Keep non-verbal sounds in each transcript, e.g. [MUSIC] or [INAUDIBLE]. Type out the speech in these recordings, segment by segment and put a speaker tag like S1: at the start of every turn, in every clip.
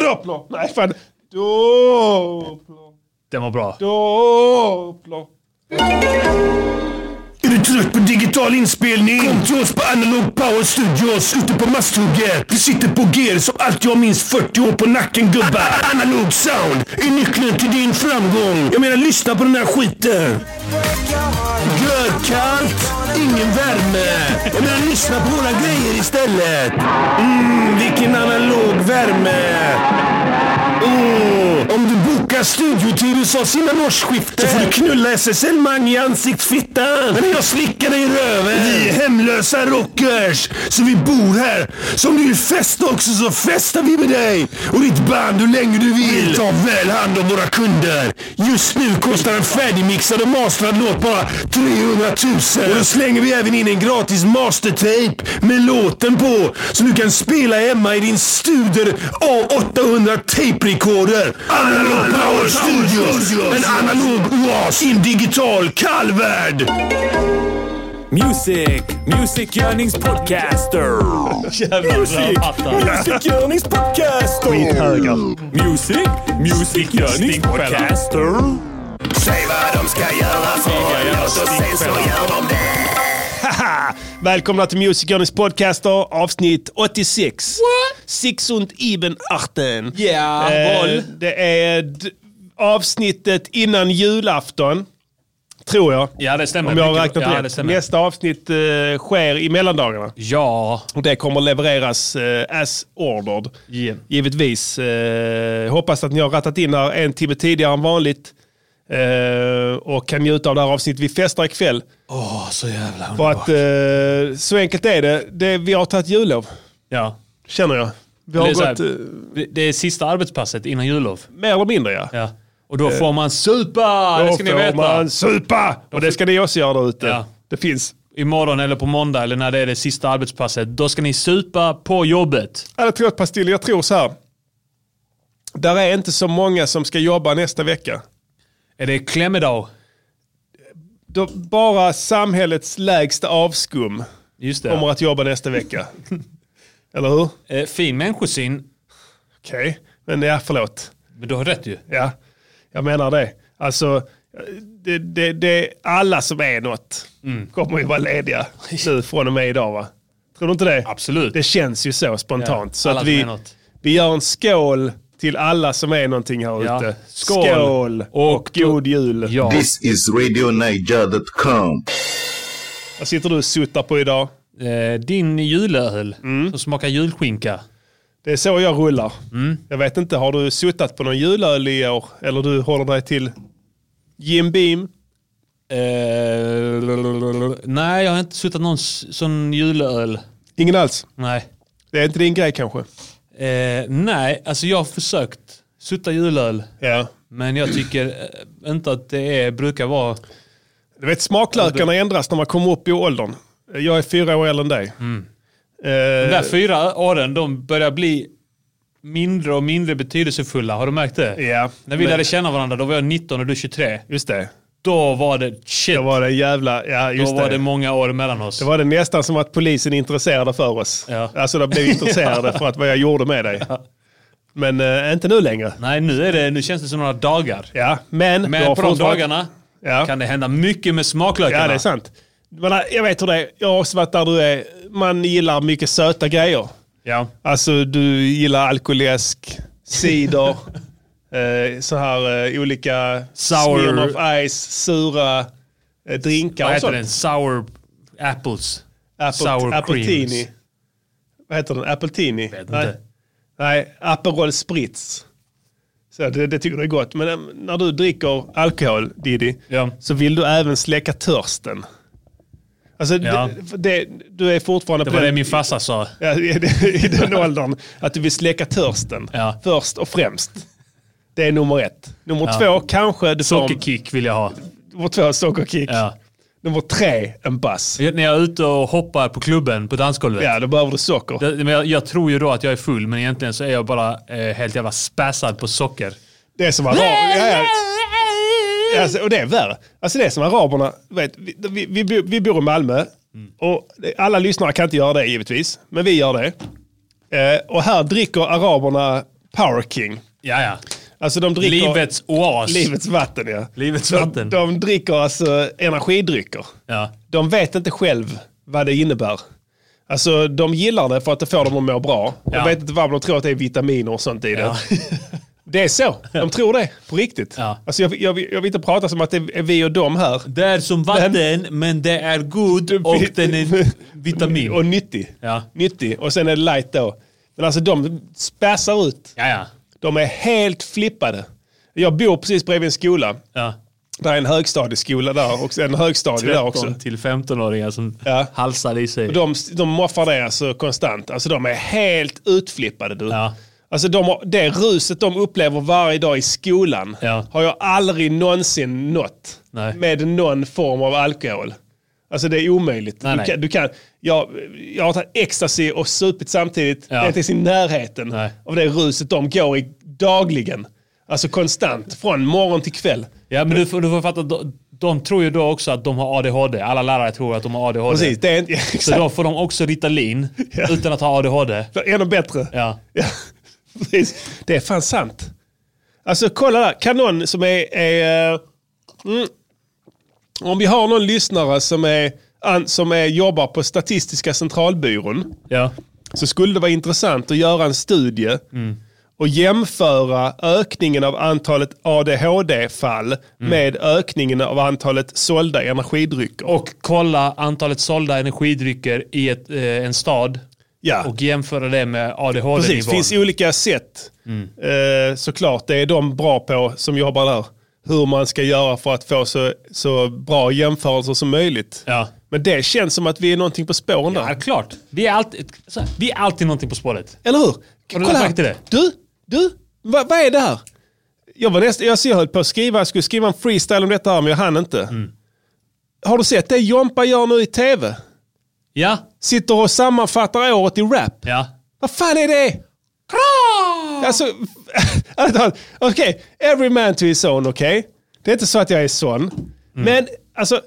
S1: Doplo. Nej, fan. Doplo.
S2: Den var bra.
S1: Doplo.
S3: Är du trött på digital inspelning? Kom till oss på Analog Power Studios ute på Masthugget. Vi sitter på gear som allt jag minns 40 år på nacken gubbar. Analog sound är nyckeln till din framgång. Jag menar lyssna på den här skiten. Görkallt, ingen värme. Jag menar lyssna på våra grejer istället. Mm, vilken analog värme. Åh, Oh, om du bokar studiotid hos oss innan årsskiftet så får du knulla SSL Mang i ansiktsfittan. Eh. Men jag slickar dig i röven. Vi är hemlösa rockers, så vi bor här. Så om du vill festa också så festar vi med dig och ditt band hur länge du vill. Vi tar väl hand om våra kunder. Just nu kostar en färdigmixad och mastrad låt bara 300 000. Och då slänger vi även in en gratis mastertape med låten på. Så du kan spela hemma i din Studer A800 tape-recorder. Analog Power Studios. En analog oas i en digital kallvärld.
S4: Music, Music Yearnings Podcaster.
S2: Jävlar
S4: Music, Music Yearnings Podcaster.
S2: Skithöga.
S4: Music, Music Yearnings Podcaster.
S3: Säg vad de ska göra för en låt och sen så gör de det.
S1: Haha! Välkomna till Music Journeys podcaster avsnitt 86. What? Six und eben achten.
S4: Ja,
S1: Eh, det är d- avsnittet innan julafton. Tror jag.
S2: Ja, det stämmer.
S1: Om jag har
S2: Mycket-
S1: räknat
S2: ja, det
S1: rätt.
S2: stämmer.
S1: Nästa avsnitt eh, sker i mellandagarna.
S2: Ja.
S1: Och det kommer levereras eh, as ordered.
S2: Yeah.
S1: Givetvis. Eh, hoppas att ni har rattat in här en timme tidigare än vanligt. Eh, och kan njuta av det här avsnittet. Vi festar ikväll.
S2: Åh, så jävla
S1: För att, eh, så enkelt är det. det. Vi har tagit jullov,
S2: Ja.
S1: känner jag. Vi
S2: Det
S1: har
S2: är, så här,
S1: gått, eh,
S2: det är sista arbetspasset innan jullov.
S1: mer eller mindre ja.
S2: Ja. Och då får man supa!
S1: Eh, Då
S2: Det ska ni
S1: får
S2: veta.
S1: man supa! Och det ska ni också göra där ute.
S2: Ja.
S1: Det finns.
S2: Imorgon eller på måndag eller när det är det sista arbetspasset. Då ska ni supa på jobbet.
S1: Alla tror att Pastille, jag tror så här. Där är inte så många som ska jobba nästa vecka.
S2: Är det klämmedag?
S1: Då bara samhällets lägsta avskum
S2: Just
S1: kommer
S2: det.
S1: att jobba nästa
S2: [LAUGHS]
S1: vecka. Eller hur?
S2: Eh, fin människosyn.
S1: Okej, men ja, förlåt.
S2: Men du har rätt ju.
S1: Ja, jag menar det. Alltså, det, det, det, alla som är något
S2: Mm.
S1: kommer ju vara lediga nu från och med idag va? Tror du inte det?
S2: Absolut.
S1: Det känns ju så spontant.
S2: Ja,
S1: så
S2: alla
S1: att
S2: som
S1: vi,
S2: är något.
S1: vi gör en skål till alla som är någonting här
S2: Ja.
S1: ute.
S2: Skål.
S1: och,
S2: Och-
S1: god jul.
S2: Ja.
S5: This is RadioNiger.com.
S1: Vad sitter du och suttar på idag?
S2: Eh, din julöl
S1: Mm.
S2: som smakar julskinka.
S1: Det är så jag rullar.
S2: Mm.
S1: Jag vet inte, har du suttat på någon julöl i år? Eller du håller dig till Jim Beam?
S2: Eh, nej, jag har inte suttit någon s- sån julöl.
S1: Ingen alls.
S2: Nej.
S1: Det är inte din grej kanske?
S2: Eh, nej, alltså jag har försökt sutta julöl.
S1: Ja.
S2: Men jag tycker eh, inte att det är, brukar vara...
S1: Du vet smaklökarna ändras när man kommer upp i åldern. Jag är fyra år äldre än dig.
S2: De
S1: Eh,
S2: Mm. där fyra åren, de börjar bli mindre och mindre betydelsefulla. Har du märkt det?
S1: ja,
S2: När vi
S1: men-
S2: lärde känna varandra, då var jag 19 och du 23.
S1: Just det.
S2: Då var det shit.
S1: Då var det en jävla... Ja, just
S2: då var det.
S1: det.
S2: många år mellan oss.
S1: Det var det nästan som att polisen är intresserade för oss.
S2: Ja.
S1: Alltså de blev intresserade för att vad jag gjorde med dig. Men eh, inte nu längre.
S2: Nej, nu, är det, nu känns det som några dagar.
S1: Ja, men... du
S2: Men
S1: har
S2: på de
S1: fortfarande-
S2: dagarna
S1: Ja.
S2: kan det hända mycket med smaklökarna.
S1: Ja, det är sant. Men, eh, jag vet hur det är. Jag har också varit där du är. Man gillar mycket söta grejer.
S2: Ja.
S1: Alltså du gillar alkoläsk, cider, eh, så här eh, olika
S2: Sour-
S1: Smirnoff Ice, sura eh,
S2: Vad
S1: drinkar och
S2: heter
S1: sånt.
S2: den? Sour apples.
S1: Apple,
S2: Sour
S1: Appletini.
S2: creams.
S1: Vad heter den? Appletini? Vet
S2: inte.
S1: Nej, Nej Aperol Spritz. Så det, det tycker du är gott. Men eh, när du dricker alkohol, Diddy,
S2: Ja.
S1: så vill du även släcka törsten. Alltså,
S2: Ja.
S1: det, det, du är fortfarande
S2: Det
S1: på
S2: var det
S1: den-
S2: min farsa sa.
S1: [LAUGHS] Ja, i den- i den åldern. Att du vill släcka törsten.
S2: Ja.
S1: Först och främst. Det är nummer ett. Nummer
S2: Ja.
S1: två kanske du får... en-
S2: Sockerkick vill jag ha.
S1: Nummer två, sockerkick.
S2: Ja.
S1: Nummer tre, en bass.
S2: När jag är ute och hoppar på klubben, på dansgolvet.
S1: Ja, då behöver du socker.
S2: Det- Men jag, jag tror ju då att jag är full, men egentligen så är jag bara eh, helt jävla spassad på socker.
S1: Det är som araberna. Ja, ja. Alltså, och det är värre. Alltså det är som araberna. du Vet, vi, vi, vi, bor- vi bor i Malmö. Och det- alla lyssnare kan inte göra det givetvis. Men vi gör det. Eh, och här dricker araberna Power King.
S2: Ja, ja.
S1: Alltså de dricker...
S2: Livets oas.
S1: Livets vatten, ja.
S2: Livets
S1: De,
S2: vatten.
S1: de dricker alltså energidrycker.
S2: Ja.
S1: De vet inte själv vad det innebär. Alltså de gillar det för att det får dem att må bra.
S2: Ja.
S1: De vet inte varför de tror att det är vitaminer och sånt i det. [LAUGHS] Det är så. De tror det, på riktigt.
S2: Ja.
S1: Alltså, jag, jag, jag vill inte prata som att det är vi och dem här.
S2: Det är som vatten, men, det är god och den är vitamin.
S1: Och nyttig.
S2: Ja.
S1: nyttig. Och sen är det light då. Men alltså de spassar ut.
S2: ja, ja.
S1: De är helt flippade. Jag bor precis bredvid en skola.
S2: ja.
S1: Där är en högstadieskola där och en högstadie där också.
S2: 13 till 15-åringar som
S1: Ja.
S2: halsar i sig.
S1: Och De, de moffar det alltså konstant. Alltså de är helt utflippade du.
S2: Ja.
S1: Alltså de, har- det ruset de upplever varje dag i skolan
S2: Ja.
S1: har jag aldrig någonsin nått
S2: Nej.
S1: med någon form av alkohol. Alltså det är omöjligt.
S2: Nej,
S1: du
S2: nej.
S1: kan, du kan, jag, jag har tagit ecstasy och supit samtidigt.
S2: Ja.
S1: Det är inte ens i närheten
S2: Nej.
S1: av det ruset de går i dagligen. Alltså konstant, från morgon till kväll.
S2: Ja, men du får, du får fatta, de, de tror ju då också att de har ADHD. Alla lärare tror att de har ADHD.
S1: Precis, det är inte, [LAUGHS]
S2: Så
S1: exakt.
S2: då får de också Ritalin utan att ha ADHD.
S1: Ännu bättre.
S2: Ja.
S1: Ja, precis. Det är fan sant. Alltså kolla där, kan någon som är... är eh, mm, om vi har någon lyssnare som, är, an, som är, jobbar på Statistiska centralbyrån
S2: Ja.
S1: så skulle det vara intressant att göra en studie och jämföra ökningen av antalet ADHD-fall med ökningen av antalet sålda energidrycker. Och,
S2: Och kolla antalet sålda energidrycker i ett, eh, en stad
S1: ja.
S2: och jämföra det med ADHD-nivån.
S1: Precis, det finns olika sätt.
S2: Mm.
S1: Eh, såklart, det är de bra på som jobbar där. Hur man ska göra för att få så, så bra jämförelser som möjligt.
S2: Ja.
S1: Men det känns som att vi är någonting på spåren
S2: Ja,
S1: där.
S2: klart. Vi är, alltid, så här, vi är alltid någonting på spåret.
S1: Eller hur?
S2: du
S1: Kolla
S2: lagt
S1: här.
S2: märke till det?
S1: Du, du, vad, vad är det här? Jag, var näst, jag, så jag höll på att skriva, jag skulle skriva en freestyle om detta här men jag hann inte.
S2: Mm.
S1: Har du sett det Jompa gör nu i tv?
S2: Ja.
S1: Sitter och sammanfattar året i rap.
S2: Ja.
S1: Vad fan är det? Alltså, [LAUGHS] alltså, okej, every man to his own, okej? Det är inte så att jag är sån.
S2: Mm.
S1: Men alltså,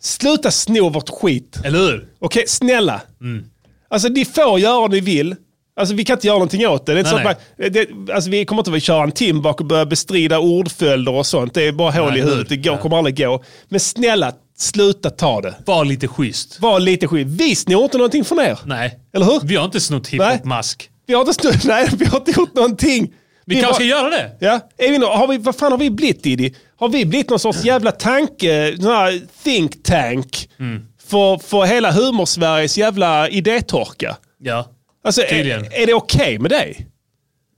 S1: sluta sno vårt skit. Okej,
S2: Eller hur?
S1: snälla.
S2: Mm.
S1: Alltså ni får göra vad ni vill. Alltså vi kan inte göra någonting åt det. det, är inte
S2: Nej,
S1: så att man, det alltså, vi kommer inte att köra en tim bak och börja bestrida ordföljder och sånt. Det är bara hål
S2: Nej,
S1: i
S2: hur?
S1: huvudet. Det går,
S2: Ja.
S1: kommer aldrig gå. Men snälla, sluta ta det.
S2: Var lite schysst.
S1: Var lite skit. Vi snor inte någonting från er.
S2: Nej.
S1: Eller hur?
S2: Vi har inte snott
S1: Nej.
S2: hiphop-mask.
S1: Vi har inte snott, [LAUGHS] nej, vi har inte gjort någonting.
S2: Vi kanske
S1: bara-
S2: ska göra det.
S1: Ja, är vi, nå- har vi, vad fan har vi blivit Diddy? Har vi blivit någon sorts jävla tanke, sån här think tank
S2: Mm.
S1: för, för hela humorsveriges jävla idétorka?
S2: Ja.
S1: Alltså, är,
S2: Tydligen.
S1: är det okej med dig?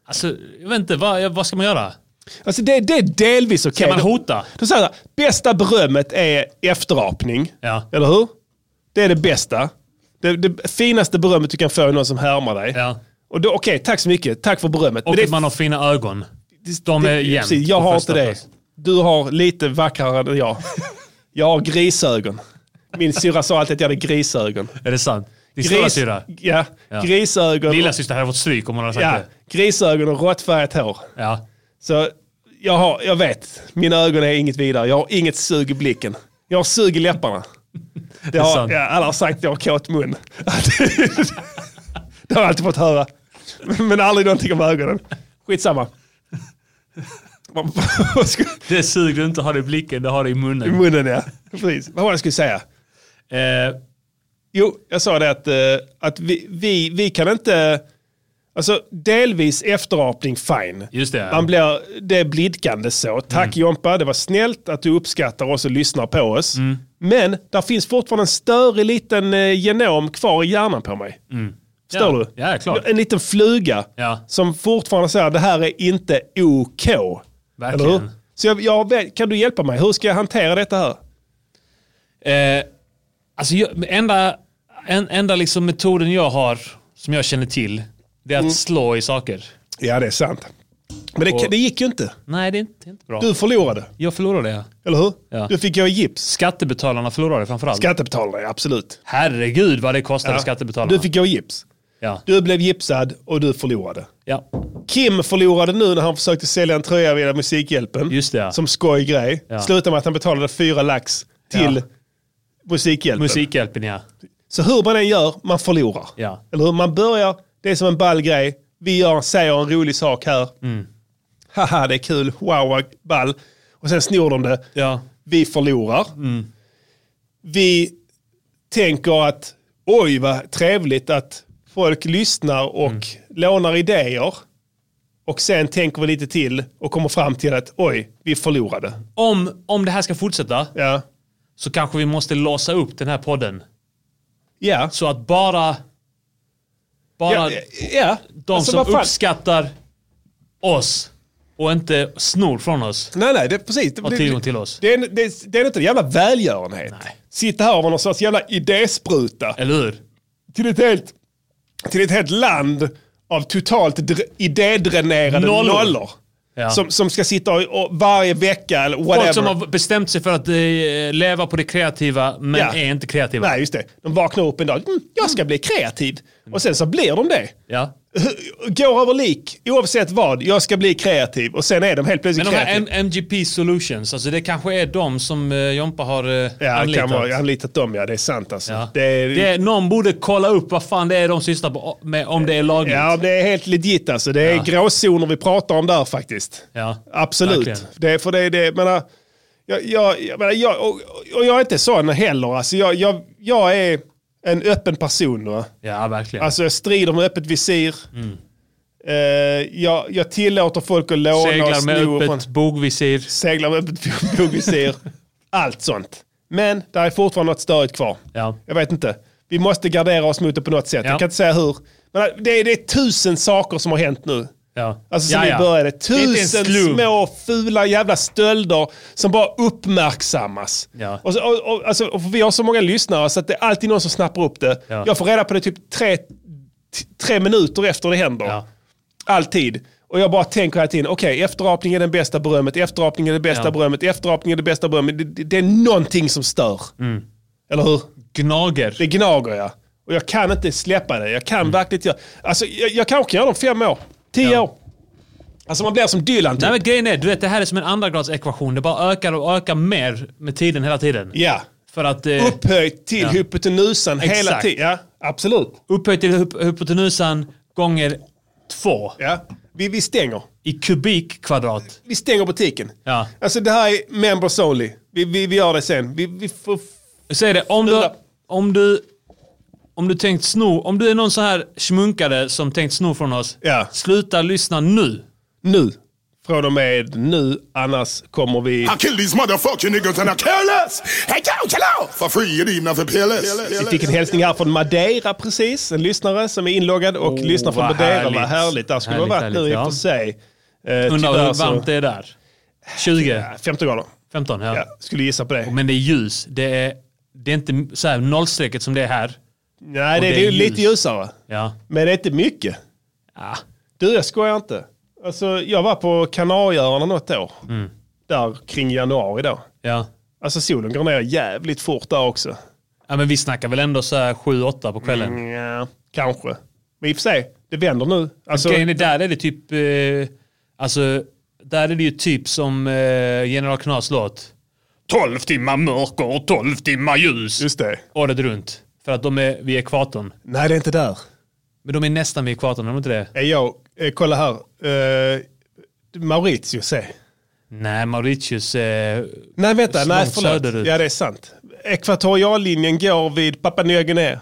S2: Alltså, jag vet inte. Vad, vad ska man göra?
S1: Alltså det, det är delvis okej.
S2: Ska man hota?
S1: Då säger jag så här, bästa berömmet är efterapning.
S2: Ja.
S1: Eller hur? Det är det bästa. Det, det finaste berömmet du kan få är någon som härmar dig.
S2: Ja.
S1: Och då, Okej, tack så mycket. Tack för berömmet.
S2: Och
S1: Men det
S2: att man har fina ögon. De
S1: Det-
S2: är jämnt.
S1: precis, Jag
S2: på
S1: har
S2: första
S1: inte det.
S2: plats.
S1: Du har lite vackrare än jag. Jag har grisögon. Min syrra sa alltid att jag hade grisögon.
S2: Är det sant? Din stora syrra?
S1: ja,
S2: Ja.
S1: grisögon.
S2: Lilla syster hade fått stryk om hon hade sagt
S1: ja, grisögon och råttfärgat hår.
S2: det. Ja.
S1: Så jag, har, jag vet, mina ögon är inget vidare. Jag har inget sug i blicken. Jag har sug i läpparna.
S2: [LAUGHS]
S1: Det har,
S2: sant.
S1: ja, alla har sagt att jag har kåt mun. [LAUGHS] det har jag alltid fått höra. Men aldrig någonting om ögonen. Skitsamma. [LAUGHS] Vad skulle-
S2: Det suger du inte har det i blicken, det har det i munnen.
S1: I munnen ja. Precis. Vad var det jag skulle säga?
S2: Eh,
S1: Jo, jag sa det att, eh, att vi, vi, vi kan inte... Alltså delvis efterapning, fine.
S2: Just det, Mm. ja.
S1: Man blir, det är blidkande så. Tack Jompa, det var snällt att du uppskattar oss och lyssnar på oss.
S2: Mm.
S1: Men där finns fortfarande en större liten eh, genom kvar i hjärnan på mig. Förstår
S2: Mm. Ja.
S1: du?
S2: Ja, klart.
S1: En liten fluga
S2: Ja.
S1: som fortfarande säger det här är inte OK.
S2: Verkligen.
S1: Eller hur? Så jag, jag, vet- kan du hjälpa mig? Hur ska jag hantera detta här?
S2: Eh, alltså, jag, enda, en, enda liksom metoden jag har, som jag känner till, det är att
S1: Mm.
S2: slå i saker.
S1: Ja, det är sant. Men det,
S2: Och-
S1: det gick ju inte.
S2: Nej, det är inte, det är inte bra.
S1: Du förlorade,
S2: Jag förlorade det.
S1: eller hur?
S2: Ja.
S1: Du fick gå i gips.
S2: Skattebetalarna förlorade framförallt.
S1: Skattebetalarna, ja, absolut.
S2: Herregud vad det kostade
S1: Ja.
S2: skattebetalarna.
S1: Du fick gå i gips.
S2: ja.
S1: Du blev gipsad och du förlorade.
S2: Ja.
S1: Kim förlorade nu när han försökte sälja en tröja via Musikhjälpen.
S2: Just det, ja.
S1: Som skojgrej.
S2: Ja.
S1: Slutade med att han betalade fyra lax till
S2: Ja.
S1: Musikhjälpen.
S2: Musikhjälpen ja.
S1: Så hur man än gör, man förlorar.
S2: Ja.
S1: Eller hur? Man börjar, det är som en ball grej. vi gör, säger en rolig sak här.
S2: Mm.
S1: Haha, det är kul. Wow, vad ball. Och sen snor de det.
S2: Ja.
S1: Vi förlorar. Vi tänker att oj vad trevligt att folk lyssnar och lånar idéer. Och sen tänker vi lite till och kommer fram till att oj, vi förlorade.
S2: Om, om det här ska fortsätta
S1: Ja,
S2: så kanske vi måste låsa upp den här podden.
S1: ja.
S2: Så att bara, bara
S1: ja, ja.
S2: de
S1: Alltså, vad
S2: som
S1: fan-
S2: uppskattar oss och inte snor från oss.
S1: Nej, nej, det, precis. Det,
S2: Har
S1: det-
S2: tillgång till oss.
S1: Det, är en- det, det är inte en jävla välgörenhet.
S2: Nej.
S1: Sitta här och vara någon sorts jävla idéspruta.
S2: Eller hur?
S1: Till ett helt, till ett helt land av totalt dr- idédränerade
S2: Nollor.
S1: nollor.
S2: Ja.
S1: Som, som ska sitta och, och varje vecka eller whatever.
S2: Folk som har bestämt sig för att eh, leva på det kreativa men
S1: Ja.
S2: är inte kreativa.
S1: Nej, just det. De vaknar upp en dag. Mm, jag ska bli kreativ.
S2: Mm.
S1: Och sen så blir de det. [LAUGHS]
S2: Ja.
S1: Går över lik, oavsett vad. Jag ska bli kreativ. Och sen är de helt plötsligt
S2: Men de här
S1: kreativa.
S2: M- MGP Solutions, alltså det kanske är de som eh, Jompa har eh,
S1: Ja, det
S2: anlitat.
S1: kan vara. Jag har anlitat dem, ja. Det är sant alltså.
S2: Ja.
S1: Det är,
S2: Det, någon borde kolla upp vad fan det är de sysslar på, med, om det är lagligt.
S1: Ja, det är helt legit alltså. Det är
S2: Ja.
S1: gråzoner vi pratar om där faktiskt.
S2: Ja, verkligen.
S1: Absolut. Det är för det, det jag menar, jag, jag, jag, menar, jag, och, och jag är inte sån heller. Alltså, jag, jag, jag är en öppen person. Va?
S2: Ja, verkligen.
S1: Alltså jag strider med öppet visir.
S2: Mm.
S1: Eh, jag, jag tillåter folk att låna och
S2: Seglar med
S1: sno.
S2: öppet
S1: från-
S2: bogvisir.
S1: Seglar med öppet bogvisir. Allt sånt. Men det är fortfarande något störigt kvar.
S2: Ja.
S1: Jag vet inte. Vi måste gardera oss mot det på något sätt.
S2: Ja.
S1: Jag kan inte säga hur. Men det är, det är tusen saker som har hänt nu.
S2: Ja.
S1: Alltså sen
S2: ja, ja.
S1: vi började.
S2: är inte en
S1: Tusen
S2: slump.
S1: små fula jävla stölder som bara uppmärksammas.
S2: Ja.
S1: Och, så, och, och, alltså, och för vi har så många lyssnare så att det är alltid någon som snappar upp det.
S2: Ja.
S1: Jag får reda på det typ tre, t- tre minuter efter det händer.
S2: Ja.
S1: Alltid. Och jag bara tänker hela tiden, okej, efterapning är den bästa berömmet, efterapning är det bästa
S2: Ja.
S1: berömmet, efterapning är det bästa berömmet. Det, det, det är någonting som stör.
S2: Mm.
S1: Eller hur?
S2: Gnager.
S1: Det gnager jag. Och jag kan inte släppa det. Jag kan verkligen inte göra... Alltså, jag, jag kanske kan göra det om fem år. Tio
S2: Mm. Ja.
S1: år. Alltså man blir som Dylan typ.
S2: Nej men grejen är, du vet det här är som en andragradsekvation. Det bara ökar och ökar mer med tiden hela tiden.
S1: Ja.
S2: För att eh,
S1: Upphöjt till
S2: Ja.
S1: hypotenusan hela
S2: Exakt.
S1: tiden. Ja, absolut.
S2: upphöjt till hyp- hypotenusan gånger två
S1: Ja. Vi, vi stänger.
S2: i kubikkvadrat.
S1: Vi stänger butiken.
S2: Ja.
S1: Alltså det här är members only. Vi, vi, vi gör det sen. Vi, vi får...
S2: Säg det, om du,
S1: Sluta.
S2: om du, om du tänkt sno, om du är någon så här smunkare som tänkt sno från oss,
S1: Ja.
S2: sluta lyssna nu.
S1: Nu. Från och med nu, annars kommer vi...
S6: I kill these motherfucking niggas and I care less. Hey, yo, kill out for free and even if it
S1: Vi fick en hälsning här från Madeira precis. En lyssnare som är inloggad och
S2: Åh,
S1: lyssnar från
S2: Oh, vad
S1: Madeira.
S2: härligt.
S1: Vad härligt. Där skulle det ha varit
S2: Härligt,
S1: nu i och
S2: härligt,
S1: för sig. Eh,
S2: Undrar
S1: tyvärr
S2: hur
S1: så-
S2: varmt det är där. 20?
S1: Ja, 15 grader.
S2: 15? Ja.
S1: Ja, skulle gissa på det.
S2: Men det är ljus. Det är, det är inte så här nollstrecket som det är här.
S1: Nej, det,
S2: och
S1: det är
S2: det
S1: ju
S2: är ljus.
S1: lite ljusare.
S2: Ja.
S1: Men det är inte mycket.
S2: ja.
S1: Du, jag skojar inte. Alltså, jag var på Kanarieöarna något år.
S2: Mm.
S1: Där kring januari då.
S2: ja.
S1: Alltså solen går ner jävligt fort där också.
S2: Ja men vi snackar väl ändå så här 7-8 på kvällen.
S1: Mm. Ja, kanske. Men i och för sig, det vänder nu. Alltså,
S2: Grejen är, där är det typ, eh, alltså, där är det ju typ som eh, General Knas låt. 12 timmar mörker och 12 timmar ljus.
S1: just det.
S2: året runt. För att de är vid ekvatorn.
S1: Nej, det är inte där.
S2: Men de är nästan vid ekvatorn, är de inte det?
S1: Är jag, eh, kolla här. Eh, Mauritius är.
S2: Nej, Mauritius eh,
S1: Nej, vänta.
S2: Så
S1: nej,
S2: långt
S1: förlåt.
S2: söderut.
S1: Ja, det är sant. Ekvatoriallinjen går vid Papua Nya Guinea.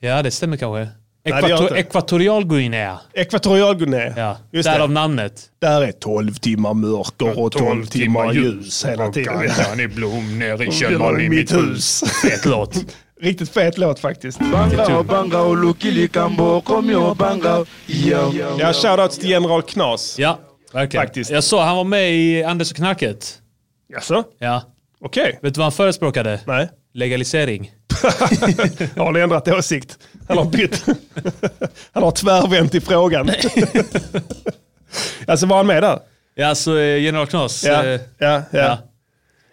S2: Ja, det stämmer kanske.
S1: Nej, det gör
S2: Ekvator,
S1: inte.
S2: Ekvatorialguinea.
S1: Ekvatorialguinea.
S2: Ja,
S1: just
S2: därav
S1: det.
S2: namnet.
S1: Där är 12 timmar mörker och 12 timmar ljus hela tiden. [LAUGHS]
S4: Gatan i blom, ner i
S1: Det var i mitt hus.
S2: Fet låt.
S1: Riktigt fet låt faktiskt. Jag shoutouts till General Knas.
S2: Ja, verkligen.
S1: Faktiskt.
S2: Jag sa han var med i Anders och knarket.
S1: Jaså?
S2: Ja.
S1: Okej.
S2: Vet du vad han förespråkade?
S1: Nej.
S2: Legalisering.
S1: Jag har ändrat åsikt. Han har bytt. Han har tvärvänt i frågan. Alltså var han med där?
S2: Ja, så eh, General Knas.
S1: Ja,
S2: eh,
S1: ja, ja.
S2: ja.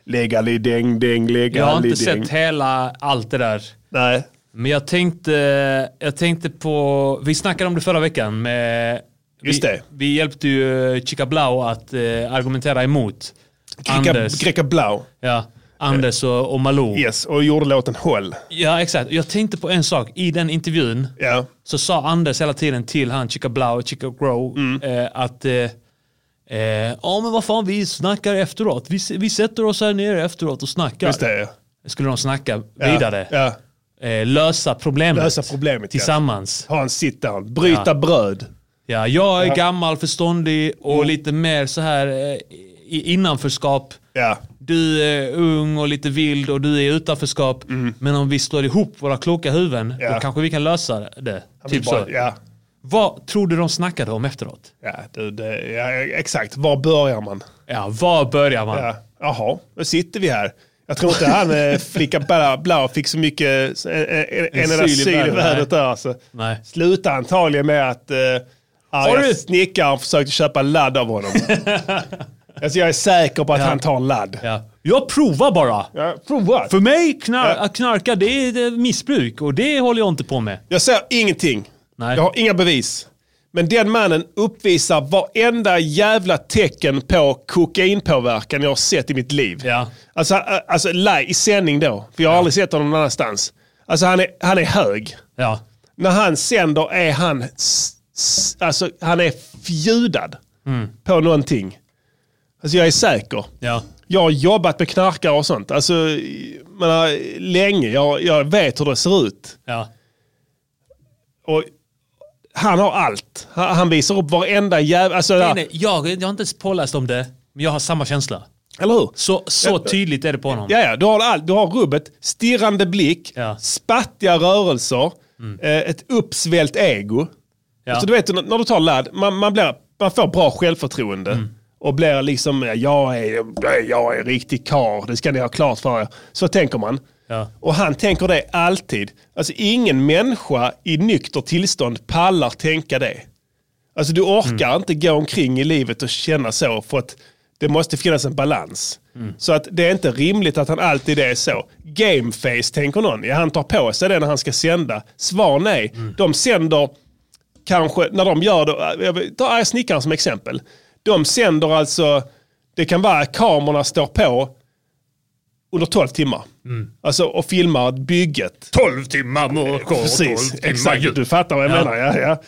S1: Legalidäng, däng,
S2: Jag har inte
S1: legalidäng.
S2: sett hela allt det där.
S1: Nej.
S2: Men jag tänkte, jag tänkte på, vi snackade om det förra veckan med
S1: Just
S2: vi,
S1: det.
S2: Vi hjälpte ju Chica Blau att eh, argumentera emot
S1: Greka,
S2: Anders.
S1: Greka Blau.
S2: ja. Anders och, och Malou.
S1: Yes, och gjorde låten Håll.
S2: Ja, exakt. Jag tänkte på en sak. I den intervjun
S1: Ja.
S2: så sa Anders hela tiden till han Chica Blau och Chica Grow
S1: Mm.
S2: eh, att eh, eh, ja men vad fan vi snackar efteråt. Vi, s- vi sätter oss här nere efteråt och snackar.
S1: Just det.
S2: Skulle de snacka
S1: Ja.
S2: vidare.
S1: Ja.
S2: Eh, lösa problemet.
S1: Lösa problemet, ja.
S2: Tillsammans.
S1: Ha en sit-down. Bryta
S2: Ja.
S1: bröd.
S2: Ja, jag är gammal, förståndig och
S1: Mm.
S2: lite mer så här eh, i innanförskap.
S1: Ja.
S2: Du är ung och lite vild och du är i utanförskap. Men om vi slår ihop våra kloka huvuden,
S1: Mm. Ja.
S2: då kanske vi kan lösa det. Typ så.
S1: Bara- Ja.
S2: Vad tror du de snackade om efteråt?
S1: Ja, du, det, ja, exakt. Var börjar man?
S2: Ja, var börjar man?
S1: Ja. Jaha, nu sitter vi här. Jag tror inte han eh, flicka bla, bla fick så mycket eh, eh, en, en enda
S2: syl i
S1: syl i
S2: världen,
S1: vädret där. Alltså.
S2: Nej.
S1: Slutade antagligen med att eh,
S2: du-
S1: arga snickaren försökte köpa ladd av
S2: [LAUGHS]
S1: honom. alltså, jag är säker på att
S2: Ja.
S1: han tar ladd.
S2: Ja. Jag provar bara.
S1: Ja, prova.
S2: För mig, knar-
S1: Ja.
S2: att knarka, det är det är missbruk och det håller jag inte på med.
S1: Jag ser ingenting.
S2: Nej.
S1: Jag har inga bevis. Men den mannen uppvisar varenda jävla tecken på kokainpåverkan jag har sett i mitt liv.
S2: Ja.
S1: Alltså, ä- alltså live, i sändning då, för jag har aldrig sett honom någon annanstans. Alltså han är, han är hög.
S2: Ja.
S1: När han sänder är han, s- s- alltså, han är fjudad
S2: Mm.
S1: på någonting. Alltså jag är säker.
S2: Ja.
S1: Jag har jobbat med knarkare och sånt. Alltså, man har, länge. Jag, jag vet hur det ser ut.
S2: Ja.
S1: Och han har allt. Han, han visar upp varenda jävla... Alltså,
S2: Nej,
S1: där,
S2: nej, jag, jag har inte ens påläst om det, men jag har samma känsla.
S1: eller hur?
S2: Så, så tydligt är det på honom.
S1: Ja, ja, du har allt. Du har rubbet, stirrande blick,
S2: Ja. Mm.
S1: spattiga rörelser, eh, ett uppsvällt ego.
S2: Ja.
S1: Så alltså, du vet, när, när du tar ladd, man, man, blir, man får bra självförtroende.
S2: Mm.
S1: Och blir liksom, ja, jag är, jag är en riktig karl, det ska ni ha klart för er. Så tänker man.
S2: Ja.
S1: Och han tänker det alltid. Alltså ingen människa i nykter tillstånd pallar tänka det. Alltså du orkar inte gå omkring i livet och känna så för att det måste finnas en balans. Så att det är inte rimligt att han alltid är så. Gameface tänker någon. Ja, han tar på sig det när han ska sända. Svar nej. De sänder kanske, när de gör det, äh, jag vill- ta Arga Snickaren som exempel. De sänder alltså, det kan vara kamerorna står på under 12 timmar.
S2: Mm.
S1: Alltså och filmar bygget.
S4: 12 timmar mörker och 12
S1: [LAUGHS] Precis,
S4: timmar
S1: exakt.
S4: ljus.
S1: Du fattar vad jag menar. Ja, ja.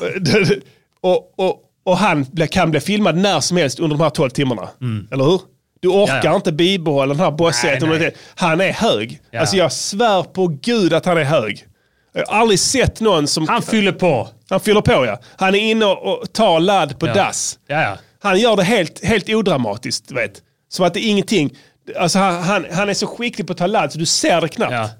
S1: Det- det- [LAUGHS] och, och, och han blir- kan bli filmad när som helst under de här 12 timmarna. Eller hur? Du orkar
S2: Mm. Ja, ja.
S1: inte bibehålla den här bossigheten.
S2: Nej,
S1: och
S2: nej.
S1: det- Han är hög.
S2: Ja.
S1: Alltså jag svär på gud att han är hög. Jag har aldrig sett någon som...
S2: Han fyller på.
S1: Han fyller på ja. Han är inne och och tar ladd på dass.
S2: Ja, ja.
S1: Han gör det helt, helt odramatiskt. du Vet. Som att det är ingenting. Alltså, han, han, han är så skicklig på att ta ladd så du ser det knappt.
S2: Ja.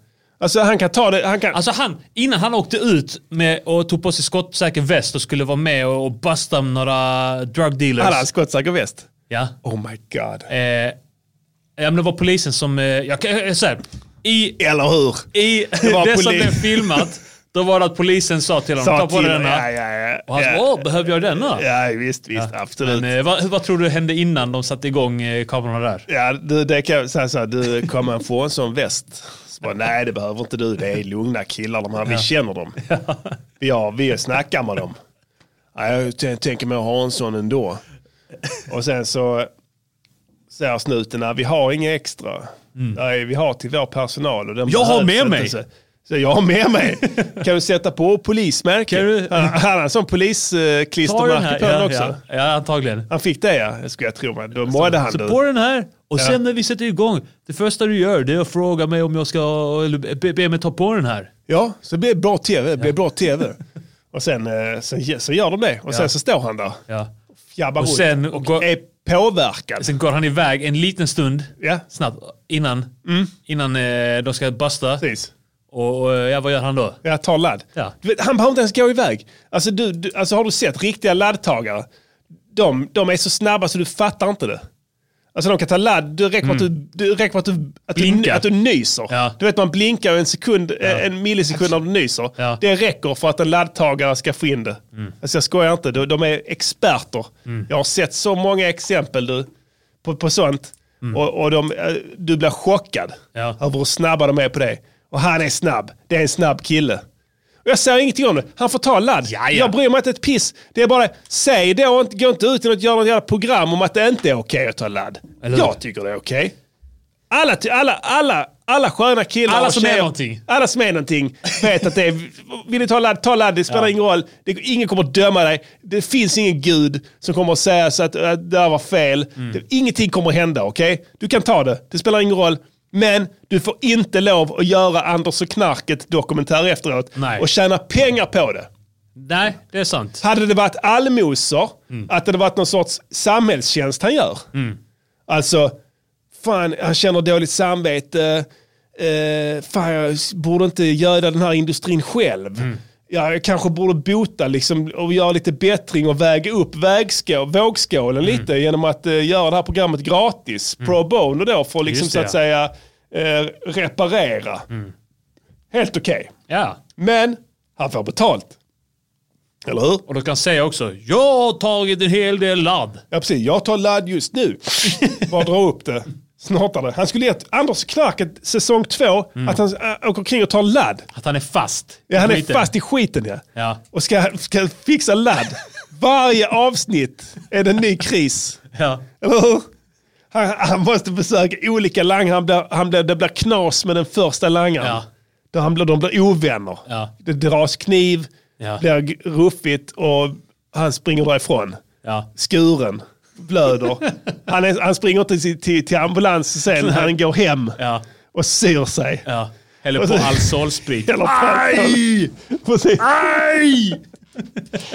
S1: Alltså han kan ta det. Han kan,
S2: Alltså han, innan han åkte ut med, och tog på sig skottsäker väst och skulle vara med och, och busta några drug dealers.
S1: han har en skottsäker väst.
S2: Ja.
S1: Oh my god.
S2: Eh, ja, men det var polisen som... Eh, jag, kan- eh, så här, I
S1: Eller hur?
S2: i [LAUGHS] det,
S1: var
S2: som
S1: poli-
S2: blev filmat, då var det att polisen sa till honom, ta på dig
S1: till- ja,
S2: denna.
S1: ja, ja.
S2: Och han sa,
S1: ja.
S2: åh, behöver jag denna?
S1: ja, visst, visst. Absolut.
S2: Men, eh, vad, vad tror du hände innan de satte igång eh, kamerorna där?
S1: Ja, du, det kan jag säga så här, du kommer han få en sån väst? Så bara, Nej, det behöver inte du. Det är lugna killar de här. Vi känner dem. Vi, har, vi snackar med dem. Ja, jag t- tänker mig att ha en sån ändå. Och sen så säger snuten, "Nej, vi har inga extra. Nej, vi har till vår personal. Och den
S2: Mm. Jag har
S1: behövs
S2: med mig."
S1: inte." Så, så jag har med mig. Kan du sätta på polismärke?
S2: Kan du-
S1: Han han har en sån polisklistermärke på den
S2: ja,
S1: också.
S2: ja, ja, antagligen.
S1: Han fick det ja, skulle jag tro. men Då mådde han.
S2: Så
S1: du.
S2: på den här, och
S1: Ja.
S2: sen när vi sätter igång, det första du gör det är att fråga mig om jag ska, eller be, be mig ta på den här.
S1: Ja, så det blir bra tv. Det blir bra TV. och sen, eh, sen så gör de det. Och sen
S2: Ja.
S1: så står han där.
S2: Ja.
S1: Jabbar
S2: Och
S1: runt
S2: sen
S1: och
S2: går-
S1: är påverkad.
S2: Sen går han iväg en liten stund,
S1: Ja. Mm.
S2: snabbt, innan, innan eh, de ska busta.
S1: Precis.
S2: Och, och ja, vad gör han då?
S1: Jag tar ladd.
S2: Ja.
S1: Du vet, han behöver inte ens gå iväg. Alltså, du, du, alltså har du sett riktiga laddtagare? De, de är så snabba så du fattar inte det. Alltså de kan ta ladd, det räcker med att du, det räcker med att du, att du,
S2: Blinka.
S1: att du nyser.
S2: Mm. Ja.
S1: Du vet man blinkar en sekund, eh, en millisekund när du nyser.
S2: Ja. Mm.
S1: Det räcker för att en laddtagare ska få in det. Alltså jag skojar inte, de, de är experter. Jag har sett så många exempel du, på, på sånt.
S2: Mm.
S1: Och, och de, eh, du blir chockad
S2: Ja.
S1: över hur snabba de är på det. Och han är snabb. Det är en snabb kille. Och jag säger ingenting om det. Han får ta ladd.
S2: Jaja.
S1: Jag bryr mig inte ett piss. Det är bara, säg då och inte- gå inte ut i något, gör något jävla program om att det inte är okej att ta ladd.
S2: Eller hur?
S1: jag tycker det är okej. Alla, ty- alla, alla, alla sköna killar
S2: Alla
S1: och
S2: som är
S1: tjejer-
S2: någonting.
S1: Alla som är någonting vet att det är, vill du ta ladd, ta ladd, det spelar ingen roll. Det, ingen kommer att döma dig. Det finns ingen gud som kommer att säga så att äh, det här var fel. Det, ingenting kommer att hända, okej? Du kan ta det, det spelar ingen roll. Men du får inte lov att göra Anders och knarket dokumentär efteråt
S2: Nej.
S1: och tjäna pengar på det.
S2: Nej, det är sant.
S1: Hade det varit allmosor,
S2: Mm.
S1: att det hade varit någon sorts samhällstjänst han gör. Alltså, fan han känner dåligt samvete. Eh, fan jag s- borde inte göda den här industrin själv.
S2: Mm.
S1: Ja, jag kanske borde bota liksom, och göra lite bättring och väga upp vägskå, vågskålen
S2: Mm.
S1: lite genom att eh, göra det här programmet gratis. Pro bono då för att liksom,
S2: Just
S1: så
S2: det, Mm.
S1: att säga eh, reparera. Helt okej.
S2: Ja.
S1: Men han får betalt. Eller hur?
S2: Och då kan jag säga också, jag har tagit en hel del ladd.
S1: Ja precis, jag tar ladd just nu. Bara dra upp det. Snart är det. Han skulle gett Anders Knarket säsong två
S2: Mm.
S1: att han äh, åker kring och tar ladd.
S2: Att han är fast.
S1: Ja, han är
S2: Skiten.
S1: fast i skiten ja.
S2: Ja.
S1: Och ska, ska fixa ladd. Varje avsnitt är det en ny kris.
S2: Ja.
S1: Eller hur? Han, han måste besöka olika langare. Han blir, han blir, det blir knas med den första langaren.
S2: Ja.
S1: Då han blir, de blir ovänner.
S2: Ja.
S1: Det dras kniv,
S2: Ja.
S1: blir g- ruffigt och han springer därifrån
S2: Ja.
S1: skuren, blöder. Han, är, han springer inte till, till, till ambulans sen, han går hem
S2: Ja.
S1: och syr sig.
S2: ja. Häller på all solsprit.
S1: Eller Aj! Precis. Aj!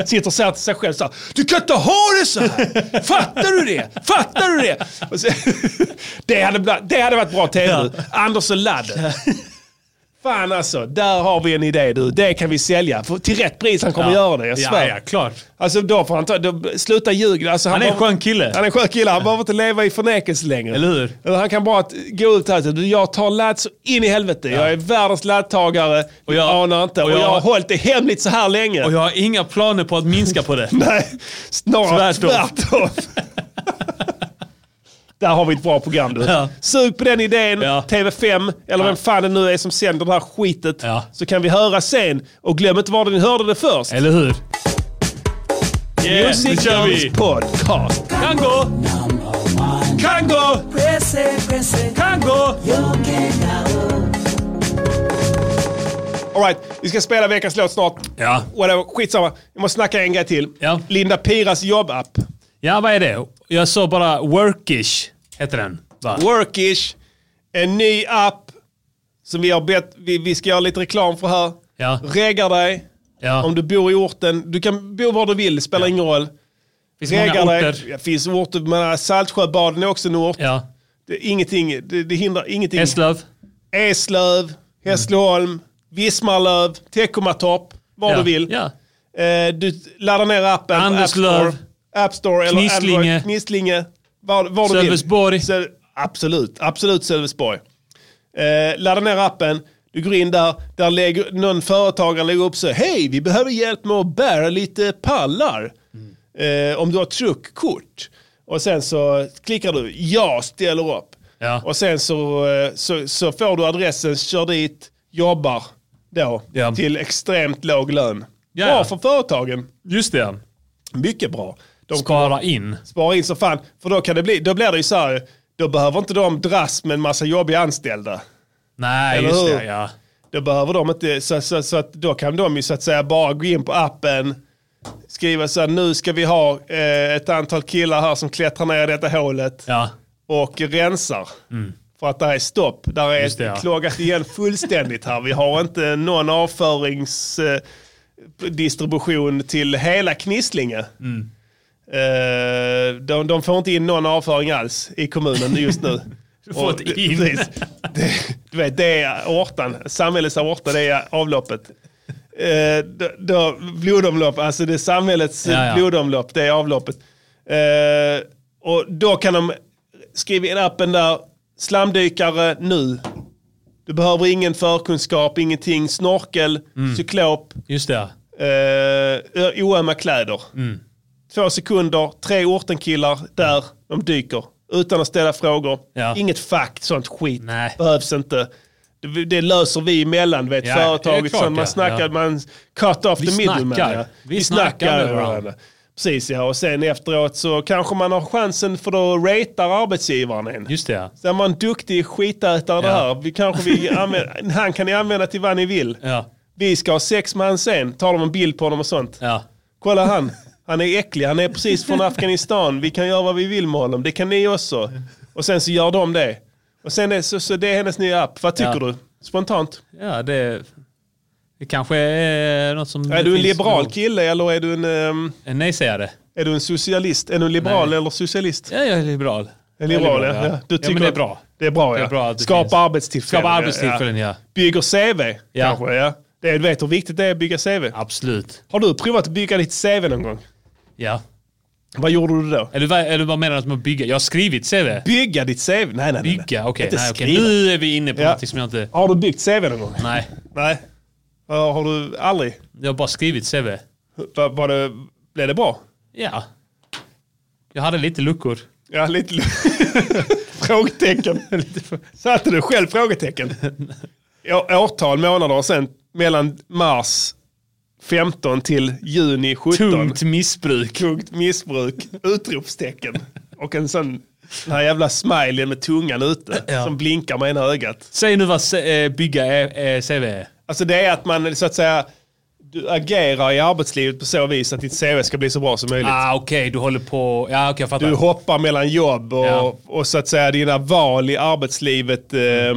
S1: Sitter och säger till sig själv så här, Du kan inte ha det så här! Fattar du det? Fattar du det? Och så, det, hade, bla- det hade varit bra tv.
S2: Ja.
S1: Anders och Ladd. Fan alltså, där har vi en idé du. Det kan vi sälja. För, till rätt pris han kommer göra det, jag svär.
S2: Ja, ja, klart.
S1: Alltså då får han ta, då, sluta ljuga. Alltså,
S2: Han är en
S1: behöver-
S2: skön kille.
S1: Han är en skön kille, han behöver inte leva i förnekelse längre.
S2: Eller hur?
S1: Eller han kan bara t- gå ut här och säga, "Du, jag tar ladd så in i helvete. Jag är världens laddtagare, och
S2: Och
S1: jag
S2: jag-
S1: anar inte. Och
S2: och
S1: jag,
S2: jag-
S1: har hållit det hemligt så här länge.
S2: Och jag har inga planer på att minska på det.
S1: [LAUGHS] Nej, snarare
S2: Tvärtom.
S1: tvärtom. [LAUGHS] Där har vi ett bra program du.
S2: Ja.
S1: Sug på den idén,
S2: Ja.
S1: TV5, eller vem fan det nu är som sänder det här skitet.
S2: Ja.
S1: Så kan vi höra sen. Och glöm inte var ni hörde det först.
S2: Eller hur? Yeah, nu
S1: Music
S2: kör
S1: Girls
S2: vi!
S1: Podcast.
S2: Kan gå! Kan gå! Kan gå!
S1: All right, vi ska spela veckans låt snart.
S2: Ja.
S1: Whatever, skitsamma. Jag måste snacka en grej till.
S2: Ja.
S1: Linda Piras jobbapp.
S2: Ja, vad är det? Jag såg bara Workish, heter den. Va?
S1: Workish. En ny app som vi har bett, vi, vi ska göra lite reklam för här.
S2: Ja.
S1: Reggar dig.
S2: Ja.
S1: Om du bor i orten. Du kan bo var du vill, spelar ingen roll.
S2: Finns många
S1: Reggar dig.
S2: orter.
S1: Det finns orter, men Saltsjöbaden är också en ort.
S2: Ja.
S1: Det, är ingenting, det, det hindrar ingenting.
S2: Eslöv.
S1: Eslöv, Hässleholm, Vismarlöv, Teckomatorp. Var
S2: ja.
S1: du vill.
S2: Ja.
S1: Eh, du laddar ner appen. på App Store,
S2: Anderslöv.
S1: App Store eller
S2: Knislinge.
S1: Android. Knislinge. Var, var du vill.
S2: Sölvesborg.
S1: Söl- absolut, absolut Sölvesborg. Eh, laddar ner appen. Du går in där, där lägger, någon företagare lägger upp så Hej, vi behöver hjälp med att bära lite pallar. Eh, om du har truckkort. Och sen så klickar du ja, ställer upp.
S2: Ja.
S1: Och sen så, eh, så, så får du adressen, kör dit, jobbar då
S2: Ja.
S1: till extremt låg lön.
S2: Ja,
S1: Bra
S2: ja.
S1: för företagen.
S2: Just det.
S1: Mycket bra. De
S2: Spara in.
S1: sparar in så fan. För då, kan det bli, då blir det ju så här, då behöver inte de dras med en massa jobbiga anställda.
S2: Nej,
S1: Eller
S2: just
S1: hur?
S2: det. Ja.
S1: Då behöver de inte, så, så, så att då kan de ju så att säga bara gå in på appen, skriva så här, nu ska vi ha eh, ett antal killar här som klättrar ner i detta hålet
S2: Ja.
S1: och rensar. För att där är stopp. Där är
S2: Mm. Just det, ja.
S1: klagat igen fullständigt här. Vi har inte någon avföringsdistribution till hela Knislinge.
S2: Mm.
S1: Eh, de, de får inte in någon avföring alls i kommunen just
S2: [LAUGHS]
S1: nu. du
S2: får inte in.
S1: Det, du vet, det är aortan. Samhällets aorta, det är avloppet. Eh, då, då, blodomlopp, alltså det är samhällets
S2: Ja, ja.
S1: blodomlopp, det är avloppet. Eh, och då kan de skriva in appen där, slamdykare nu. Du behöver ingen förkunskap, ingenting, snorkel,
S2: Mm.
S1: cyklop,
S2: Just det.
S1: eh, oömma kläder.
S2: Mm.
S1: Två sekunder, tre ortenkillar där, de dyker. Utan att ställa frågor.
S2: Ja.
S1: Inget fack, sånt skit.
S2: Nej.
S1: Behövs inte. Det, det löser vi emellan, vet,
S2: Ja,
S1: företaget.
S2: det är klart,
S1: så man
S2: ja.
S1: snackar,
S2: Ja.
S1: man cut off
S2: Vi
S1: the middleman.
S2: snackar.
S1: Ja.
S2: Vi snackar med varandra.
S1: Precis ja, och sen efteråt så kanske man har chansen för då ratar arbetsgivaren en.
S2: Just det ja.
S1: Så är man duktig skitätare det
S2: Ja.
S1: här, vi kanske vi
S2: [LAUGHS]
S1: använder, han kan ni använda till vad ni vill.
S2: Ja.
S1: Vi ska ha sex med han sen, talar om en bild på honom och sånt.
S2: ja.
S1: Kolla han, han är äcklig, han är precis från Afghanistan, vi kan göra vad vi vill med honom, det kan ni också. Och sen så gör de det. Och sen är, så, så det är hennes nya app, vad tycker
S2: Ja.
S1: du? Spontant.
S2: Ja, det, det kanske är något som...
S1: Är du en
S2: finns
S1: liberal
S2: nog-
S1: kille eller är du en, ehm,
S2: Nej, säger det.
S1: är du en socialist? Är du en liberal eller socialist?
S2: Ja, jag är liberal.
S1: En liberal, ja. ja. Du
S2: ja,
S1: tycker
S2: men det är bra.
S1: Det är bra,
S2: Det är
S1: ja.
S2: bra att det finns.
S1: Skapa arbetstillfällen.
S2: Skapa
S1: ja,
S2: arbetstillfällen, ja.
S1: Bygger CV,
S2: Ja.
S1: kanske. Ja. Det, du vet hur viktigt det är att bygga CV.
S2: Absolut.
S1: Har du provat att bygga ditt CV någon gång?
S2: Ja.
S1: Vad gjorde du då?
S2: Eller, vad- eller vad menar du med att bygga? Jag har skrivit CV.
S1: Bygga ditt CV? Nej, nej, nej.
S2: Bygga, okej.
S1: Inte
S2: Nej, okej.
S1: skriva.
S2: Nu är vi inne på
S1: Ja.
S2: någonting som jag inte...
S1: Har du byggt CV någon gång?
S2: Nej,
S1: Nej. Ja, Har du aldrig?
S2: jag har bara skrivit CV.
S1: Var, var det, blev det bra?
S2: Ja. Jag hade lite luckor.
S1: Ja, lite [LAUGHS] frågetecken. Satte du själv frågetecken? [LAUGHS] Å- Årtal, månader och sen mellan mars 15 till juni 17.
S2: Tungt missbruk.
S1: Tungt missbruk, utropstecken och en sån den här jävla smileyn med tungan ute
S2: Ja.
S1: som blinkar med ena ögat.
S2: Säg nu vad se- eh, bygga är- är CV är.
S1: Alltså det är att man så att säga du agerar i arbetslivet på så vis att ditt CV ska bli så bra som möjligt.
S2: Ah, okej, du håller på... Ja, okej, jag fattar.
S1: Du hoppar mellan jobb och,
S2: Ja.
S1: och så att säga dina val i arbetslivet eh, eh,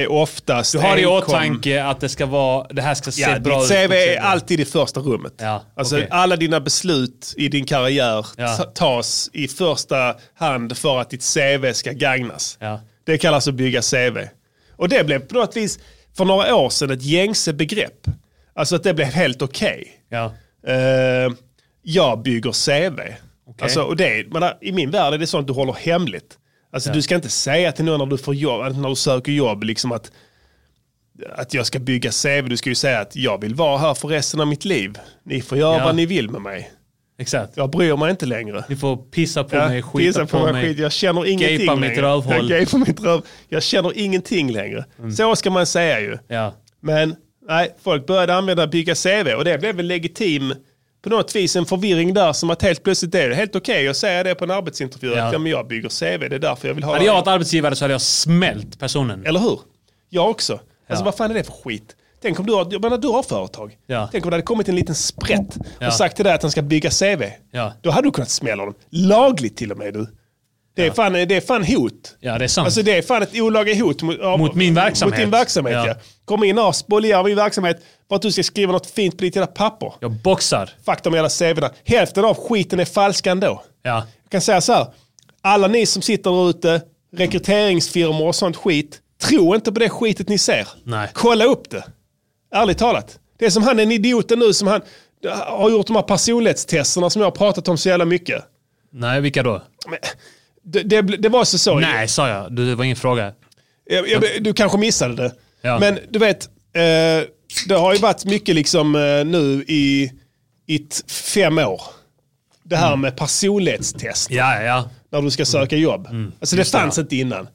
S1: är oftast
S2: Du har i
S1: enkom-
S2: åtanke att det ska vara, det här ska se
S1: Ja,
S2: bra
S1: ditt
S2: ut.
S1: CV är alltid i första rummet.
S2: Ja,
S1: alltså,
S2: okej.
S1: Alla dina beslut i din karriär
S2: Ja.
S1: ta- tas i första hand för att ditt CV ska gagnas.
S2: Ja.
S1: Det kallas att bygga CV. Och det blev på något vis för några år sedan ett gängse begrepp. Alltså att det blev helt okej.
S2: Ja.
S1: Eh, jag bygger CV. Alltså, och det, är- men där- I min värld är det sånt du håller hemligt. Alltså, Du ska inte säga till någon när du, får jobb, när du söker jobb liksom att, att jag ska bygga CV. Du ska ju säga att jag vill vara här för resten av mitt liv. Ni får göra
S2: Ja.
S1: vad ni vill med mig.
S2: Exakt.
S1: Jag bryr mig inte längre.
S2: Ni får pissa på mig, skita
S1: pissa
S2: på, mig.
S1: Skit. Jag känner ingenting
S2: Gapa mitt
S1: längre.
S2: rövhål. Mm.
S1: Jag gapar mitt röv. Jag känner ingenting längre. Så ska man säga ju.
S2: Ja.
S1: Men nej, folk började använda bygga CV och det blev väl legitim på något vis en förvirring där som att helt plötsligt är det helt okej att säga det på en arbetsintervju.
S2: Ja.
S1: Att ja, men jag bygger CV, det är därför jag vill ha
S2: Hade jag
S1: det.
S2: varit arbetsgivare så hade jag smält personen.
S1: Eller hur? Jag också. Alltså vad fan är det för skit? Tänk om du har, jag menar, du har företag.
S2: Ja.
S1: Tänk om det hade kommit en liten sprätt och
S2: Ja.
S1: sagt till dig att han ska bygga CV.
S2: Ja.
S1: Då hade du kunnat smälla honom. Lagligt till och med du. Det är, fan, det är fan hot.
S2: Ja, det är sant.
S1: Alltså det är fan ett olaga hot mot, av-
S2: Mot min verksamhet.
S1: Mot din verksamhet ja.
S2: Ja.
S1: Kom in och spoliera min verksamhet för att du ska skriva något fint på ditt jävla papper.
S2: Jag boxar.
S1: Fuck de jävla CV'na. Hälften av skiten är falska ändå.
S2: Ja.
S1: Jag kan säga så här. Alla ni som sitter där ute, rekryteringsfirmor och sånt skit. Tro inte på det skitet ni ser.
S2: Nej.
S1: Kolla upp det. Ärligt talat. Det är som han den idioten nu som han har gjort de här personlighetstesterna som jag har pratat om så jävla mycket.
S2: Nej, vilka då?
S1: Men, det, det, det var så så.
S2: Nej, sa jag. Du, det var ingen fråga.
S1: Jag, jag, du kanske missade det.
S2: Ja.
S1: Men du vet, eh, det har ju varit mycket liksom eh, nu i, i t- fem år. Det
S2: Mm.
S1: här med personlighetstest
S2: Ja, ja, ja.
S1: när du ska söka jobb.
S2: Mm.
S1: Alltså det fanns inte innan.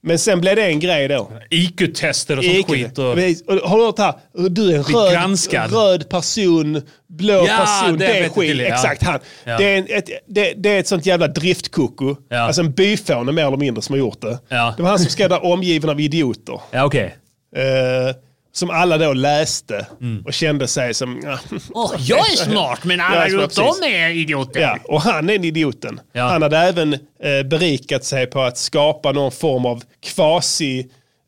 S1: Men sen blev det en grej då.
S2: IQ-tester och sånt
S1: Icke.
S2: skit. Och...
S1: Precis. Och Har du hört här? Du är en röd,
S2: granskad.
S1: röd person, blå
S2: Ja,
S1: person,
S2: det
S1: det, är
S2: vet jag
S1: skit.
S2: till, ja.
S1: Exakt han.
S2: Ja.
S1: Det, är en, ett, det, det är ett sånt jävla driftkoko.
S2: Ja.
S1: Alltså en byfåne mer eller mindre som har gjort det.
S2: Ja.
S1: Det var han som ska där omgiven av idioter.
S2: Ja, okej.
S1: Eh, som alla då läste
S2: Mm.
S1: och kände sig som... ja.
S2: jag är smart, men
S1: alla runt om
S2: är idioter.
S1: Ja, och han är en idioten.
S2: Ja.
S1: Han hade även eh, berikat sig på att skapa någon form av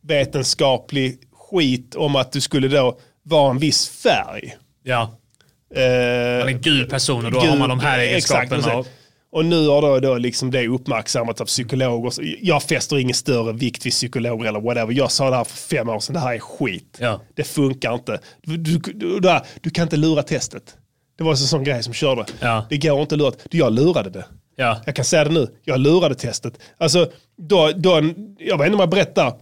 S1: kvasivetenskaplig skit om att du skulle då vara en viss färg.
S2: Ja.
S1: Eh,
S2: Han är en gul person och då har man de här
S1: Gud, eh,
S2: egenskaperna.
S1: exakt,
S2: och...
S1: precis. Och nu har då, då liksom det uppmärksammats av psykologer. Så Jag fäster ingen större vikt vid psykologer eller whatever. Jag sa det här för fem år sedan, det här är skit.
S2: Ja.
S1: Det funkar inte. Du, du, du, där, du kan inte lura testet. Det var en sån grej som körde.
S2: Ja.
S1: Det går inte att lura. Du, Jag lurade det.
S2: Ja.
S1: Jag kan säga det nu. Jag lurade testet. Alltså, då, då, jag vet inte om jag berättar.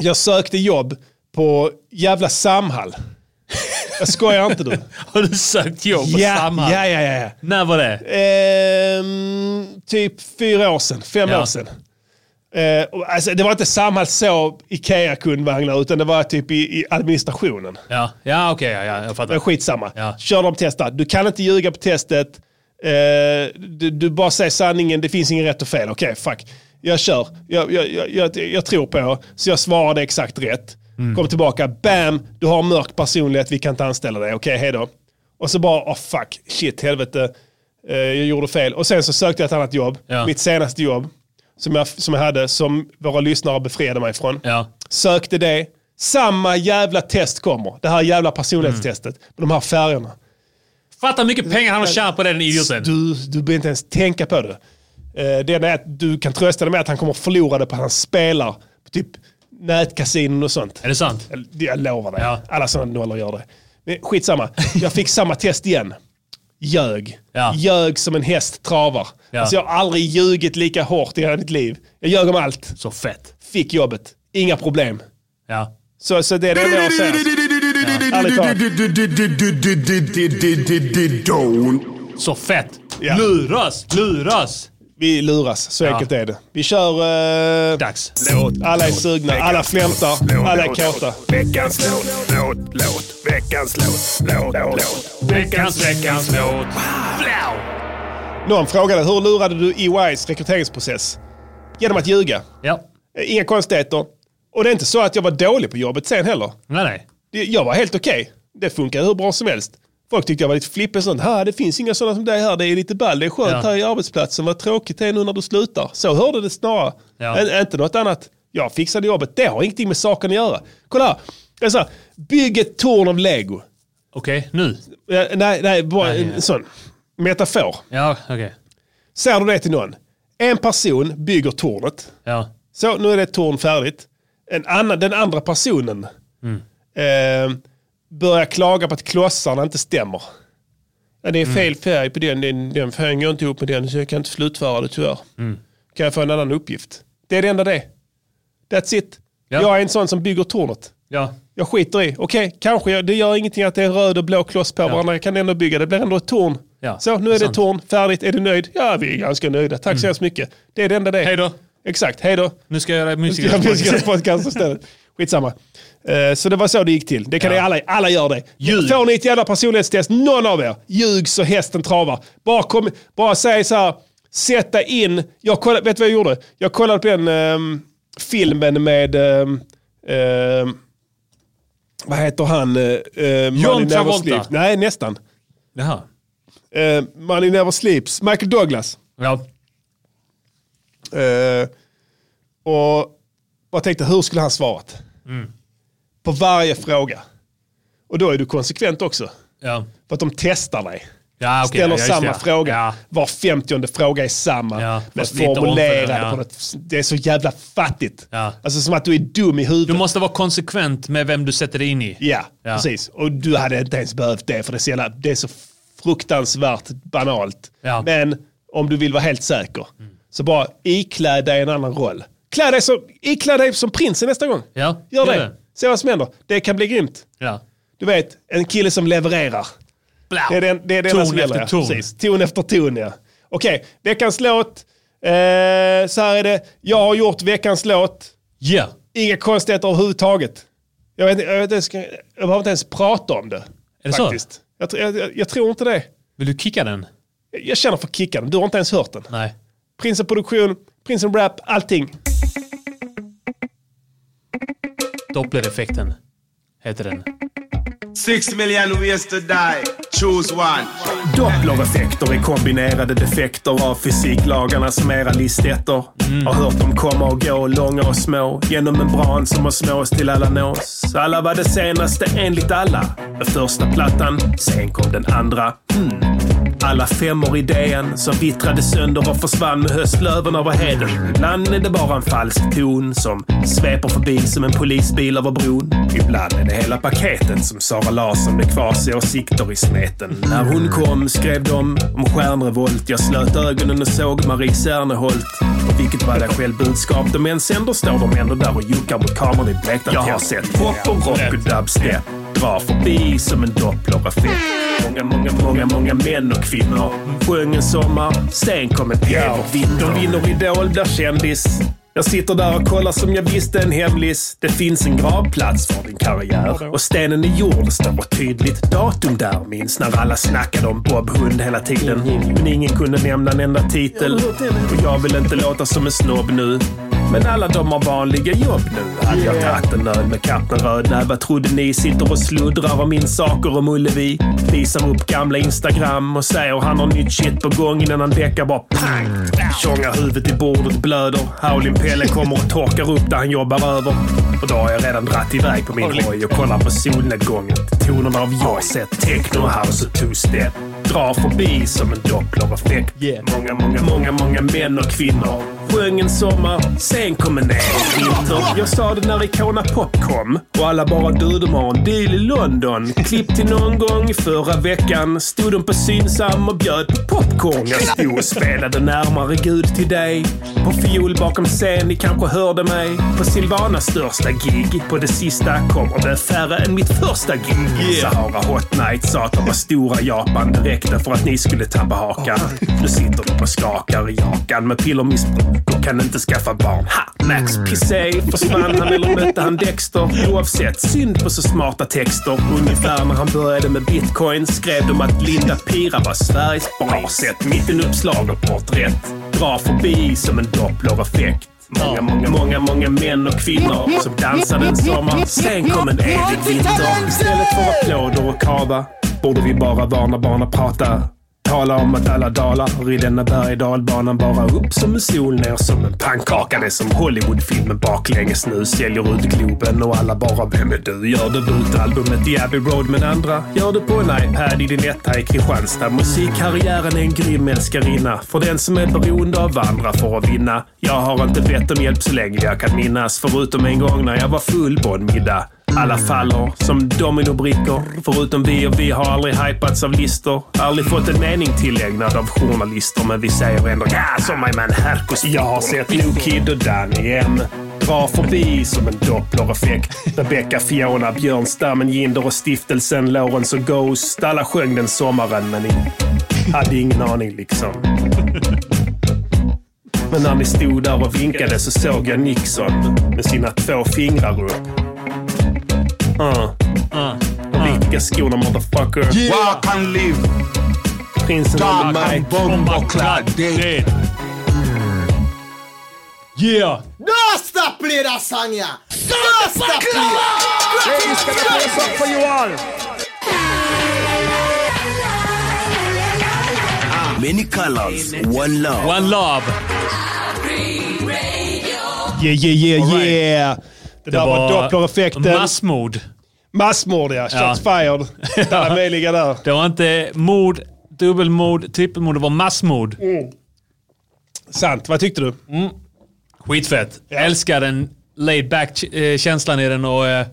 S1: Jag sökte jobb på jävla Samhall. [LAUGHS] Jag skojar inte du.
S2: Har du sökt jobb på
S1: ja,
S2: Samhall?
S1: ja, ja, ja. ja.
S2: När var det?
S1: Ehm, typ fyra år sedan, fem
S2: Ja.
S1: år sedan. Eh, och alltså, det var inte Samhalls så Ikea-kundvagnar utan det var typ i, i administrationen.
S2: Ja, ja okej, ja, ja, jag
S1: Men
S2: fattar.
S1: skitsamma.
S2: Ja.
S1: Kör dem testa. Du kan inte ljuga på testet. Eh, du, du bara säger sanningen. Det finns ingen rätt och fel. Okej, fuck. Jag kör. Jag, jag, jag, jag, jag tror på er. Så jag svarade exakt rätt.
S2: Mm.
S1: Kom tillbaka. Bam! Du har mörk personlighet. Vi kan inte anställa dig. Okej, hej då. Och så bara, oh fuck. Shit, helvete. Eh, jag gjorde fel. Och sen så sökte jag ett annat jobb.
S2: Ja.
S1: Mitt senaste jobb. Som jag, som jag hade, som våra lyssnare befriade mig från.
S2: Ja.
S1: Sökte det. Samma jävla test kommer. Det här jävla personlighetstestet. Med de här färgerna.
S2: Fatta hur mycket pengar han har tjänat på den idioten.
S1: Du, du behöver inte ens tänka på det. Eh, Det enda är att du kan trösta dig med att han kommer förlora det på att han spelar på typ nätkasinon och sånt.
S2: Är det sant?
S1: Jag- Jag lovar dig.
S2: Ja.
S1: Alla sådana nollor gör det. Men skitsamma. Jag fick samma test igen. Ljög.
S2: Ja.
S1: Ljög som en häst travar.
S2: Ja.
S1: Alltså jag har aldrig ljugit lika hårt i hela mitt liv. Jag ljög om allt.
S2: Så fett.
S1: Fick jobbet. Inga problem.
S2: Ja.
S1: Så, så det är det enda jag säger. Ärligt talat.
S6: Don't.
S2: Så fett.
S1: Ja.
S2: Luras, luras.
S1: Vi luras, så enkelt är det. Vi kör... eh,
S2: Dags.
S1: alla är sugna, alla flämtar, alla är kåta.
S6: Veckans låt, låt, låt. Veckans låt, låt, låt.
S2: Veckans, veckans låt.
S1: Någon frågade hur lurade du EYs rekryteringsprocess? Genom att ljuga.
S2: Ja.
S1: Eh, Inga konstigheter. Och det är inte så att jag var dålig på jobbet sen heller.
S2: Nej, nej.
S1: Det- Jag var helt okej. Det funkade hur bra som helst. Folk tyckte jag var lite flippig och sånt. Här, det finns inga sådana som dig här. Det är lite ball. Det är skönt
S2: Ja.
S1: här i arbetsplatsen. Vad tråkigt det är nu när du slutar. Så hörde det snarare.
S2: Ja.
S1: Än, inte något annat. Jag fixade jobbet. Det har ingenting med saken att göra. Kolla här. Det är så här. Bygg ett torn av lego.
S2: Okej, nu.
S1: Eh, Nej, nej, bara
S2: Nej, ja.
S1: en sån metafor.
S2: Ja, okej.
S1: Säger du det till någon? En person bygger tornet.
S2: Ja.
S1: Så, nu är det ett torn färdigt. En annan, den andra personen
S2: Mm.
S1: eh, börjar klaga på att klossarna inte stämmer. Ja, det är
S2: Mm.
S1: fel färg på den, den, den färgen går inte ihop med den så jag kan inte slutföra det tyvärr.
S2: Mm.
S1: Kan jag få en annan uppgift? Det är det enda det. That's it.
S2: Ja.
S1: Jag är en sån som bygger tornet.
S2: Ja.
S1: Jag skiter i, okej, kanske, jag, det gör ingenting att det är en röd och blå kloss på varandra. Jag kan ändå bygga, det blir ändå ett torn.
S2: Ja,
S1: så, nu är det ett
S2: sant. Mm.
S1: torn, färdigt, är du nöjd? Ja, vi är ganska nöjda, tack så hemskt mycket. Det är det enda det.
S2: Hej då.
S1: Exakt, hej då.
S2: Nu ska jag göra
S1: Jag
S2: musiker.
S1: vill göra podcast istället. Skitsamma. Eh, Så det var så det gick till. Det kan
S2: Ja.
S1: ni alla, alla gör det.
S2: Ljug.
S1: Får ni ett jävla personlighetstest, någon av er, ljug så hästen travar. Bara, kom, bara säg så här, sätta in, jag kollade, vet du vad jag gjorde? Jag kollade på den ehm, filmen med, ehm, ehm, vad heter han? Uh,
S2: Travolta.
S1: Nej, nästan.
S2: Jaha.
S1: Uh, Money Never Sleeps, Michael Douglas.
S2: Ja.
S1: Eh, och bara tänkte, hur skulle han svarat?
S2: Mm.
S1: På varje fråga. Och då är du konsekvent också.
S2: Ja.
S1: För att de testar dig.
S2: Ja, okej.
S1: Ställer
S2: ja, just
S1: samma
S2: det.
S1: fråga.
S2: Ja.
S1: Var femtionde fråga är samma.
S2: Ja,
S1: men
S2: fast lite omfördelad,
S1: formulerade
S2: ja.
S1: på något. Det är så jävla fattigt.
S2: Ja.
S1: Alltså som att du är dum i huvudet.
S2: Du måste vara konsekvent med vem du sätter dig in i.
S1: Ja,
S2: Ja.
S1: precis. Och du hade inte ens behövt det för det är så, jävla, det är så fruktansvärt banalt.
S2: Ja.
S1: Men om du vill vara helt säker, så bara iklä dig en annan roll. Klä dig som, iklä dig som prinsen nästa gång.
S2: Ja,
S1: Gör
S2: gör
S1: det.
S2: det.
S1: Se vad som händer. Det kan bli grymt.
S2: Ja.
S1: Du vet, en kille som levererar.
S2: Blau.
S1: Det är den, det är den
S2: Ton
S1: som gäller,
S2: efter ton.
S1: Ja. Precis. Ton efter ton, ja. Okej, veckans låt. Eh, så här är det. Jag har gjort veckans låt.
S2: Ja.
S1: Inga konstigheter överhuvudtaget. Jag, vet, inte- jag, vet, inte ens- jag behöver inte ens prata om det.
S2: Är det så?
S1: faktiskt. så? Jag, tr- jag, jag, jag tror inte det.
S2: Vill du kicka den?
S1: Jag- Jag känner för kickan. Du har inte ens hört den.
S2: Nej.
S1: Prinsen Produktion, Prinsen Rap, allting.
S2: Dopplereffekten heter den.
S7: Six million ways to die. Choose one.
S3: Dopplereffekter är kombinerade defekter av fysiklagarna som era listetter. Har hört dem komma och gå, långa och små. Genom membran som har smås till alla nås. Alla var det senaste enligt alla. Den första plattan, sen kom den andra. Mm. Alla femmor i DN som vittrade sönder och försvann med höstlöven över heden. Ibland är det bara en falsk ton som sveper förbi som en polisbil över bron. Ibland är det hela paketet som Sara Larsson med kvasiåsikter i sneten. När hon kom skrev de om stjärnrevolt. Jag slöt ögonen och såg Marie Serneholt. Och vilket var det själv budskap de än sänder står de ändå där och juckar mot kameran i blekta Jag har sett pop och rock och dubstep drar förbi som en dopplereffekt. Många, många, många, många män och kvinnor sjöng en sommar, sen kom ett gäng och vinner. De vinner Idol, blir kändis. Jag sitter där och kollar som jag visste en hemlis. Det finns en gravplats för din karriär. Och stenen är gjord, det står tydligt datum där. Minns när alla snackade om Bob Hund hela tiden. Men ingen kunde nämna en enda titel. Och jag vill inte låta som en snobb nu. Men alla de har vanliga jobb nu. Hade jag tagit en öl med Kapten Rödnäbb, vad trodde ni? Sitter och sluddrar om min saker om Ullevi. Visar upp gamla Instagram och säger han har nytt shit på gång innan han däckar bara pang. Tjongar huvudet i bordet, blöder. Howlin' Pelle kommer och torkar upp där han jobbar över. Och då har jag redan dratt iväg på min hoj och kollar på solnedgången. till Tonerna av jag sett, techno, house och two-step. Drar förbi som en dopplereffekt.
S2: Yeah.
S3: Många, många, många, många män och kvinnor. Sjöng en sommar, sen kom en egen vinter. Jag sa det när Icona Pop kom. Och alla bara du, de har en deal i London. Klipp till någon gång i förra veckan. Stod de på Synsam och bjöd på popcorn. Jag stod och spelade närmare Gud till dig. På fiol bakom scen, ni kanske hörde mig. På Silvanas största gig. På det sista kommer det färre än mitt första gig. Sahara Hot Night sa att de var stora i Japan. Det räckte för att ni skulle tappa hakan. Nu sitter de och skakar i jakan med pillermissbruk och kan inte skaffa barn. Ha! Max Pissey, försvann han eller mötte han Dexter? Oavsett, synd på så smarta texter. Ungefär när han började med bitcoin skrev de att Linda Pira var Sveriges barset. Mitten uppslag och porträtt. Drar förbi som en dopplereffekt. Många, många, många, många män och kvinnor som dansade en sommar. Sen kom en evig vinter. Istället för applåder och kava borde vi bara varna barn att prata. Tala om att alla dalar och i denna berg och dalbanan bara upp som en sol, ner som en pannkaka. Det är som Hollywoodfilmen baklänges nu. Säljer ut Globen och alla bara “Vem är du?” Gör debutalbumet i Abbey Road men andra gör det på en iPad i din etta i Kristianstad. Musikkarriären är en grym älskarinna. För den som är beroende av andra för att vinna. Jag har inte bett om hjälp så länge jag kan minnas. Förutom en gång när jag var full på en middag. Alla faller som dominobrickor. Förutom vi och vi har aldrig hypats av listor. Aldrig fått en mening tillägnad av journalister. Men vi säger ändå ja, som är man Herkus. Jag har sett New Kid och Danny M. Drar förbi som en dopplereffekt. Rebecca, Fiona, Björnstammen, Jinder och stiftelsen Lawrence och Ghost. Alla sjöng den sommaren, men ni hade ingen aning liksom. Men när ni stod där och vinkade så såg jag Nixon med sina två fingrar upp. Uh. Politiska skorna motherfucker.
S7: Walk and live.
S3: Prinsen av
S7: Dam and
S3: Mike.
S7: bomb och kladd. Det är
S2: Yeah!
S8: stop play that song, yeah. Don't stop play. Ladies, can I play a song for you all?
S9: Many colors, one love.
S2: One love.
S1: Yeah, yeah, yeah,
S2: All right.
S1: yeah. Det, där var, dopplereffekten.
S2: Massmord.
S1: Massmord ja. Shots
S2: [LAUGHS]
S1: fired. Alla möjliga där.
S2: Det var inte mord, dubbelmord, trippelmord. Det var massmord.
S1: Sant. Vad tyckte du?
S2: Skitfett. Jag älskar den laid back eh, känslan i den och, eh,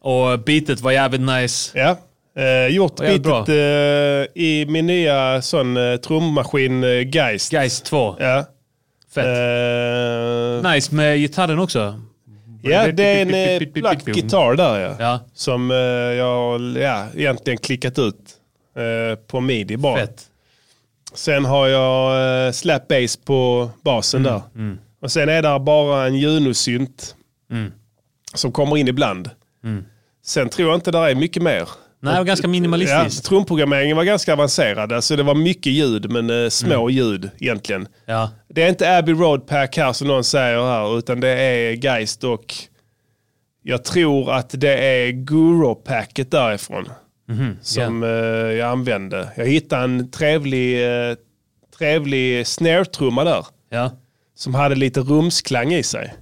S2: och beatet var jävligt nice.
S1: Ja. Eh, gjort
S2: Vad jävligt
S1: bitet eh, i min nya sån eh, trummaskin eh, Geist.
S2: Guys 2.
S1: Ja.
S2: Fett.
S1: Eh,
S2: Nice med gitarren också.
S1: ja, det är en eh, platt gitarr där ja.
S2: Ja.
S1: Som eh, jag ja, egentligen klickat ut eh, på midi bara.
S2: Fett.
S1: Sen har jag eh, slap bass på basen där. Och sen är där bara en Juno-synt som kommer in ibland. Sen tror jag inte där är mycket mer.
S2: Nej, det var ganska
S1: Ja,
S2: minimalistiskt.
S1: trumprogrammeringen var ganska avancerad. Alltså det var mycket ljud men eh, små ljud egentligen.
S2: Ja.
S1: Det är inte Abbey Road Pack här som någon säger här utan det är Geist och jag tror att det är Guru-packet därifrån. Som eh, jag använde. Jag hittade en trevlig, eh, trevlig snare-trumma där.
S2: Ja.
S1: Som hade lite rumsklang i sig.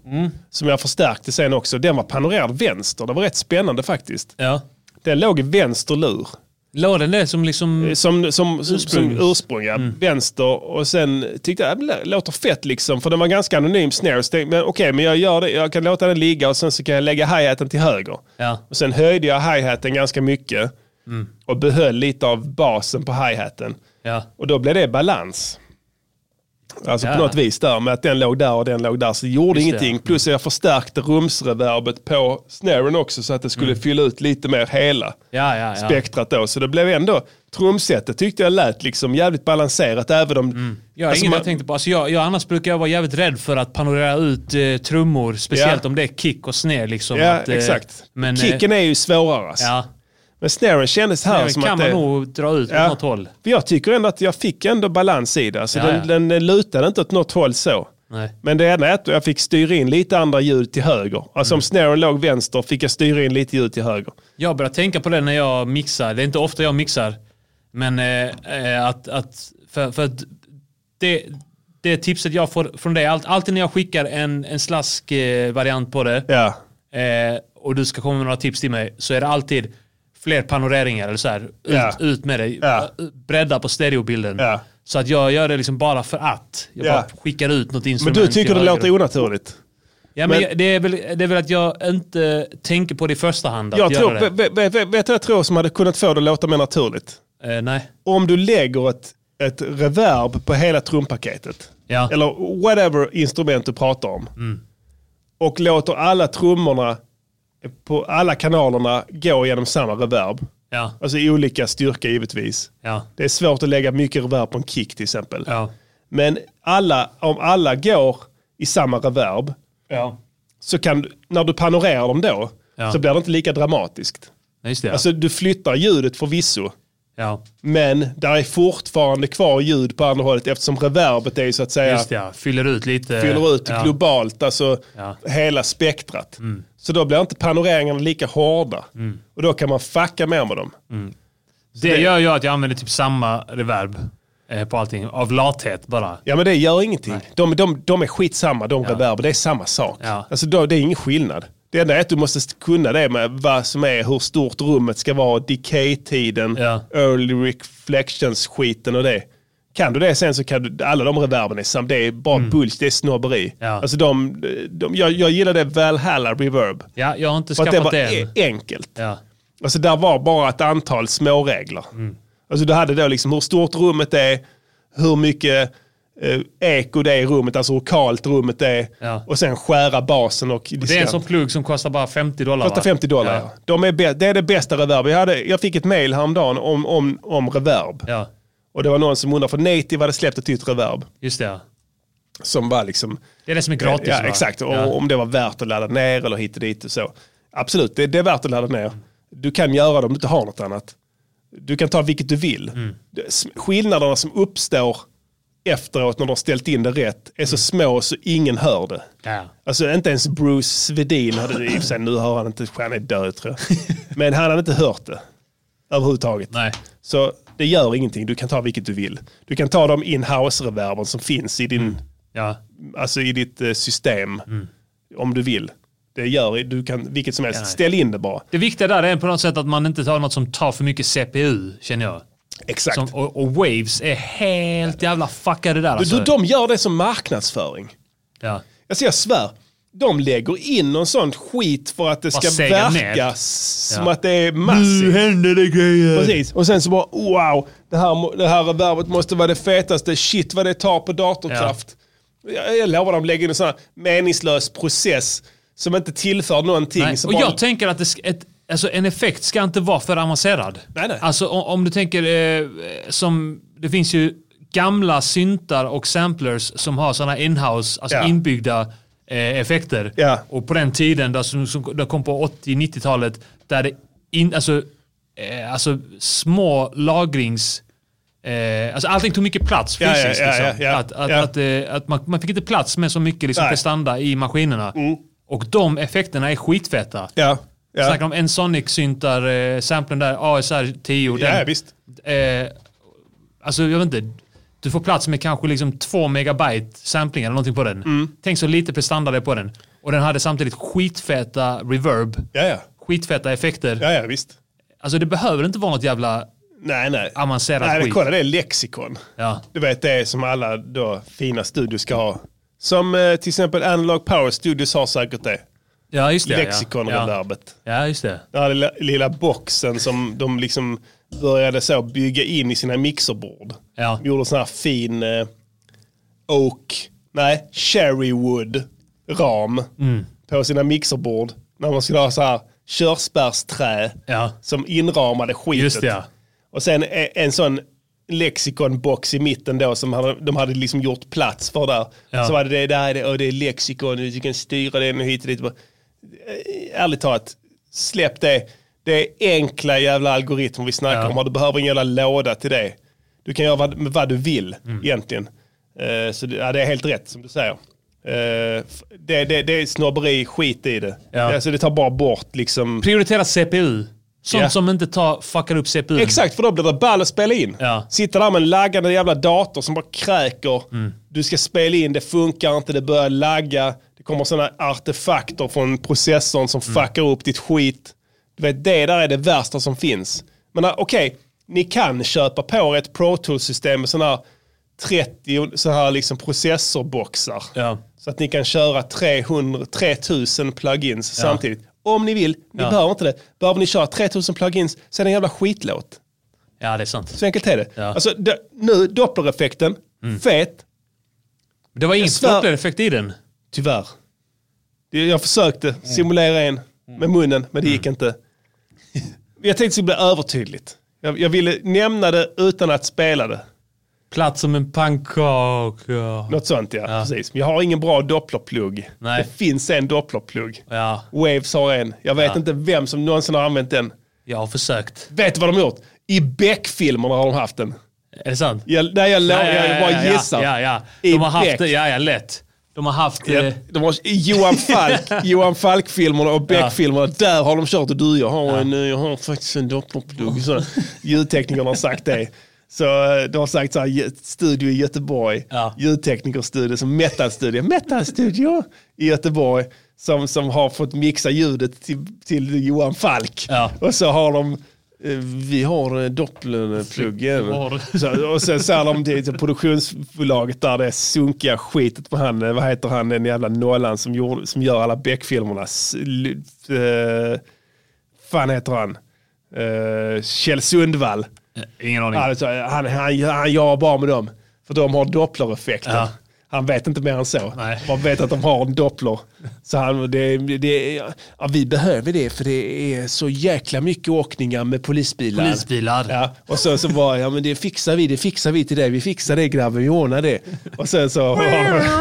S1: Som jag förstärkte sen också. Den var panorerad vänster. Det var rätt spännande faktiskt.
S2: ja.
S1: Den låg i vänster lur.
S2: Lådan där som liksom...
S1: Som, som, som ursprung, ursprung ja.
S2: Mm.
S1: Vänster och sen tyckte jag det låter fett liksom. För den var ganska anonym snare. Så tänkte jag, Men okej, men jag gör det. Jag kan låta den ligga och sen så kan jag lägga hi-haten till höger.
S2: Ja. Mm.
S1: Och sen höjde jag hi-haten ganska mycket. Och behöll lite av basen på hi-haten.
S2: Ja.
S1: Och då blev det balans. Alltså
S2: Ja.
S1: på något vis där med att den låg där och den låg där. Så det gjorde
S2: Just det, Mm.
S1: ingenting. Plus jag förstärkte rumsreverbet
S2: Mm.
S1: på snaren också så att det skulle fylla ut lite mer hela
S2: Ja, ja, ja.
S1: spektrat då. Så det blev ändå, trumsetet tyckte jag lät liksom jävligt balanserat. Även om...
S2: Mm. Jag har
S1: Alltså,
S2: inget
S1: man-
S2: jag tänkte på. Alltså jag, jag, annars brukar jag vara jävligt rädd för att panorera ut eh, trummor, speciellt
S1: Ja.
S2: om det är kick och snare. Liksom,
S1: Ja,
S2: att, eh,
S1: exakt.
S2: Men, eh,
S1: Kicken är ju svårare. Alltså.
S2: ja,
S1: Men snaren kändes här
S2: det
S1: som
S2: kan
S1: att
S2: man
S1: det...
S2: nog dra ut
S1: Ja.
S2: på något håll.
S1: För Jag tycker ändå att jag fick ändå balans i det. Alltså
S2: Ja,
S1: den,
S2: ja.
S1: den lutade inte åt något håll så.
S2: Nej.
S1: Men det ena är att jag fick styra in lite andra ljud till höger. Alltså
S2: Mm.
S1: om snaren låg vänster fick jag styra in lite ljud till höger.
S2: Jag börjar tänka på det när jag mixar. Det är inte ofta jag mixar. Men eh, eh, att, att, för, för att det, det tipset jag får från dig, allt, alltid när jag skickar en, en slask eh, variant på det
S1: Ja,
S2: eh, och du ska komma med några tips till mig så är det alltid fler panoreringar eller så här, ut,
S1: Ja.
S2: ut med dig,
S1: Ja.
S2: bredda på stereobilden.
S1: Ja.
S2: Så att jag gör det liksom bara för att. Jag
S1: Ja.
S2: bara skickar ut något
S1: men
S2: instrument.
S1: du tycker
S2: till
S1: det
S2: höger.
S1: låter onaturligt?
S2: Ja, men
S1: men-
S2: jag- det, är väl, det är väl att jag inte tänker på det i första hand. Att
S1: Jag
S2: göra
S1: tror,
S2: det.
S1: vet, vet, vet du vad jag tror som hade kunnat få det att låta mer naturligt?
S2: Eh, nej.
S1: Om du lägger ett, ett reverb på hela trumpaketet.
S2: Ja. Mm.
S1: Eller whatever instrument du pratar om. Och låter alla trummorna på alla kanalerna gå genom samma reverb.
S2: Ja.
S1: Alltså i olika styrka givetvis.
S2: Ja.
S1: Det är svårt att lägga mycket reverb på en kick till exempel.
S2: Ja.
S1: Men alla, om alla går i samma reverb
S2: Ja.
S1: så kan du- när du panorerar dem då
S2: Ja.
S1: så blir det inte lika dramatiskt.
S2: Just det. ja.
S1: Alltså du flyttar ljudet förvisso
S2: ja.
S1: men där är fortfarande kvar ljud på andra hållet eftersom reverbet är ju så att säga
S2: Just det, ja. Fyller ut lite.
S1: fyller ut
S2: ja.
S1: globalt, alltså
S2: Ja. Mm.
S1: hela spektrat. Så då blir inte panoreringarna lika hårda och då kan man fucka mer med dem.
S2: Det gör ju att jag använder typ samma reverb eh, på allting. Av lathet bara.
S1: Ja men det gör ingenting. De, de, de är skitsamma, de reverber. Det är samma sak.
S2: Ja.
S1: Alltså då, det är ingen skillnad. Det enda är att du måste kunna det med vad som är, hur stort rummet ska vara, decay-tiden,
S2: Ja.
S1: early reflections-skiten och det. Kan du det sen så kan du, alla de reverben är samma. Det är bara bulls, det är snobberi.
S2: Mm. Ja.
S1: Alltså de, de, jag, jag gillar det Valhalla reverb.
S2: Ja, jag har inte
S1: För att det
S2: skaffat
S1: var
S2: det,
S1: e-
S2: än.
S1: enkelt.
S2: Ja.
S1: Alltså där var bara ett antal småregler. Alltså du hade då liksom hur stort rummet är, hur mycket eh, eko det är i rummet, alltså hur kalt rummet är.
S2: Ja.
S1: Och sen skära basen och
S2: Det är en
S1: diskant.
S2: sån plugg som kostar bara 50 dollar.
S1: Kostar
S2: va?
S1: 50 dollar.
S2: Ja.
S1: Ja. De är bä- det är det bästa reverb. Jag, hade, jag fick ett mail häromdagen om, om, om reverb.
S2: ja.
S1: Och det var någon som undrade, för Native hade släppt ett nytt reverb.
S2: Just det, ja.
S1: Som var liksom...
S2: Det är det som är gratis
S1: ja,
S2: va?
S1: exakt. Och
S2: Ja.
S1: om det var värt att ladda ner eller hit och dit och så. Absolut, det, det är värt att ladda ner. Du kan göra det om du inte har något annat. Du kan ta vilket du vill.
S2: Mm.
S1: Det- s- Skillnaderna som uppstår efteråt när de har ställt in det rätt är så små så ingen hör det.
S2: Mm. Ja.
S1: Alltså inte ens Bruce Svedin hade det i och för sig. Nu hör han inte, han är död tror jag. Men han hade inte hört det överhuvudtaget.
S2: Nej.
S1: Så det gör ingenting, du kan ta vilket du vill. Du kan ta de in-house-reverben som finns i din
S2: Mm. Ja.
S1: alltså i ditt eh, system om du vill. Det gör du kan vilket som helst.
S2: Mm. Ja, nej.
S1: Ställ in det bara.
S2: Det viktiga där är på något sätt att man inte tar något som tar för mycket CPU, känner jag.
S1: Exakt.
S2: Som, och, och Waves är helt jävla fuckade där alltså.
S1: du, de gör det som marknadsföring.
S2: ja.
S1: Alltså jag svär. De lägger in någon sån skit för att det
S2: Bara
S1: ska
S2: säga ner.
S1: verka s- som
S2: Ja.
S1: att det är massivt.
S2: händer det grejer.
S1: Precis. Och sen så bara wow, det här, må- det här reverbet måste vara det fetaste. Shit vad det tar på datorkraft. Jag, jag lovar, de lägger in en sån här meningslös process som inte tillför någonting.
S2: Nej,
S1: som
S2: och
S1: bara-
S2: jag tänker att det ska, ett, alltså en effekt ska inte vara för avancerad.
S1: Nej, nej.
S2: Alltså om, om du tänker eh, som, det finns ju gamla syntar och samplers som har sådana inhouse, alltså
S1: Ja.
S2: inbyggda eh, effekter.
S1: Ja.
S2: Och på den tiden, där, som, som där kom på 80-90-talet, där det in, alltså, eh, alltså små lagrings... Eh, alltså allting tog mycket plats
S1: ja,
S2: fysiskt.
S1: ja, ja,
S2: liksom.
S1: ja.
S2: Att, att,
S1: Ja.
S2: att, eh, att man, man fick inte plats med så mycket liksom,
S1: Nej.
S2: prestanda i maskinerna. Och de effekterna är skitfeta.
S1: Ja, Mm. ja.
S2: Snackar om Nsonic-syntar, eh, samplen där, ASR 10. Den,
S1: Ja, visst.
S2: Eh, alltså jag vet inte. Du får plats med kanske liksom två megabyte samplingar eller någonting på den.
S1: Mm.
S2: Tänk så lite prestanda det är på den. Och den hade samtidigt skitfeta reverb.
S1: Ja, ja.
S2: Skitfeta effekter.
S1: Ja, ja, visst.
S2: Alltså det behöver inte vara något jävla...
S1: Nej, nej.
S2: Avancerad
S1: nej,
S2: skit.
S1: men Kolla, det är lexikon.
S2: Ja.
S1: Du vet, det är som alla då, fina studios ska ha. Som eh, till exempel Analog Power Studios har säkert det.
S2: Ja, just det. ja. Ja.
S1: Lexikonreverbet.
S2: ja, just det.
S1: Den här lilla, lilla boxen som de liksom började så bygga in i sina mixerbord.
S2: Ja.
S1: De gjorde sån här fin eh, oak, nej, cherrywood ram
S2: Mm.
S1: på sina mixerbord. När man skulle ha så här körsbärsträ
S2: Ja.
S1: som inramade skitet.
S2: Just det, ja.
S1: Och sen e- en sån lexikonbox i mitten då som hade, de hade liksom gjort plats för där.
S2: Ja.
S1: Så var det det där är det, och det är lexikon, du kan styra den och hit och dit. Bara, eh, Ärligt talat, släpp det. Det är enkla jävla algoritmer vi snackar
S2: Ja.
S1: om. och Du behöver en jävla låda till det. Du kan göra vad, med vad du vill
S2: Mm.
S1: egentligen. Eh, så det, ja, det är helt rätt som du säger. Eh, f- det, det, det är snobberi, skit i det.
S2: Ja.
S1: Alltså, det tar bara bort liksom.
S2: Prioritera CPU. Sånt
S1: Ja.
S2: som inte tar, fuckar upp CPU.
S1: Exakt, för då blir det ball att spela in.
S2: Ja.
S1: Sitta där med en laggande jävla dator som bara kräker. Du ska spela in, det funkar inte, det börjar lagga. Det kommer sådana artefakter från processorn som fuckar upp ditt skit. Du vet, det där är det värsta som finns. Men äh, okej, ni kan köpa på er ett Pro Tools-system med sådana här 30 så här liksom processorboxar.
S2: Ja.
S1: Så att ni kan köra 300, 3000 plugins samtidigt. Om ni vill, ni behöver inte det. Behöver ni köra 3000 plugins så är det en jävla skitlåt.
S2: Ja, det är sant.
S1: Så enkelt är det.
S2: Ja. Mm.
S1: Alltså, d- nu, dopplereffekten, fet,
S2: Det var ingen
S1: svär-
S2: Doppler-effekt i den.
S1: tyvärr. Det- Jag försökte
S2: Mm.
S1: simulera en med munnen, men det gick inte. Jag tänkte att det skulle bli övertydligt. Jag, jag ville nämna det utan att spela det.
S2: Platt som en pannkaka.
S1: Något sånt ja, precis. Men jag har ingen bra dopplerplugg.
S2: Nej.
S1: Det finns en dopplerplugg.
S2: Ja,
S1: Waves har en. Jag vet inte vem som någonsin har använt den.
S2: jag har försökt.
S1: Vet du vad de har gjort? I Beck-filmerna har de haft den.
S2: Är det sant?
S1: Jag, nej, jag, lo-
S2: Ja, ja,
S1: jag bara
S2: ja, ja,
S1: gissar.
S2: Ja, ja.
S1: I
S2: De har haft
S1: Beck.
S2: det, ja, ja, lätt. De har haft
S1: Ja,
S2: eh,
S1: de har, i Johan
S2: [LAUGHS]
S1: Falk, Johan Falk-filmerna och Beck-filmerna, där har de kört och du, jag har, en, eh, jag har faktiskt en dopplerplugg. Så Ljudteknikerna har sagt det. Så eh, de har sagt så här, "Ge- studio i Göteborg,
S2: Ja.
S1: ljudteknikerstudio, som metalstudio, metalstudio i Göteborg, som, som har fått mixa ljudet till, till Johan Falk.
S2: Ja.
S1: [LAUGHS] Och så har de eh, vi har eh, dopplerpluggen.
S2: Var.
S1: Så- Och sen säger de till till produktionsbolaget där det är sunkiga skitet på han, eh, vad heter han, den jävla nollan som, gjorde, som gör alla Beck-filmerna. S- l- eh, fan heter han? Eh, Kjell Sundvall.
S2: Ingen aning.
S1: Alltså, han, han, han gör bara med dem. För de har dopplereffekten.
S2: Ja.
S1: Han vet inte mer än så.
S2: Nej.
S1: Man vet att de har en doppler. Så han, det, det, ja, vi behöver det för det är så jäkla mycket åkningar med polisbilar.
S2: Polisbilar.
S1: Ja, och sen så var ja men det fixar vi, det fixar vi till dig, vi fixar det grabben, vi ordnar det. Och sen så [LAUGHS]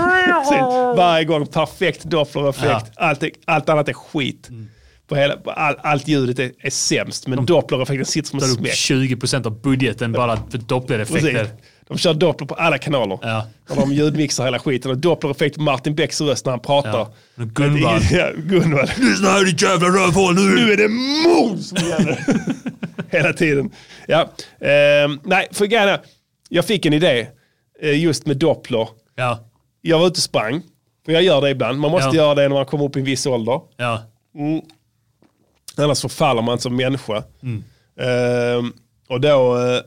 S1: Precis. varje gång perfekt dopplereffekt, allt, är- allt annat är skit.
S2: Mm.
S1: På hela, på all, allt ljudet är, är sämst, men dopplereffekten sitter som en
S2: Tar upp
S1: smäck.
S2: 20% av budgeten bara för Doppler-effekter.
S1: Precis. De kör doppler på alla kanaler.
S2: Ja.
S1: Och de ljudmixar hela skiten. Och dopplereffekt på Martin Becks röst när han pratar.
S2: Ja. Men Gunvald.
S1: Ja, Gunvald. Lyssna här ditt jävla rövhål nu! Nu är det mord som [LAUGHS] gäller. hela tiden. Ja. Ehm, nej, för grejen är, jag fick en idé eh, just med doppler.
S2: Ja,
S1: Jag var ute och sprang. För jag gör det ibland. Man måste
S2: Ja.
S1: göra det när man kommer upp i en viss ålder.
S2: ja.
S1: Annars förfaller man som människa.
S2: Mm.
S1: Ehm, och då eh,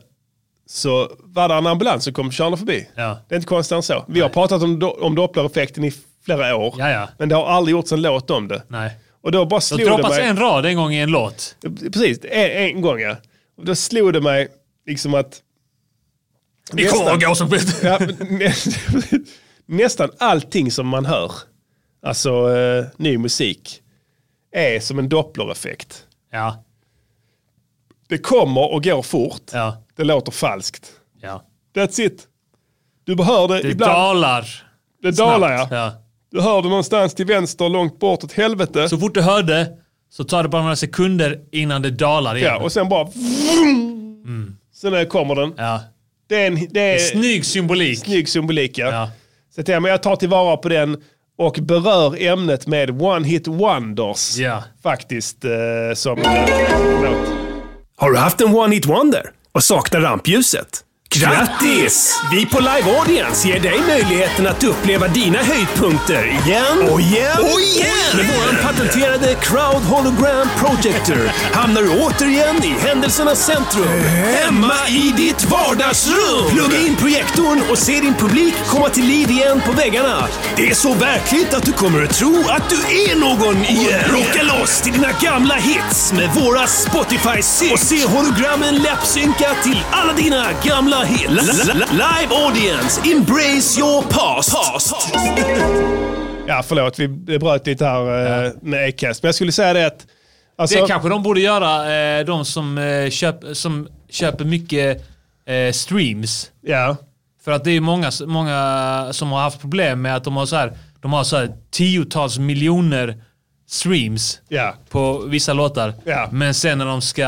S1: så var det en ambulans som kom körande förbi.
S2: Ja.
S1: Det är inte konstigt än så. Vi har pratat om, do- om Doppler-effekten i flera år.
S2: Ja, ja.
S1: Men det har aldrig gjorts en låt om det.
S2: Nej.
S1: Och då bara
S2: Det
S1: slog det
S2: droppats
S1: mig.
S2: en rad en gång i en låt.
S1: Precis, en, en gång ja. Och då slog det mig liksom att...
S2: Vi kommer att gå som skit.
S1: Ja, men [LAUGHS] nä- nästan allting som man hör, alltså eh, ny musik, är som en Doppler-effekt.
S2: Ja,
S1: Det kommer och går fort.
S2: ja,
S1: Det låter falskt.
S2: ja.
S1: That's it. Du hör det,
S2: Det
S1: ibland.
S2: dalar.
S1: det dalar ja.
S2: ja.
S1: Du hör det någonstans till vänster, långt bort åt helvete.
S2: Så fort du hör det så tar det bara några sekunder innan det dalar igen.
S1: ja, och sen bara... vroom. Sen eh, kommer den.
S2: Ja.
S1: Det är en det är
S2: Snygg symbolik.
S1: Eh, snygg symbolik ja.
S2: Ja.
S1: Så jag, tänkte, men jag tar tillvara på den och berör ämnet med One Hit Wonders.
S2: Ja.
S1: Faktiskt eh, som eh, låt.
S3: Har du haft en one-hit wonder och saknar rampljuset? Grattis! Vi på Live Audience ger dig möjligheten att uppleva dina höjdpunkter igen och igen och igen! Med vår patenterade Crowd Hologram Projector hamnar du återigen i händelsernas centrum. Hemma i ditt vardagsrum! Plugga in projektorn och se din publik komma till liv igen på väggarna. Det är så verkligt att du kommer att tro att du är någon igen. Rocka loss till dina gamla hits med våra Spotify-synk. Och se hologrammen läppsynka till alla dina gamla hits. Li- li- Live audience, embrace your past.
S1: Ja, förlåt. Vi bröt lite här eh, med Acast. Men jag skulle säga det att...
S2: Det
S1: alltså-
S2: kanske de borde göra, eh, de som, eh, köp, som köper mycket eh, streams.
S1: Ja.
S2: För att det är många, många som har haft problem med att de har så här, de har så här tiotals miljoner streams
S1: Ja.
S2: på vissa låtar.
S1: Ja.
S2: Men sen när de ska...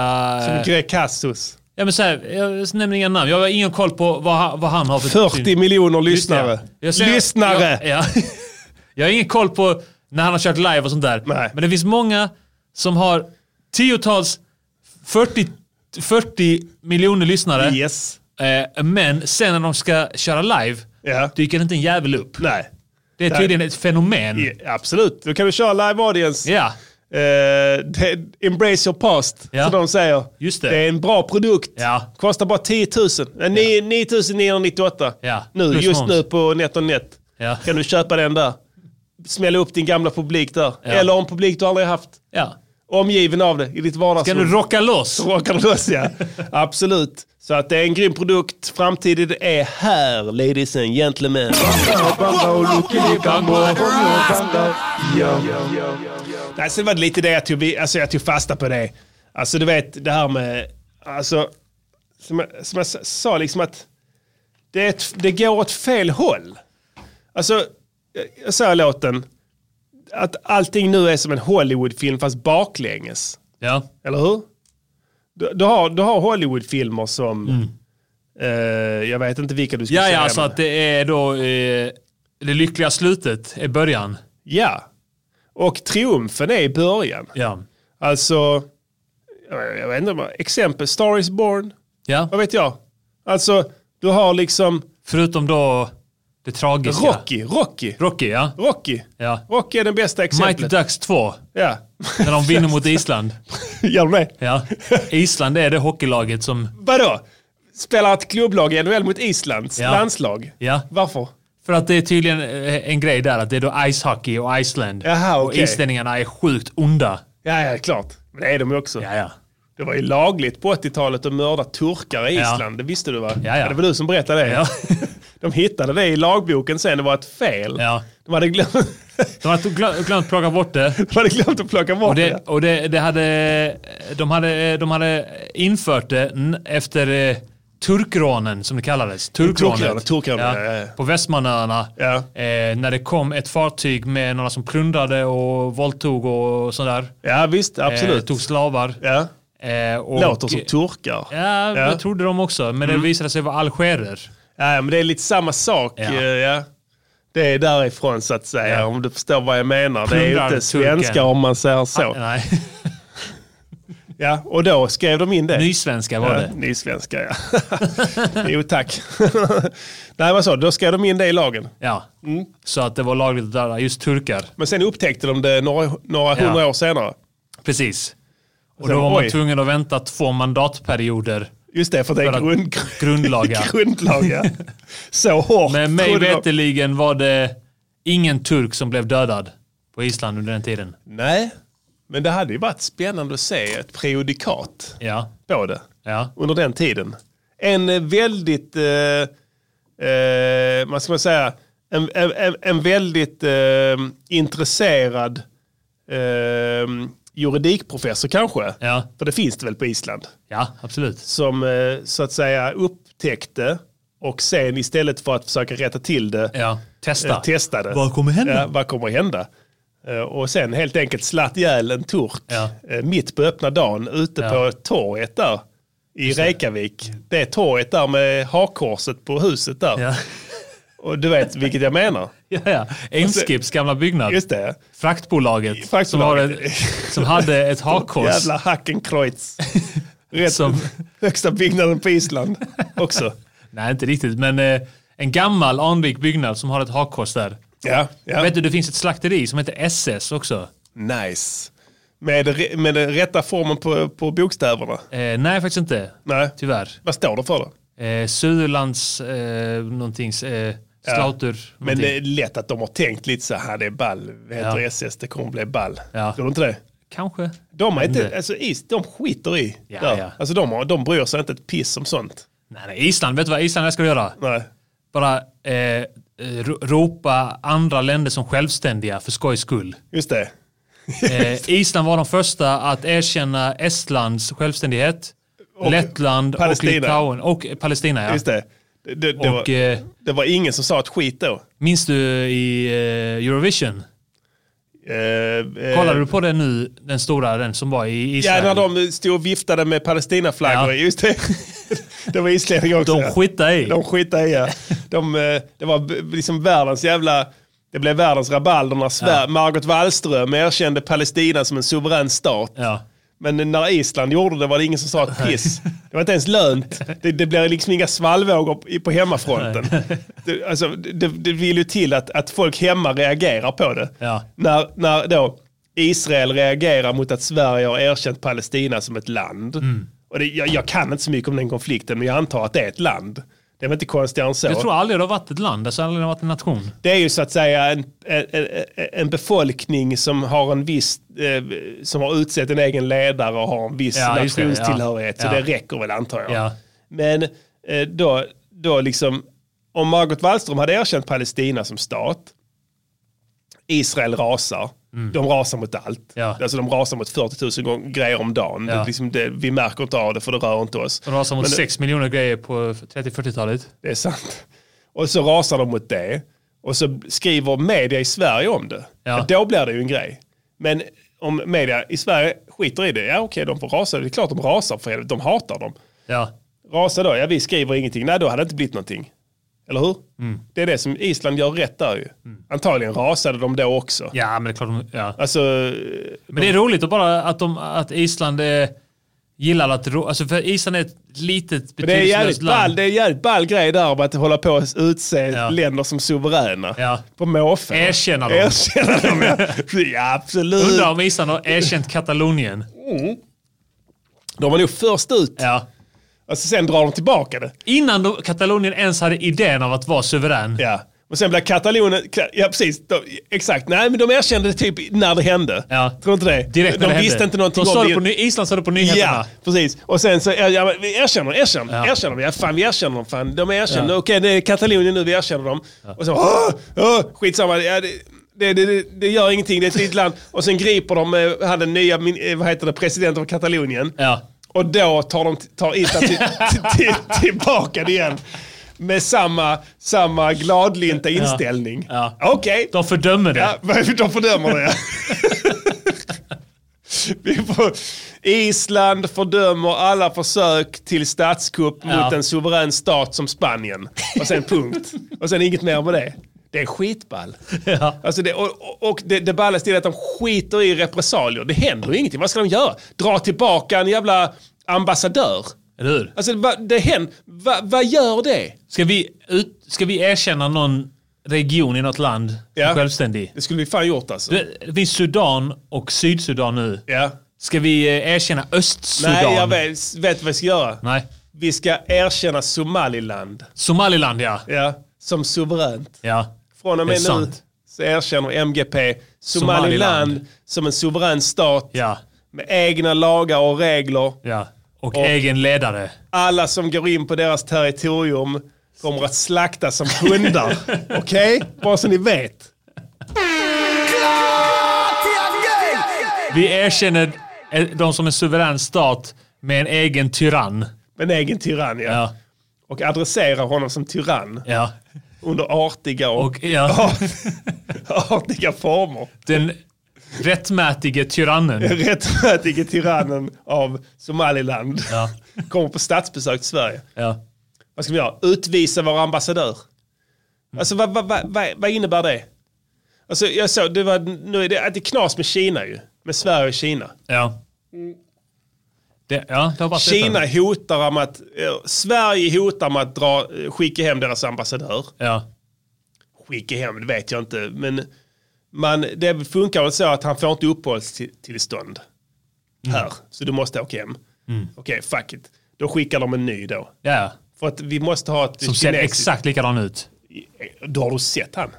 S1: Som Grekassus.
S2: ja, men så här, jag nämner inga namn. Jag har ingen koll på vad, ha- vad han har för...
S1: 40 miljoner
S2: Just det, Typ. ja.
S1: lyssnare.
S2: Jag ser-
S1: lyssnare!
S2: Jag, ja. [LAUGHS] jag har ingen koll på när han har kört live och sånt där.
S1: Nej.
S2: Men det finns många som har tiotals, 40, 40 miljoner lyssnare.
S1: Yes.
S2: Eh, men sen när de ska köra live
S1: Ja.
S2: dyker inte en jävel upp.
S1: Nej.
S2: Det är tydligen ett fenomen.
S1: Ja, absolut. Då kan vi köra live audience.
S2: Ja,
S1: Eh, det- embrace your past,
S2: Ja.
S1: som de säger.
S2: Just det.
S1: är en bra produkt.
S2: Ja.
S1: Kostar bara 10 000. Eh, ni- 9 998
S2: Ja.
S1: nu,
S2: Plus
S1: just
S2: moms.
S1: nu på NetOnNet.
S2: Ja.
S1: Kan du köpa den där. Smälla upp din gamla publik där. Eller om publik du aldrig haft.
S2: ja.
S1: Omgiven av det i ditt vardagsrum.
S2: Kan du
S1: [LAUGHS]
S2: rocka loss?
S1: Råkar du loss ja. Absolut. Så att det är en grym produkt. Framtiden är här ladies and gentlemen. Nej, sen var det lite det jag tog, alltså jag tog fasta på det. Alltså du vet det här med, alltså som jag, som jag s- sa liksom att det, är ett, det går åt fel håll. Alltså, jag- jag sa i låten att allting nu är som en Hollywoodfilm fast baklänges.
S2: Ja,
S1: Eller hur? Du, du, har, du har Hollywoodfilmer som, eh, jag vet inte vilka du skulle
S2: Mm. ja,
S1: säga.
S2: ja alltså
S1: men-
S2: att det är då eh, det lyckliga slutet är början.
S1: ja. Och triumfen är i början.
S2: Ja.
S1: Alltså, jag, jag vet inte, om- exempel, Star is born, vad
S2: ja.
S1: vet jag? Alltså, du har liksom
S2: Förutom då det tragiska.
S1: Rocky, Rocky,
S2: Rocky, ja.
S1: Rocky.
S2: ja.
S1: Rocky är det bästa
S2: Mighty
S1: exemplet.
S2: Ducks 2,
S1: ja.
S2: när de vinner mot Island.
S1: [LAUGHS] Gör du det?
S2: Ja. Island är det hockeylaget som...
S1: Vadå? Spelar ett klubblag i NHL mot Islands
S2: Ja.
S1: landslag?
S2: Ja.
S1: Varför?
S2: För att det är tydligen eh, en grej där, att det är då ice hockey och Iceland.
S1: Jaha,
S2: Och
S1: okej.
S2: islänningarna är sjukt onda.
S1: Ja, ja, klart. Men det är de ju också.
S2: Ja, ja.
S1: Det var ju lagligt på 80-talet att mörda turkar i
S2: Ja.
S1: Island. Det visste du va?
S2: Ja, ja.
S1: Det var du som berättade det.
S2: Ja.
S1: [LAUGHS] De hittade det i lagboken sen. Det var ett fel.
S2: Ja.
S1: De, hade glömt, [LAUGHS]
S2: De har glö- glömt plocka bort det.
S1: de hade glömt att plocka bort
S2: Och, det,
S1: det.
S2: och det, det hade, de, hade, de hade infört det n- efter eh, turkrånen som det kallades.
S1: Turkrånen,
S2: Turkrånet.
S1: turkrånen, Mm, ja, ja, ja.
S2: På Västmanöarna.
S1: Ja.
S2: Eh, när det kom ett fartyg med några som plundrade och våldtog och sådär.
S1: Ja visst, absolut.
S2: Eh, tog slavar.
S1: ja.
S2: Eh, och,
S1: Låter som turkar. Ja.
S2: Ja, det
S1: Ja. Mm.
S2: trodde de också. Men det visade sig vara algerer.
S1: men det är lite samma sak.
S2: Ja.
S1: eh, Ja. Det är därifrån så att säga,
S2: Ja.
S1: om du förstår vad jag menar. Det är ju
S2: Plundrar
S1: inte svenskar
S2: turken.
S1: om man säger så.
S2: Nej, [LAUGHS]
S1: Ja, och då skrev de in det.
S2: nysvenska var
S1: Ja,
S2: det.
S1: nysvenska ja. [LAUGHS] jo tack. Nej vad så, då skrev de in det i lagen.
S2: Ja.
S1: Mm.
S2: Så att det var lagligt att döda just turkar.
S1: Men sen upptäckte de det några, några
S2: Ja.
S1: hundra år senare.
S2: Precis. Och
S1: Sen,
S2: då var man
S1: oj.
S2: tvungen att vänta två mandatperioder.
S1: Just det, för det
S2: För
S1: är
S2: att
S1: grund,
S2: grundlaga.
S1: [LAUGHS] grundlag, ja. Så hårt.
S2: Men mig
S1: trodde de-
S2: veterligen var det ingen turk som blev dödad på Island under den tiden.
S1: Nej, men det hade ju varit spännande att se ett prejudikat
S2: Ja.
S1: på det
S2: Ja.
S1: under den tiden. En eh, väldigt, eh, eh, vad ska man säga, en, en, en, en väldigt eh, intresserad eh, juridikprofessor kanske.
S2: Ja.
S1: För det finns det väl på Island.
S2: Ja, absolut.
S1: som eh, så att säga upptäckte och sen istället för att försöka rätta till det
S2: Ja. Testa.
S1: eh, testade.
S2: Vad kommer hända?
S1: Ja, vad kommer hända? Eh, Och sen helt enkelt slatt ihjäl en turk
S2: Ja.
S1: eh, mitt på öppna dagen ute
S2: Ja.
S1: på torget där i Reykjavik. Det är torget där med hakkorset på huset där.
S2: Ja. [LAUGHS]
S1: Och du vet vilket jag menar.
S2: Ja, ja. Eimskips gamla byggnad.
S1: Alltså, Just det.
S2: Fraktbolaget. Som, har
S1: Fraktbolaget.
S2: ett, som hade
S1: [LAUGHS]
S2: ett hakkors.
S1: Jävla
S2: [LAUGHS]
S1: Hackenkreuz. Rätt
S2: Som-
S1: högsta byggnaden på Island också.
S2: Nej, inte riktigt. Men eh, en gammal anrik byggnad som har ett hakkors där.
S1: Ja, ja.
S2: Vet du, det finns ett slakteri som heter SS också.
S1: Nice. Med, re- med den rätta formen på, på bokstäverna.
S2: Eh, nej, faktiskt inte.
S1: Nej.
S2: Tyvärr.
S1: Vad står det för då?
S2: Eh, Söderlands eh, någonting. Eh, Slauter.
S1: Men det
S2: någonting.
S1: är lätt att de har tänkt lite så här, det är ball. Vi heter
S2: Ja.
S1: SS, det kommer bli ball.
S2: Ja.
S1: Tror du inte det?
S2: Kanske.
S1: De, är inte,
S2: Nej.
S1: alltså, is, de skiter i.
S2: Ja,
S1: där.
S2: ja.
S1: Alltså, de, har, de bryr sig inte ett piss om sånt.
S2: Nej, nej, Island. Vet du vad Island ska göra?
S1: Nej.
S2: Bara eh, eh, ro- ropa andra länder som självständiga för
S1: [LAUGHS]
S2: skojs skull.
S1: Just det.
S2: Eh, Island var de första att erkänna Estlands självständighet. Lettland
S1: Palestina.
S2: och Litauen. Och Palestina, ja.
S1: Just det. Det, det, det,
S2: Och,
S1: var,
S2: eh,
S1: det var ingen som sa ett skit då.
S2: Minns du i eh, Eurovision?
S1: Eh, eh,
S2: Kollade du på den nu, den stora, den som var i
S1: Ja,
S2: Israel?
S1: när de stod och viftade med Palestinaflaggor.
S2: Ja.
S1: Just det. [LAUGHS] Det var islänningar också.
S2: De skitade i.
S1: De skitade i ja. de, eh, Det var b- liksom världens jävla... Det blev världens rabalder när Sver- Margot Wallström erkände Palestina som en suverän stat.
S2: Ja.
S1: Men när Island gjorde det var det ingen som sa ett piss. Det var inte ens lönt. Det, det blir liksom inga svallvågor på- på hemmafronten. Det, alltså, det, det vill ju till att, att folk hemma reagerar på det.
S2: Ja.
S1: När, när då Israel reagerar mot att Sverige har erkänt Palestina som ett land. Och det, jag, jag kan inte så mycket om den konflikten, men jag antar att det är ett land. Det är väl inte konstigare än så.
S2: Jag tror aldrig det har varit ett land, alltså aldrig det har varit en nation.
S1: Det är ju så att säga en, en, en- en befolkning som har en viss, eh, som har utsett en egen ledare och har en viss
S2: Ja, just det, ja.
S1: nationstillhörighet. Så
S2: Ja.
S1: det räcker väl antar jag.
S2: Ja.
S1: Men eh, då, då liksom, om Margot Wallström hade erkänt Palestina som stat, Israel rasar, de rasar mot allt.
S2: Mm. Ja.
S1: Alltså de rasar mot 40 000 gång- grejer om dagen.
S2: Ja.
S1: Det, liksom det, vi märker inte av det för det rör inte oss.
S2: De rasade mot
S1: Men-
S2: 6 miljoner grejer på 30-40-talet.
S1: det är sant. Och så rasar de mot det. Och så skriver media i Sverige om det.
S2: Ja.
S1: Då blir det ju en grej. Men om media i Sverige skiter i det, ja okej de får rasa. Det är klart de rasar för helvete, de hatar dem.
S2: Ja.
S1: Rasa då, ja vi skriver ingenting. Nej då hade det inte blivit någonting. Eller hur?
S2: Mm.
S1: Det är det som Island gör rätt där ju. Antagligen rasade de då också.
S2: ja, men det är klart de, ja.
S1: Alltså,
S2: Men det är roligt att bara att, de, att Island eh, gillar att... ro- Alltså för Island är ett litet
S1: det är
S2: betydelselöst
S1: jävligt ball,
S2: land.
S1: det är jävligt ball grej där om att hålla på att utse länder som suveräna.
S2: Ja.
S1: På måfå.
S2: Erkänna dem.
S1: Erkänna dem, ja.
S2: [LAUGHS]
S1: ja absolut.
S2: Undrar om Island har erkänt Katalonien.
S1: De var nog först ut.
S2: Ja.
S1: Alltså sen drar de tillbaka det.
S2: Innan då Katalonien ens hade idén av att vara suverän.
S1: Ja. Och sen blev Katalonien... Ja, precis. De, exakt. Nej, men de erkände det typ när det hände.
S2: Ja.
S1: Tror du inte det?
S2: Direkt när
S1: de
S2: det
S1: visste
S2: hände.
S1: inte någonting
S2: de sa
S1: om
S2: det. På, ny- Island sa det på nyheterna.
S1: Ja, precis. Och sen så, ja, ja, men vi erkänner, erkänner,
S2: Ja.
S1: erkänner. vi. Ja, fan, vi erkänner dem. Fan, de erkänner.
S2: Ja.
S1: Okej, det är Katalonien nu, vi erkänner dem. Och så, åh, åh, skitsamma. Ja, det, det, det, det gör ingenting, det är ett litet land. Och sen griper de, eh, han den nya, min- eh, vad heter det, presidenten av Katalonien.
S2: Ja.
S1: Och då tar de tar Island till, till, till, tillbaka det igen. Med samma, samma gladlynta inställning.
S2: Ja.
S1: Okej,
S2: De fördömer det.
S1: Ja, men de fördömer det. ja. Vi får, Island fördömer alla försök till statskupp
S2: Ja.
S1: mot en suverän stat som Spanien. Och sen punkt. Och sen inget mer med det. Det är skitball.
S2: Ja.
S1: Alltså det, och och- och det, det ballaste är att de skiter i repressalier. Det händer ju ingenting. Vad ska de göra? Dra tillbaka en jävla ambassadör?
S2: Eller hur?
S1: Alltså det, det händer. Va, vad gör det?
S2: Ska vi, ut, ska vi erkänna någon region i något land som
S1: Ja.
S2: självständig?
S1: Det skulle vi fan gjort alltså.
S2: Det det finns Sudan och Sydsudan nu.
S1: Ja.
S2: Ska vi eh, erkänna Östsudan?
S1: Nej, jag vet, vet vad vi ska göra.
S2: Nej.
S1: Vi ska erkänna Somaliland
S2: Somaliland, ja.
S1: ja, som suveränt.
S2: ja.
S1: Från och
S2: Det
S1: med
S2: är
S1: nu
S2: sant.
S1: så erkänner MGP Somaliland,
S2: Somaliland.
S1: som en suverän stat
S2: Ja.
S1: med egna lagar och regler.
S2: ja. Och, egen ledare.
S1: Alla som går in på deras territorium kommer att slaktas som
S2: [LAUGHS]
S1: hundar. Okej? Bara så ni vet.
S2: Vi erkänner eh, dem som en suverän stat med en egen tyrann.
S1: Med en egen tyrann, ja.
S2: Ja.
S1: Och adresserar honom som tyrann
S2: ja.
S1: under artiga, och,
S2: Och, ja.
S1: [LAUGHS] artiga former.
S2: Den rättmätige tyrannen.
S1: rättmätige tyrannen av Somaliland
S2: Ja.
S1: kommer på statsbesök till Sverige.
S2: Ja.
S1: Vad ska vi göra? Utvisa vår ambassadör.
S2: Mm.
S1: Alltså vad, vad, vad, vad, vad innebär det? Alltså jag såg, det var, nu är det, att det är knas med Kina ju. Med Sverige och Kina.
S2: Ja. Det, ja, det har varit
S1: Kina
S2: detta.
S1: hotar med att, eh, Sverige hotar med att dra, eh, skicka hem deras ambassadör.
S2: Ja.
S1: Skicka hem, det vet jag inte. Men man, det funkar väl så att han får inte uppehållstillstånd
S2: Mm.
S1: här. Så du måste åka hem. Okej, fuck it. Då skickar de en ny då.
S2: ja.
S1: För att vi måste ha ett Eh,
S2: Som ser exakt likadan ut.
S1: Då har du sett han.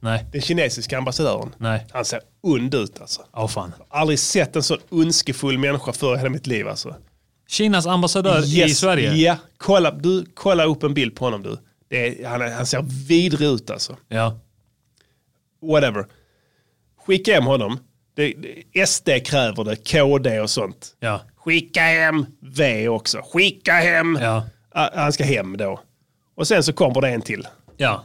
S2: Nej.
S1: Den kinesiska ambassadören.
S2: Nej.
S1: Han ser ond ut alltså.
S2: Åh fan.
S1: Aldrig sett en så ondskefull människa förr i hela mitt liv alltså.
S2: Kinas ambassadör i Sverige.
S1: Ja, kolla, du, kolla upp en bild på honom du. Det är, han, är- han ser vidrig ut alltså.
S2: Ja.
S1: whatever. Skicka hem honom. Det, det, SD kräver det, KD och sånt.
S2: Ja.
S1: Skicka hem V också. Skicka hem.
S2: Ja.
S1: Ah, Han ska hem då. Och sen så kommer det en till.
S2: Ja.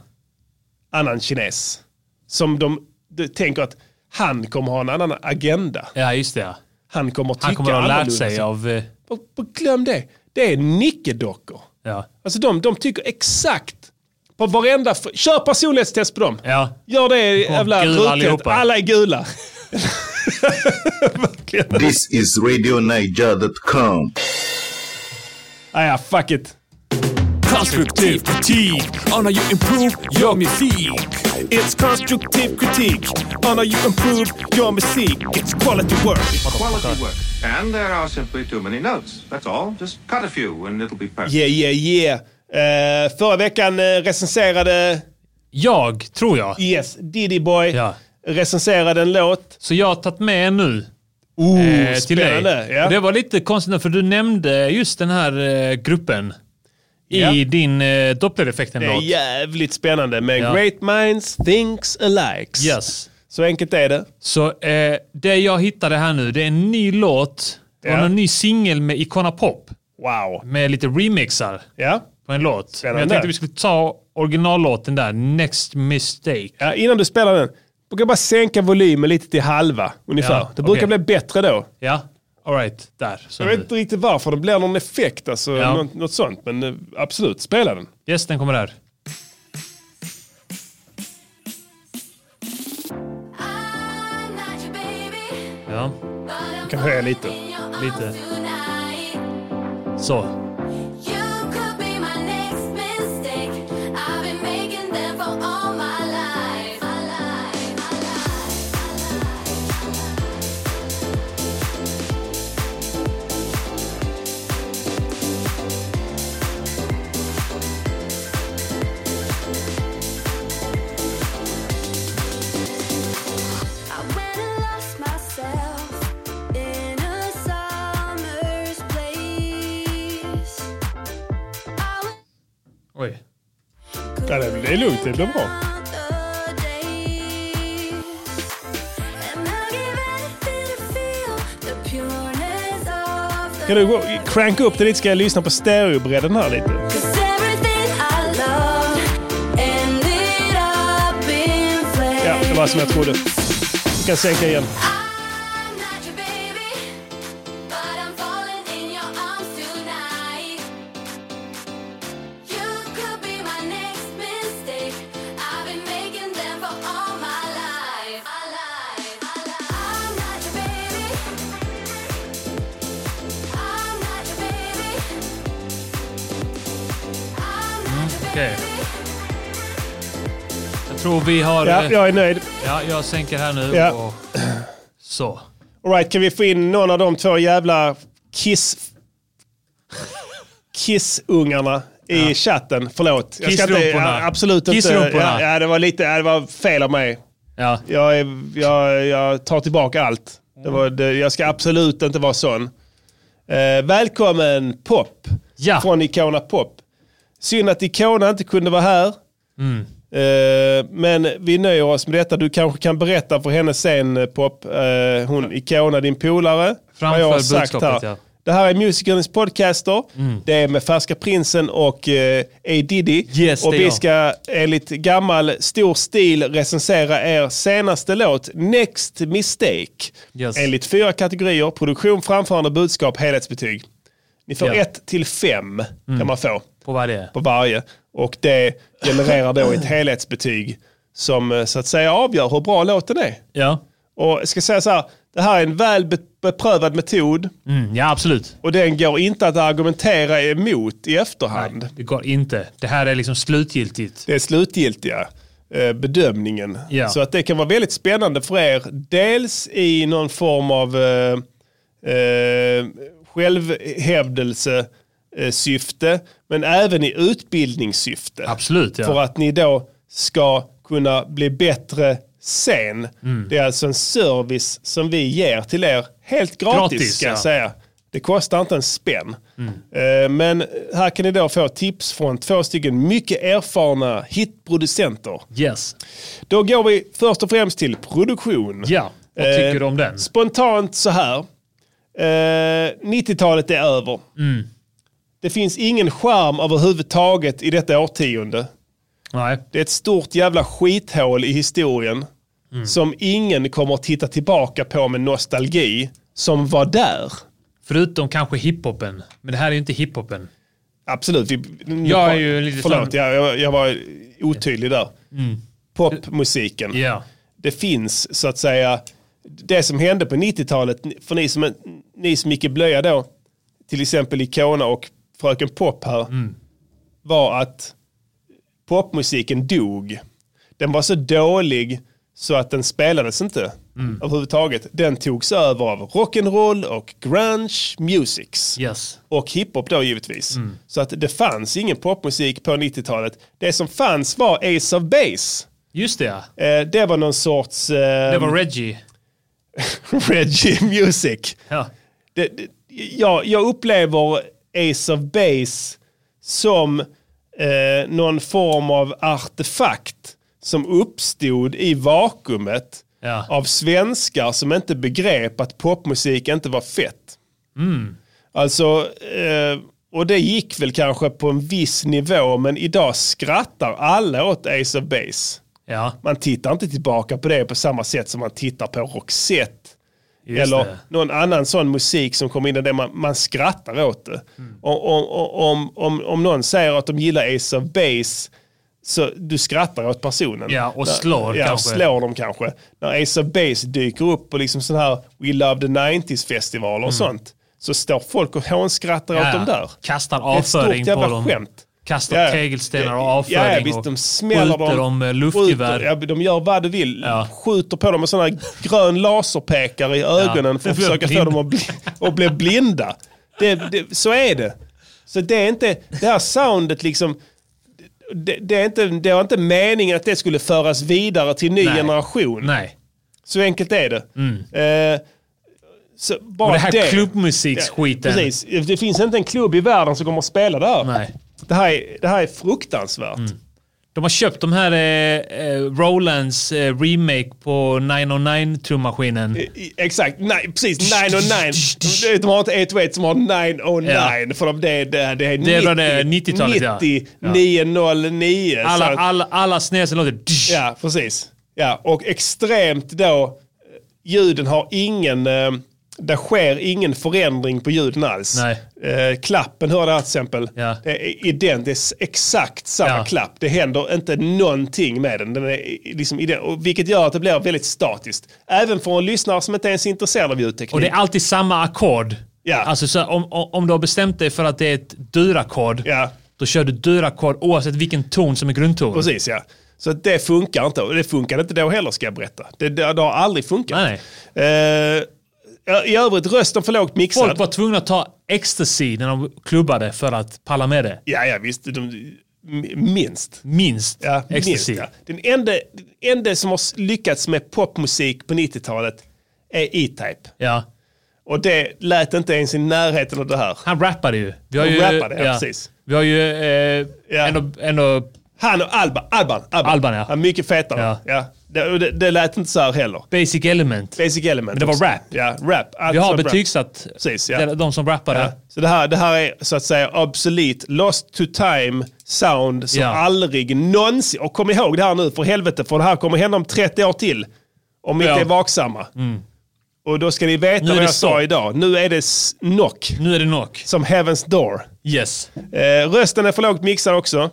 S1: Annan kines. Som de, de tänker att han kommer ha en annan agenda.
S2: Ja, just det. Ja.
S1: Han kommer tycka
S2: Han kommer att ha lärt
S1: annorlunda.
S2: sig av... eh,
S1: Och- och Glöm det. Det är nickedockor.
S2: Ja.
S1: Alltså de, de tycker exakt på varenda... f- Kör personlighetstest på dem.
S2: Ja.
S1: Gör det jävla
S2: gula
S1: rutet.
S2: allihopa.
S1: Alla är gula.
S10: This is RadioNiger.com.
S1: [LAUGHS] Ah, ja, fuck it.
S11: Konstruktiv kritik. On how you improve your musik.
S3: It's constructive critique on how you improve your music. It's quality work.
S7: And there are simply too many notes. That's all. Just cut a few and it'll be perfect.
S1: Yeah, yeah, yeah. Eh, förra veckan eh, recenserade
S2: Jag, tror jag.
S1: Yes, Diddy Boy
S2: Ja.
S1: recenserade en låt.
S2: Så jag har tagit med en nu.
S1: Oh,
S2: eh, till
S1: spännande.
S2: dig.
S1: Ja.
S2: Och Det var lite konstigt för du nämnde just den här eh, gruppen i
S1: Ja.
S2: din eh,
S1: Det är
S2: Dopplereffekten-låt.
S1: jävligt spännande. Men
S2: Ja.
S1: great minds thinks alike.
S2: Yes.
S1: Så enkelt är det.
S2: Så eh, det jag hittade här nu, det är en ny låt. Det var
S1: Ja.
S2: en ny singel med Icona Pop.
S1: Wow.
S2: Med lite remixar
S1: Ja.
S2: på en låt. Men jag
S1: Spännande.
S2: tänkte vi skulle ta originallåten där, Next Mistake.
S1: ja innan du spelar den, brukar bara sänka volymen lite till halva ungefär.
S2: Ja,
S1: det brukar
S2: okej.
S1: bli bättre då.
S2: Ja, alright. Där. Så
S1: Jag vet inte riktigt varför. Det blir någon effekt, alltså,
S2: Ja.
S1: något, något sånt. Men eh, absolut, spela den.
S2: Yes, den kommer där. Ja,
S1: Kan höja lite.
S2: lite. Så. Oj.
S1: Ja, det, det är lugnt, det blir bra. Kan du gå, cranka upp det lite? Ska jag lyssna på stereobredden här lite? Ja, det var som jag trodde. Vi kan sänka igen.
S2: Okej. Jag tror vi har...
S1: Ja,
S2: eh,
S1: jag är nöjd.
S2: ja, jag sänker här nu
S1: Ja.
S2: och... Så.
S1: All right, kan vi få in någon av de två jävla kiss... Kissungarna i chatten. Förlåt. Jag
S2: Kissrumporna.
S1: ja, absolut inte... Ja,
S2: Kissrumporna.
S1: ja, det var lite... Ja, det var fel av mig.
S2: Ja.
S1: Jag, är, jag, jag tar tillbaka allt. Det var, det, jag ska absolut inte vara sån. Eh, välkommen Pop
S2: Ja.
S1: från Icona Pop. Synd att Icona inte kunde vara här.
S2: Mm.
S1: Eh, men vi nöjer oss med detta. Du kanske kan berätta för henne sen eh, Pop. Eh, hon Icona, din polare.
S2: Framför
S1: vad
S2: budskapet,
S1: här.
S2: ja. Mm.
S1: Det här är musikerns podcaster. Det är med Färska Prinsen och eh, A Diddy.
S2: Yes,
S1: och
S2: det är
S1: vi
S2: jag.
S1: ska enligt gammal stor stil recensera er senaste låt Next Mistake.
S2: Yes.
S1: Enligt fyra kategorier, produktion, framförande, budskap, helhetsbetyg. Ni får
S2: Ja.
S1: 1 till 5 kan man få
S2: På varje.
S1: på varje. Och det genererar då ett helhetsbetyg som eh, så att säga avgör hur bra låten är.
S2: Ja.
S1: Och jag ska säga så här, det här är en väl be- beprövad metod
S2: Mm, ja, absolut.
S1: och den går inte att argumentera emot i efterhand.
S2: Det går inte. Det här är liksom slutgiltigt.
S1: det är slutgiltiga eh, bedömningen.
S2: Ja.
S1: Så att det kan vara väldigt spännande för er. Dels i någon form av eh, eh, självhävdelse eh, syfte, men även i utbildningssyfte.
S2: Absolut, ja.
S1: För att ni då ska kunna bli bättre sen.
S2: Mm.
S1: Det är alltså en service som vi ger till er helt gratis,
S2: Gratis,
S1: ska jag
S2: ja.
S1: säga. Det kostar inte en spänn. Eh, Men här kan ni då få tips från två stycken mycket erfarna hitproducenter.
S2: Yes.
S1: Då går vi först och främst till produktion.
S2: Ja. Vad
S1: Eh,
S2: tycker du om den?
S1: Spontant så här. Eh, 90-talet är över.
S2: Mm.
S1: Det finns ingen skärm överhuvudtaget i detta årtionde.
S2: Nej.
S1: Det är ett stort jävla skithål i historien
S2: Mm.
S1: som ingen kommer att titta tillbaka på med nostalgi som var där.
S2: Förutom kanske hiphopen. Men det här är ju inte hiphopen.
S1: Absolut. Vi, nu-
S2: Jag är ju lite
S1: Förlåt,
S2: sån-
S1: jag, jag, jag var otydlig där.
S2: Mm.
S1: Popmusiken.
S2: Ja.
S1: Det finns så att säga, det som hände på 90-talet, för ni som, ni som gick i blöja då, till exempel Icona och Fröken Pop här,
S2: Mm.
S1: var att popmusiken dog. Den var så dålig så att den spelades inte
S2: Mm.
S1: överhuvudtaget. Den togs över av rock'n'roll och grunge musics.
S2: Yes.
S1: Och hiphop då givetvis.
S2: Mm.
S1: Så att det fanns ingen popmusik på 90-talet. Det som fanns var Ace of Base.
S2: Just det ja.
S1: Eh, det var någon sorts... Eh, [LAUGHS]
S2: Det var Reggie.
S1: Reggie Music.
S2: Ja.
S1: Det, det, jag, jag upplever Ace of Base som eh, någon form av artefakt som uppstod i vakuumet
S2: Ja.
S1: av svenskar som inte begrep att popmusik inte var fett.
S2: Mm.
S1: Alltså, eh, och det gick väl kanske på en viss nivå, men idag skrattar alla åt Ace of Base.
S2: Ja.
S1: Man tittar inte tillbaka på det på samma sätt som man tittar på Roxette.
S2: Just
S1: eller
S2: det.
S1: någon annan sån musik som kommer in i det man, man skrattar åt det.
S2: Mm.
S1: Och, om, om, om, om någon säger att de gillar Ace of Base så du skrattar åt personen.
S2: Ja, och
S1: När-
S2: slår
S1: ja,
S2: kanske.
S1: slår dem kanske. När Ace of Base dyker upp på liksom sån här We Love the 90s-festivaler och sånt så står folk och hånskrattar åt
S2: Mm. Ja,
S1: dem där.
S2: Kastar
S1: Det är ett
S2: avföring
S1: stort jävla
S2: på dem.
S1: skämt.
S2: Kastar
S1: Ja, ja.
S2: tegelstenar och
S1: Ja, ja,
S2: avföring.
S1: visst,
S2: och
S1: de smäller
S2: skjuter
S1: dem,
S2: dem eh, med
S1: Skjuter,
S2: luftgevär.
S1: ja, de gör vad de vill. Skjuter på dem med sådana grön laserpekare i ögonen för att
S2: Det blir [LAUGHS]
S1: försöka få
S2: blind.
S1: dem att bli, att bli blinda. Det, det, så är det. Så det är inte, det här soundet liksom, det, det, är inte, det var inte meningen att det skulle föras vidare till ny
S2: Nej.
S1: generation.
S2: Nej. Mm.
S1: Så enkelt är det. Eh, så bara
S2: Och det här
S1: det.
S2: klubbmusiksskiten.
S1: Ja, precis. Det finns inte en klubb i världen som kommer att spela där.
S2: Nej. Mm.
S1: Det, här är, det här är fruktansvärt.
S2: De har köpt de här eh, eh, Rolands eh, remake på 909-trummaskinen.
S1: I- Exakt, nej, precis 909. De- De har inte 808 som har 909.
S2: Ja.
S1: För de, det, är- det, är- det är 90,
S2: Det var det 90-talet, ja.
S1: 90
S2: Ja.
S1: 909.
S2: Alla,
S1: så-
S2: alla, alla snäsen låter...
S1: Ja, precis. Ja, och extremt då, eh, ljuden har ingen, eh, det sker ingen förändring på ljuden alls.
S2: Nej.
S1: Eh, klappen hör där till exempel,
S2: Ja.
S1: det är identiskt, exakt samma
S2: Ja.
S1: klapp. Det händer inte någonting med den, den är i- liksom ident- och vilket gör att det blir väldigt statiskt. Även för en lyssnare som inte ens är intresserad av ljudteknik.
S2: Och det är alltid samma ackord.
S1: Ja.
S2: Alltså så här, om, om om du har bestämt dig för att det är ett durackord,
S1: Ja.
S2: då kör du durackord oavsett vilken ton som är grundton.
S1: Precis ja. Så att det funkar inte. Och det funkade inte då heller ska jag berätta. Det, det, det har aldrig funkat.
S2: Nej,
S1: Eh, I övrigt, rösten för lågt mixad.
S2: Folk var tvungna att ta ecstasy när de klubbade för att palla med det.
S1: Ja, ja visst. De, m- minst.
S2: Minst
S1: Ja,
S2: ecstasy.
S1: minst ja. Den enda, den enda som har s- lyckats med popmusik på 90-talet är E-Type.
S2: Ja.
S1: Och det lät inte ens i närheten av det här.
S2: Han rappade ju. Vi har
S1: Han
S2: ju
S1: rappade, ja, precis.
S2: Vi har ju eh,
S1: Ja.
S2: ändå, ändå...
S1: Han och Alban. Alban, Alban.
S2: Alban, ja.
S1: Han är mycket fetare.
S2: Ja.
S1: Ja. Det, och det, det lät inte så här heller.
S2: Basic element.
S1: Basic element.
S2: Men det var
S1: också.
S2: rap.
S1: Ja, rap. Allt
S2: Vi har
S1: som rap.
S2: betygsatt
S1: Precis, ja.
S2: de, de som rappade.
S1: Ja. Så det här, det här är så att säga obsolet, lost to time sound som
S2: Ja.
S1: aldrig någonsin... Och kom ihåg det här nu för helvete, för det här kommer hända om 30 år till. Om ni
S2: Ja. Mm.
S1: inte är vaksamma. Och då ska ni veta
S2: Nu är
S1: vad
S2: det
S1: jag sa
S2: stopp.
S1: idag. Nu är det s- knock,
S2: Nu är det knock.
S1: som heaven's door.
S2: Yes.
S1: Eh, rösten är för lågt mixad också.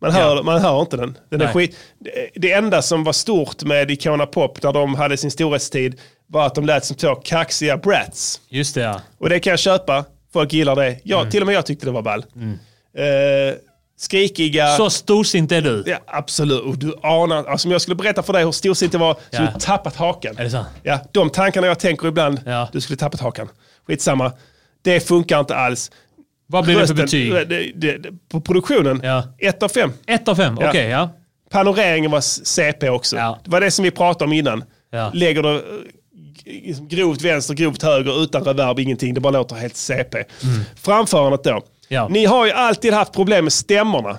S1: Man hör, man hör inte den. den är
S2: Nej.
S1: skit. Det- Det enda som var stort med Icona Pop när de hade sin storhetstid var att de lät som två kaxiga brats.
S2: Just det ja.
S1: Och det kan jag köpa. Folk gillar det. Jag,
S2: Mm.
S1: Till och med jag tyckte det var ball. Eh, skrikiga.
S2: Så storsint är du.
S1: Ja, absolut. Och du anar. Alltså, om jag skulle berätta för dig hur storsint det var så
S2: Ja.
S1: skulle du tappat hakan.
S2: Är det sant?
S1: Ja, de tankarna jag tänker ibland.
S2: Ja.
S1: Du skulle tappat hakan. Skitsamma. Det funkar inte alls.
S2: Vad blir det för
S1: Rösten-
S2: betyg?
S1: det- det- det- På produktionen?
S2: Ja.
S1: 1 av 5.
S2: Ett av fem? Okej, ja.
S1: Panoreringen var CP också.
S2: Ja.
S1: Det var det som vi pratade om innan.
S2: Ja.
S1: Lägger du eh, g- liksom grovt vänster, grovt höger utan reverb, ingenting. Det bara låter helt CP. Framförandet då.
S2: Mm. Ja. Mhm.
S1: Ni har ju alltid haft problem med stämmorna.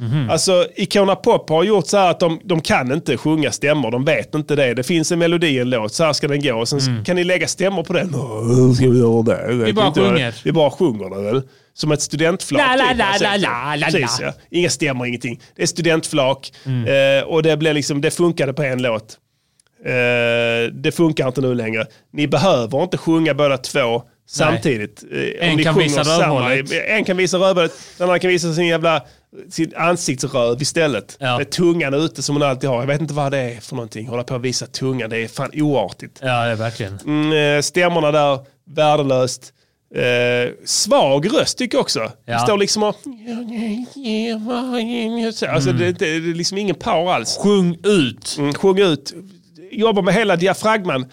S1: Mm. Alltså Icona Pop har gjort så här att de, de kan inte sjunga stämmor, de vet inte det. Det finns en melodi i en låt, så här ska den gå. Och sen kan ni lägga stämmor på den. [LAUGHS] Åh, hur ska vi göra det? Jag vet
S2: Mm. bara
S1: inte vad det-
S2: sjunger.
S1: Vi bara sjunger det väl. Som ett studentflak.
S2: La, la,
S1: typ.
S2: la,
S1: Alltså,
S2: la, la, la,
S1: Precis,
S2: la.
S1: ja. Inga stämmor, ingenting. Det är studentflak.
S2: Mm.
S1: Eh, och det, blev liksom, det funkade på en låt. Eh, det funkar inte nu längre. Ni behöver inte sjunga båda två samtidigt. Eh, om
S2: En
S1: ni
S2: kan
S1: sjunger
S2: visa
S1: samma-
S2: rövhålet.
S1: En kan visa rövhålet, den andra kan visa sin jävla sin ansiktsröv istället. Med tungan ute som hon alltid har. Jag vet inte vad det är för någonting. Hålla på och visa tungan, det är fan oartigt.
S2: Ja, det är verkligen.
S1: Mm, eh, stämmorna där, värdelöst. Eh, svag röst tycker jag också. Det
S2: Ja.
S1: står liksom och... Alltså,
S2: Mm.
S1: det, det, det är liksom ingen power alls.
S2: Sjung ut.
S1: Mm, sjung ut. Jobba med hela diafragman.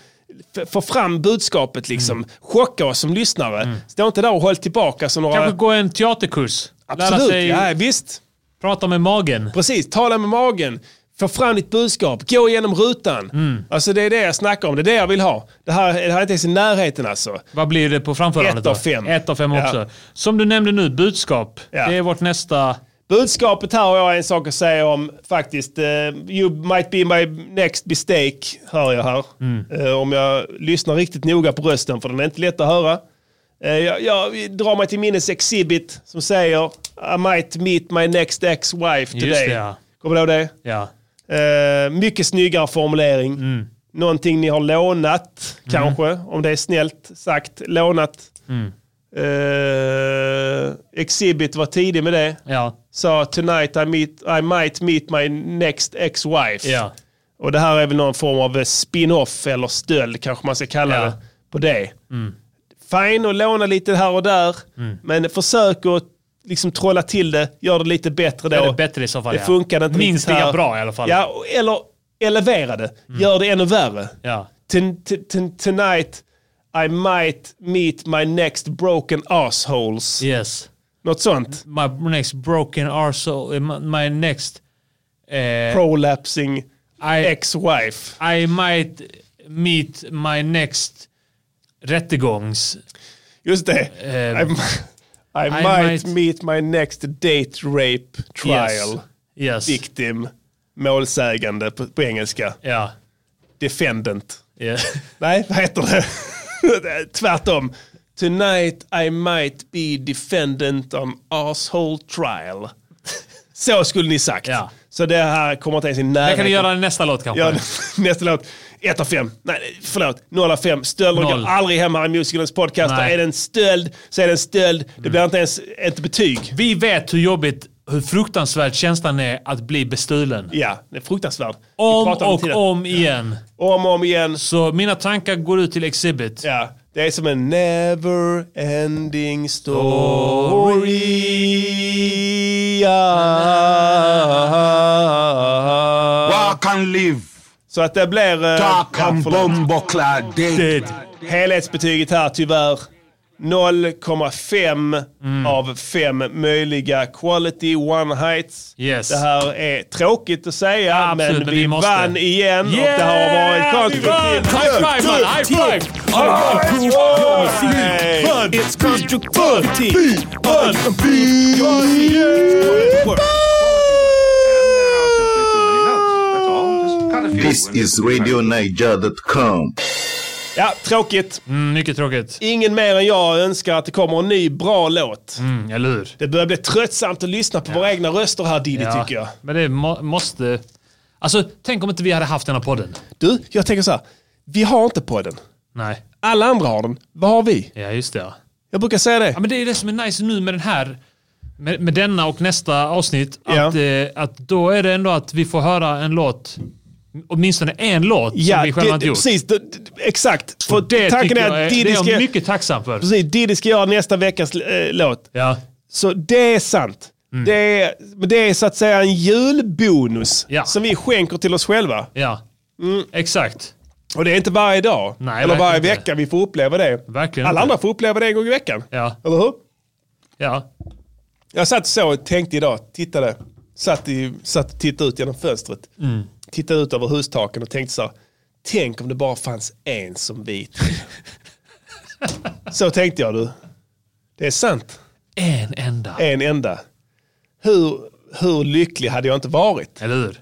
S1: F- Få fram budskapet liksom.
S2: Mm.
S1: Chocka oss som lyssnare. Stå inte där och håll tillbaka som några...
S2: Kanske gå en teaterkurs. Lära
S1: Absolut,
S2: sig
S1: ja visst.
S2: prata med magen.
S1: Precis, tala med magen. Få fram ditt budskap, gå igenom rutan.
S2: Mm.
S1: Alltså det är det jag snackar om, det är det jag vill ha. Det här, det här är inte ens i närheten alltså.
S2: Vad blir det på framförandet
S1: Ett
S2: då?
S1: av fem.
S2: Ett av fem
S1: Ja.
S2: också. Som du nämnde nu, budskap.
S1: Ja.
S2: Det är vårt nästa...
S1: Budskapet här har jag en sak att säga om faktiskt. Eh, you might be my next mistake, hör jag här.
S2: Mm.
S1: Eh, om jag lyssnar riktigt noga på rösten, för den är inte lätt att höra. Eh, jag, jag drar mig till minnes Exhibit som säger I might meet my next ex-wife today.
S2: Just det, ja.
S1: Kommer du ihåg det?
S2: Ja.
S1: Eh, mycket snyggare formulering.
S2: Mm.
S1: Någonting ni har lånat, kanske, om det är snällt sagt. Lånat.
S2: Mm.
S1: Eh, Exhibit var tidig med det.
S2: Ja.
S1: Sa tonight I, meet, I might meet my next ex-wife.
S2: Ja.
S1: Och det här är väl någon form av eh, spin-off eller stöld kanske man ska kalla
S2: Ja. Mm.
S1: det på det. Fine att låna lite här och där, men försök att liksom trolla till det, gör det lite bättre då.
S2: Det är bättre i så fall.
S1: Det
S2: ja.
S1: funkade inte
S2: Minst
S1: riktigt
S2: lika
S1: här.
S2: bra i alla fall. Mm.
S1: Ja, och- eller elevera det. Gör det ännu värre.
S2: Ja.
S1: Ton- t- t- Tonight I might meet my next broken assholes.
S2: Yes.
S1: Något sånt.
S2: My next broken arsehole. My next... Eh,
S1: Prolapsing
S2: I,
S1: ex-wife.
S2: I might meet my next rättegångs...
S1: Just det.
S2: Eh,
S1: I, m- I, might meet my next date rape trial.
S2: Yes. yes.
S1: Victim. Målsägande på, på engelska.
S2: Ja.
S1: Defendant.
S2: Yeah.
S1: Nej, vad heter det? [LAUGHS] Tvärtom. Tonight I might be defendant on asshole trial. [LAUGHS] Så skulle ni sagt.
S2: Ja.
S1: Så det här kommer inte ens i
S2: Det
S1: närheten.
S2: kan du göra i nästa låt kanske.
S1: Ja, [LAUGHS] nästa låt. 1 av 5. Nej, förlåt. 0 av 5. Stölder
S2: Noll.
S1: går aldrig hem här i musikernas podcast.
S2: Nej. Mm.
S1: Är det en stöld så är det en stöld. Det blir inte ens ett betyg.
S2: Vi vet hur jobbigt, hur fruktansvärd känslan är att bli bestulen.
S1: Ja, det är fruktansvärt. Vi
S2: Om
S1: pratar hela
S2: och
S1: tiden.
S2: om igen.
S1: Om och om igen.
S2: Så mina tankar går ut till Exhibit.
S1: Ja, det är som en never ending story.
S9: Jag kan liv.
S1: Så att det blir... eh, ja, förlåt.
S9: bomboklad.
S1: Helhetsbetyget här tyvärr. 0,5
S2: Mm.
S1: av 5 möjliga quality one heights.
S2: Yes.
S1: Det här är tråkigt att säga,
S2: Absolut,
S1: men
S2: men
S1: vi,
S2: vi måste.
S1: vann igen och det har varit
S2: Yeah, vi vann!
S1: konstruktivt.
S2: High five man, high five!
S1: Hey.
S9: It's constructivity.
S7: There are simply too many notes. That's all. Just cut a few.
S10: This
S7: and
S10: is
S7: it'll be perfect.
S10: RadioNiger.com.
S1: Ja, tråkigt.
S2: Mm, mycket tråkigt.
S1: Ingen mer än jag önskar att det kommer en ny bra låt.
S2: Mm, eller hur?
S1: Det börjar bli tröttsamt att lyssna på våra egna röster här Diddy tycker jag.
S2: Men det må- måste... Alltså, tänk om inte vi hade haft den här podden.
S1: Du, jag tänker så här. Vi har inte podden.
S2: Nej.
S1: Alla andra har den. Vad har vi?
S2: Ja, just det. Ja.
S1: Jag brukar säga det.
S2: Ja, men det är det som är nice nu med den här, med, med denna och nästa avsnitt. Att,
S1: Ja.
S2: eh, att då är det ändå att vi får höra en låt, åtminstone en låt som vi själva
S1: det-
S2: inte gjort.
S1: precis. Det, det- exakt. För
S2: Och det
S1: tanken
S2: tycker
S1: är
S2: jag är,
S1: att
S2: det
S1: Diddy
S2: är jag
S1: ska,
S2: mycket tacksam för.
S1: precis, Diddy ska göra nästa veckas eh, låt.
S2: Ja,
S1: Så det är sant.
S2: Mm.
S1: Det, är, men det är så att säga en julbonus
S2: Ja.
S1: som vi skänker till oss själva.
S2: ja.
S1: Mm.
S2: exakt.
S1: Och det är inte varje dag
S2: Nej,
S1: eller varje
S2: verkligen inte.
S1: vecka vi får uppleva det.
S2: Verkligen
S1: Alla
S2: inte.
S1: andra får uppleva det en gång i veckan.
S2: Ja,
S1: Eller hur?
S2: ja.
S1: Jag satt så och tänkte idag, tittade, satt, i, satt och tittade ut genom fönstret.
S2: Mm.
S1: Tittade ut över hustaken och tänkte så här, tänk om det bara fanns en som vi
S2: [LAUGHS]
S1: tre." Så tänkte jag du. Det är sant,
S2: En enda.
S1: en enda. Hur, hur lycklig hade jag inte varit?
S2: Eller hur?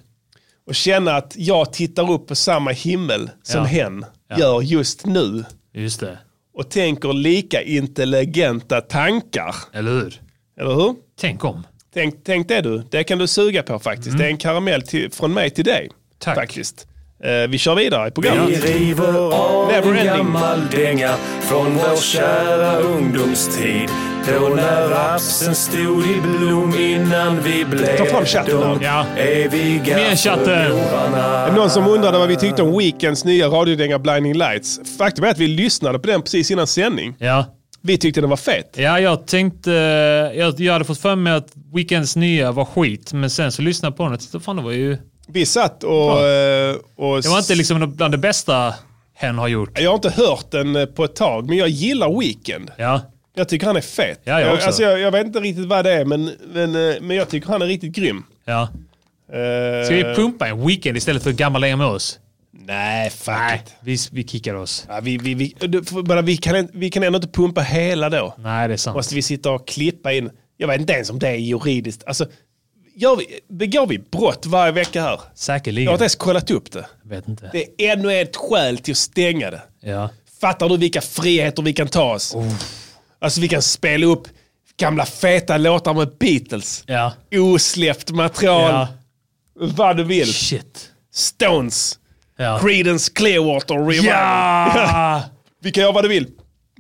S1: Och känna att jag tittar upp på samma himmel som
S2: Ja.
S1: hen
S2: Ja.
S1: gör just nu.
S2: Just det.
S1: Och tänker lika intelligenta tankar.
S2: Eller hur?
S1: Eller hur?
S2: Tänk om.
S1: Tänk, tänk det du. Det kan du suga på faktiskt. Det är en karamell till, från mig till dig.
S2: Mm. Tack.
S1: Faktiskt. Eh, vi kör vidare i programmet.
S9: river av
S1: Never ending.
S9: dänga från vår kära ungdomstid. Då när rapsen stod i blom innan vi blev
S1: Ta fram chatten
S9: de
S1: där.
S2: Ja.
S9: eviga
S2: Kom igen, chatten.
S9: förlorarna.
S1: Någon som undrade vad vi tyckte om Weekends nya radiodänga Blinding Lights. Faktum är att vi lyssnade på den precis innan sändning.
S2: Ja.
S1: Vi tyckte den var fet.
S2: Ja, jag tänkte... Jag, jag hade fått för mig att Weekends nya var skit, men sen så lyssnade jag på den och tänkte, fan det var ju...
S1: Vi satt och... eh, och
S2: Det var inte liksom bland det bästa hen har gjort.
S1: Jag har inte hört den eh, på ett tag, men jag gillar Weekend.
S2: Ja,
S1: Jag tycker han är fet.
S2: Ja, jag också.
S1: Alltså, jag, jag vet inte riktigt vad det är, men, men, eh, men jag tycker han är riktigt grym.
S2: ja.
S1: Eh,
S2: Ska vi pumpa en Weekend istället för gamla länge med oss?
S1: Nej, fuck it.
S2: Vi, vi kickar oss.
S1: Ja, vi, vi, vi, du, för- bara, vi, kan, vi kan ändå inte pumpa hela då.
S2: Nej, det är sant.
S1: Måste vi sitta och klippa in. Jag vet inte ens om det är juridiskt. Alltså, gör vi, begår vi brott varje vecka här? Jag har
S2: Säkerligen.
S1: inte ens kollat upp det.
S2: vet inte.
S1: Det är ännu ett skäl till att stänga det.
S2: Ja.
S1: Fattar du vilka friheter vi kan ta oss? Alltså vi kan spela upp gamla feta låtar med Beatles.
S2: Ja.
S1: Osläppt material.
S2: Ja.
S1: Vad du vill.
S2: Shit.
S1: Stones.
S2: Ja.
S1: Creedence Clearwater Revival.
S2: Ja!
S1: Vi kan göra vad du vill.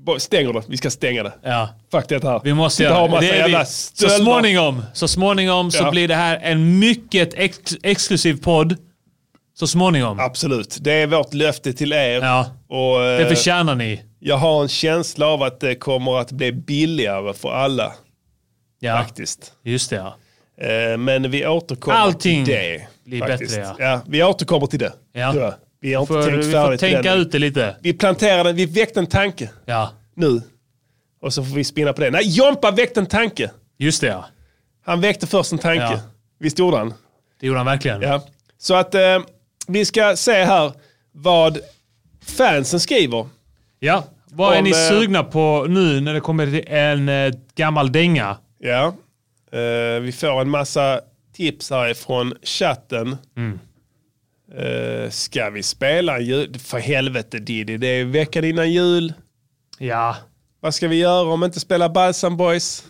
S1: Bara Stänger det. Vi ska stänga det.
S2: ja.
S1: Fuck det här.
S2: Vi måste
S1: Sitta och ha
S2: göra
S1: massa
S2: det. är
S1: jävla
S2: vi. Så
S1: stölder.
S2: småningom, så, småningom så
S1: Ja.
S2: blir det här en mycket ex exklusiv podd. Så småningom.
S1: Absolut. Det är vårt löfte till er.
S2: Ja.
S1: Och, eh,
S2: Det förtjänar ni.
S1: jag har en känsla av att det kommer att bli billigare för alla.
S2: Ja,
S1: Faktiskt.
S2: just det. Ja.
S1: Eh, Men vi återkommer
S2: Allting
S1: till det.
S2: blir bättre, ja.
S1: Vi återkommer till det.
S2: Ja.
S1: tror jag. Vi har inte
S2: För,
S1: tänkt
S2: vi får
S1: färdigt till
S2: tänka
S1: den.
S2: ut det lite.
S1: Vi planterade, vi väckte en tanke
S2: Ja,
S1: nu. Och så får vi spinna på det. Nej, Jompa väckte en tanke.
S2: just det. Ja.
S1: Han väckte först en tanke.
S2: Ja.
S1: Visst gjorde han?
S2: Det gjorde han verkligen.
S1: Ja. Så att eh, vi ska se här vad fansen skriver.
S2: Ja. Vad är
S1: Om,
S2: ni
S1: eh,
S2: sugna på nu när det kommer till en eh, gammal dänga?
S1: Ja. Eh, vi får en massa tips härifrån chatten. Eh, ska vi spela en jul? För helvete Diddy, det är veckan innan jul.
S2: Ja.
S1: Vad ska vi göra om inte spela Balsam Boys?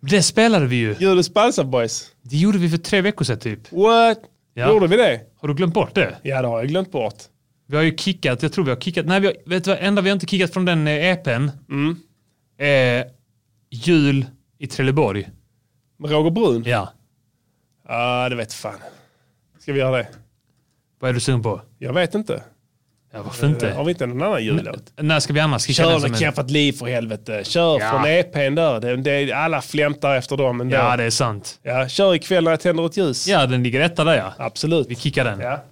S2: Det spelade vi ju.
S1: Julens Balsam Boys.
S2: Det gjorde vi för tre veckor sedan typ.
S1: What?
S2: Ja.
S1: Gjorde vi det?
S2: Har du glömt bort det?
S1: Ja, det har jag glömt bort.
S2: Vi har ju kickat, jag tror vi har kickat, nej vi har, vet du vad, enda vi har inte kickat från den eh, EPn är jul i Trelleborg.
S1: Med Roger Brun? Ja,
S2: Ja.
S1: ah, det vet fan. Ska vi göra det?
S2: Vad är du sugen på?
S1: Jag vet inte.
S2: Ja, varför inte?
S1: Har vi inte någon annan jullåt?
S2: När ska vi annars kicka
S1: Kör
S2: den
S1: med
S2: som en...
S1: Kämpat liv för helvete. Kör
S2: Ja.
S1: från EPn där. Det, det, alla flämtar efter dem ändå.
S2: Ja, det är sant.
S1: Ja, kör ikväll när jag tänder ett ljus.
S2: Ja, den ligger etta där ja.
S1: Absolut.
S2: Vi kickar den.
S1: Ja.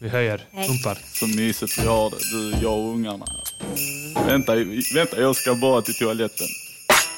S2: Vi höjer, pumpar.
S12: Så mysigt vi har det, du, jag och ungarna. Vänta, vänta, jag ska bara till toaletten.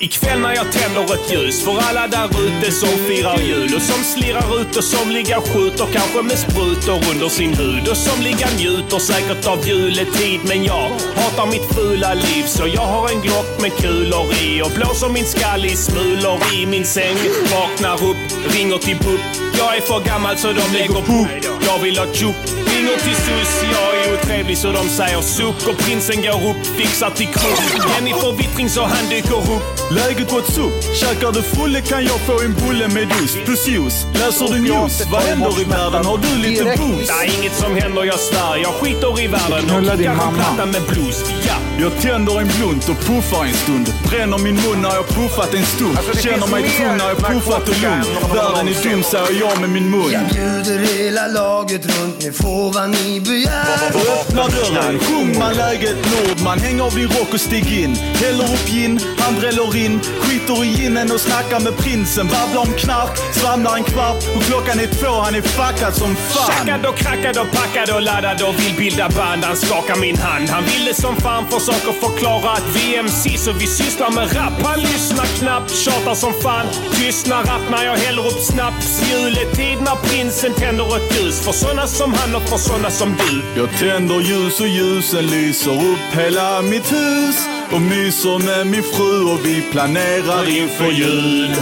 S3: Ikväll när jag tänder ett ljus för alla där ute som firar jul och som slirar ut och som ligger skjuter kanske med sprutor under sin hud och som ligger njuter säkert av juletid men jag hatar mitt fula liv så jag har en glock med kulor i och blåser min skall i smulor i min säng vaknar upp, ringer till BUP jag är för gammal så de lägger på jag vill ha tjopp ringer till SUS jag är otrevlig så de säger suck och prinsen går upp fixar till krupp Jenny får vittring så han dyker upp
S12: Läget what's up? Käkar du fulle kan jag få en bulle med ost plus juice. Läser du news? Vad händer i världen? Har du lite boost?
S3: Det är inget som händer, jag svär. Jag skiter i världen och
S12: Knulla din
S3: kickar en
S12: mamma.
S3: platta med blues. Ja,
S12: Jag tänder en blunt och puffar en stund. Bränner min mun när jag puffat en stund.
S6: Alltså, det
S12: Känner
S6: finns
S12: mig
S6: mer
S12: tung när jag puffat och
S6: narkotika
S12: lugn.
S6: än vad man
S12: Världen är
S6: någonsin-
S12: dum säger jag med min mun.
S8: Jag bjuder hela laget runt, ni får vad ni begär.
S12: Öppna dörren, sjung man läget Nordman. Häng av din rock och stig in. Häller upp gin, han dräller in. Skiter i ginen och snackar med prinsen. Babblar om knark, svamlar en kvart. Och klockan är två, han är fuckad som fan.
S3: Tjackad och krackad och packad och laddad och vill bilda band. Han skakar min hand. Han ville som fan försöker förklara att vi är MCs och vi sysslar med rap. Han lyssnar knappt, tjatar som fan. Tystnar rapp när jag häller upp snaps. Juletid när prinsen tänder ett ljus. För såna som han och för såna som du.
S12: Jag tänder ljus och ljusen lyser upp hela mitt hus. och myser med min fru och vi planerar inför jul.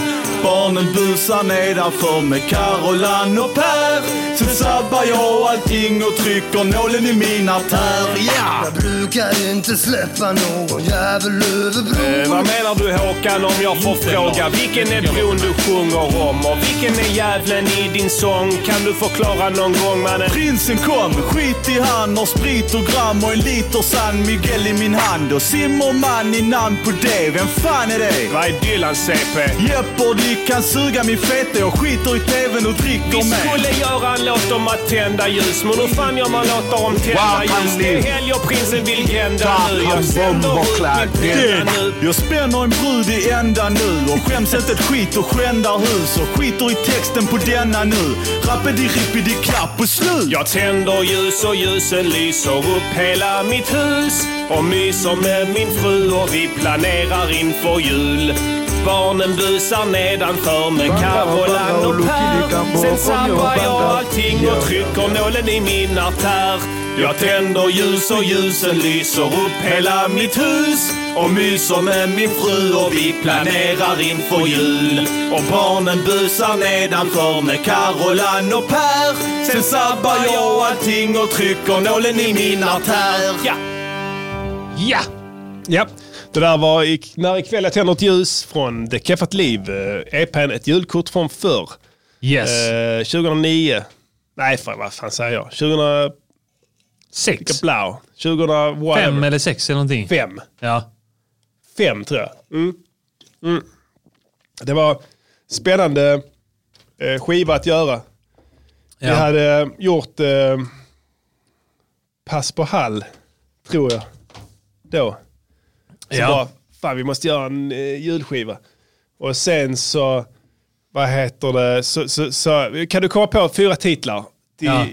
S12: Barnen busar nedanför med Carolan och Per. Sen sabbar jag allting och trycker nålen i min artär. Ja!
S8: Jag brukar inte släppa någon jävel över bron.
S13: Eh, vad menar du Håkan om jag får fråga? Vilken är bron du sjunger om? Och vilken är djävulen i din sång? Kan du förklara någon gång mannen?
S12: Prinsen kom, skit i han har sprit och gram och en liter San Miguel i min hand och Zimmerman i namn på det. Vem fan är det?
S13: Vad är Dylan CP?
S12: Jeopardy kan suga min feta, jag skiter i tvn och dricker
S13: Vi
S12: med.
S13: skulle göra en låt om att tända ljus, men hur fan gör man låtar om
S12: Wow,
S13: tända ljus?
S12: han
S13: Det är
S12: lever.
S13: helg och prinsen vill glända nu.
S12: Han
S13: Jag sänder ut
S12: bomberkladd.
S13: mitt tända nu.
S12: Jag spänner en brud i ända nu och skäms inte ett skit och skändar hus och skiter i texten på denna nu. Rappedi-rippedi-klapp och slut.
S13: Jag tänder ljus och ljusen lyser upp hela mitt hus och myser med min fru och vi planerar inför jul. Barnen busar nedanför med Carolan och Per. Sen sabbar jag allting och trycker nålen i min artär. Jag tänder ljus och ljusen lyser upp hela mitt hus och myser med min fru och vi planerar inför jul.
S12: Och barnen busar nedanför med Carolan och Per. Sen sabbar jag allting och trycker nålen i min artär.
S1: Ja! Ja, det där var i, När ikväll jag tänder ett ljus från Det keffat liv. Eh, EPn Ett julkort från förr.
S2: Yes.
S1: Eh, 2009. Nej, fan, vad fan säger jag?
S2: 2006?
S1: Blau. 2000 whatever.
S2: Fem eller sex eller någonting.
S1: Fem.
S2: Ja.
S1: Fem tror jag. Mm. Mm. Det var spännande eh, skiva att göra. Vi
S2: Ja.
S1: hade eh, gjort eh, Pass på Hall, tror jag. Då. Så
S2: Ja.
S1: bara, fan vi måste göra en eh, julskiva. Och sen så, vad heter det, så, så, så kan du komma på fyra titlar till,
S2: Ja.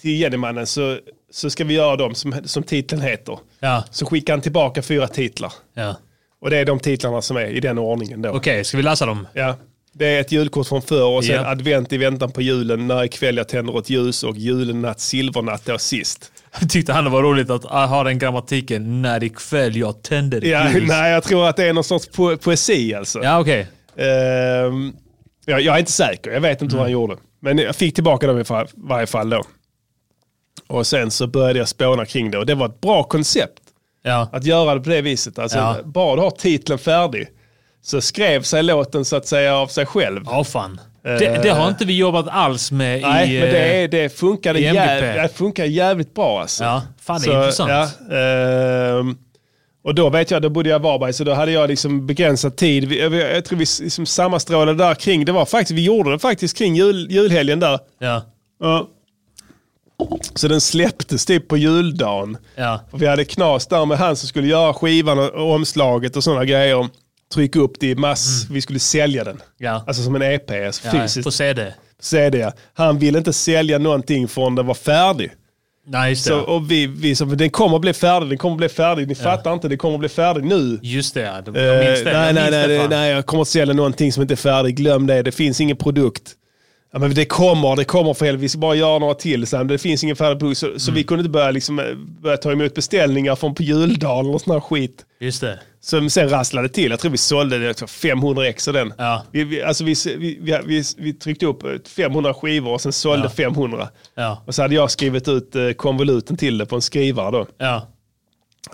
S1: till Jennymannen så, så ska vi göra dem som, som titeln heter.
S2: Ja.
S1: Så skickar han tillbaka fyra titlar.
S2: Ja.
S1: Och det är de titlarna som är i den ordningen då.
S2: Okej, ska vi läsa dem? [LAUGHS]
S1: Ja. Det är ett julkort från förr och sen
S2: Ja.
S1: advent i väntan på julen, när ikväll jag tänder ett ljus och julenatt, silvernatt då sist.
S2: Tyckte han det var roligt att ah, ha den grammatiken. När ikväll jag tänder ett
S1: Ja,
S2: ljus.
S1: nej, jag tror att det är någon sorts po poesi alltså.
S2: Ja, okej.
S1: Ehm, jag, jag är inte säker, jag vet inte
S2: Mm.
S1: vad han gjorde. Men jag fick tillbaka dem i fa- varje fall då. Och sen så började jag spåna kring det och det var ett bra koncept.
S2: Ja.
S1: Att göra det på det viset. Alltså,
S2: Ja.
S1: Bara du har titeln färdig så skrev sig låten så att säga av sig själv.
S2: Ja, fan. Det, det har inte vi jobbat alls med
S1: Eh, Nej,
S2: i...
S1: men det, är,
S2: eh,
S1: det, funkar
S2: i
S1: jäv,
S2: MGP.
S1: det funkar jävligt bra alltså.
S2: Ja, fan det är intressant.
S1: ja, ehm, och då vet jag, då bodde jag i Varberg, så då hade jag liksom begränsad tid. Vi, jag, jag tror vi s- liksom sammanstrålade där kring, det var faktiskt, vi gjorde det faktiskt kring jul, julhelgen där.
S2: Ja.
S1: Ja. Så den släpptes typ på juldagen.
S2: Ja.
S1: Och vi hade knas där med han som skulle göra skivan och, och omslaget och sådana grejer. Trycka upp det i mass, vi skulle sälja den.
S2: Mm. Ja.
S1: Alltså som en EP, alltså
S2: Ja,
S1: fysiskt.
S2: på CD.
S1: CD. ja. Han ville inte sälja någonting förrän den var färdig.
S2: Nej, just det.
S1: Så, och vi, vi sa, den kommer att bli färdig, den kommer att bli färdig. Ni fattar inte, den kommer att bli färdig nu.
S2: Just det, ja. De-
S1: Eh,
S2: jag minns det.
S1: nej,
S2: jag
S1: nej,
S2: minns
S1: nej,
S2: det,
S1: det,
S2: fan.
S1: nej, jag kommer att sälja någonting som inte är färdigt. Glöm det, det finns ingen produkt. Ja, men det kommer, det kommer för helvete. Vi ska bara göra några till sen. Det finns ingen färdig produkt. Så,
S2: Mm.
S1: så vi kunde inte börja, liksom, eh, börja ta emot beställningar från på juldagen och sån här skit.
S2: Just det.
S1: Som sen rasslade till. Jag tror vi sålde det för 500 ex av den.
S2: Ja.
S1: Vi, vi, alltså vi, vi, vi, vi, vi tryckte upp eh, 500 skivor och sen sålde
S2: Ja.
S1: 500.
S2: Ja.
S1: Och så hade jag skrivit ut eh, konvoluten till det på en skrivare då.
S2: Ja.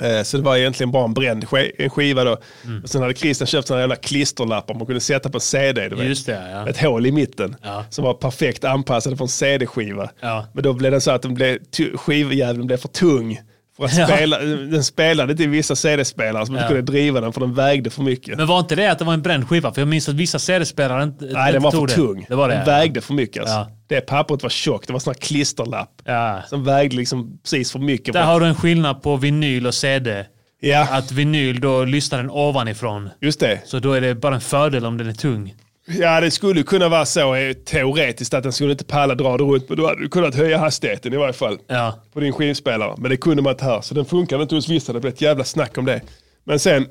S1: Eh, Så det var egentligen bara en bränd sk- en skiva då.
S2: Mm.
S1: Och sen hade Christian köpt sådana jävla klisterlappar man kunde sätta på en CD. Du vet.
S2: Just det, ja.
S1: Ett hål i mitten
S2: Ja.
S1: som var perfekt anpassade för en CD-skiva.
S2: Ja.
S1: Men då blev den så att den blev tu- skivjäveln blev för tung. För att
S2: Ja.
S1: spela, Den spelade inte i vissa CD-spelare som
S2: Ja.
S1: inte kunde driva den för den vägde för mycket.
S2: Men var inte det att det var en bränd skiva? För jag minns att vissa CD-spelare inte
S1: Nej,
S2: inte
S1: den var för
S2: tog
S1: tung.
S2: Det var det.
S1: Den vägde för mycket. Alltså.
S2: Ja.
S1: Det pappret var tjockt. Det var sån här klisterlapp.
S2: Ja.
S1: Som vägde liksom precis för mycket.
S2: Där har du en skillnad på vinyl och CD.
S1: Ja.
S2: Att vinyl, då lyssnar den ovanifrån.
S1: Just det.
S2: Så då är det bara en fördel om den är tung.
S1: Ja, det skulle kunna vara så eh, teoretiskt att den skulle inte palla dra det runt. Men du hade du kunnat höja hastigheten i varje fall.
S2: Ja.
S1: På din skivspelare. Men det kunde man inte här. Så den funkade inte hos vissa. Det blev ett jävla snack om det. Men sen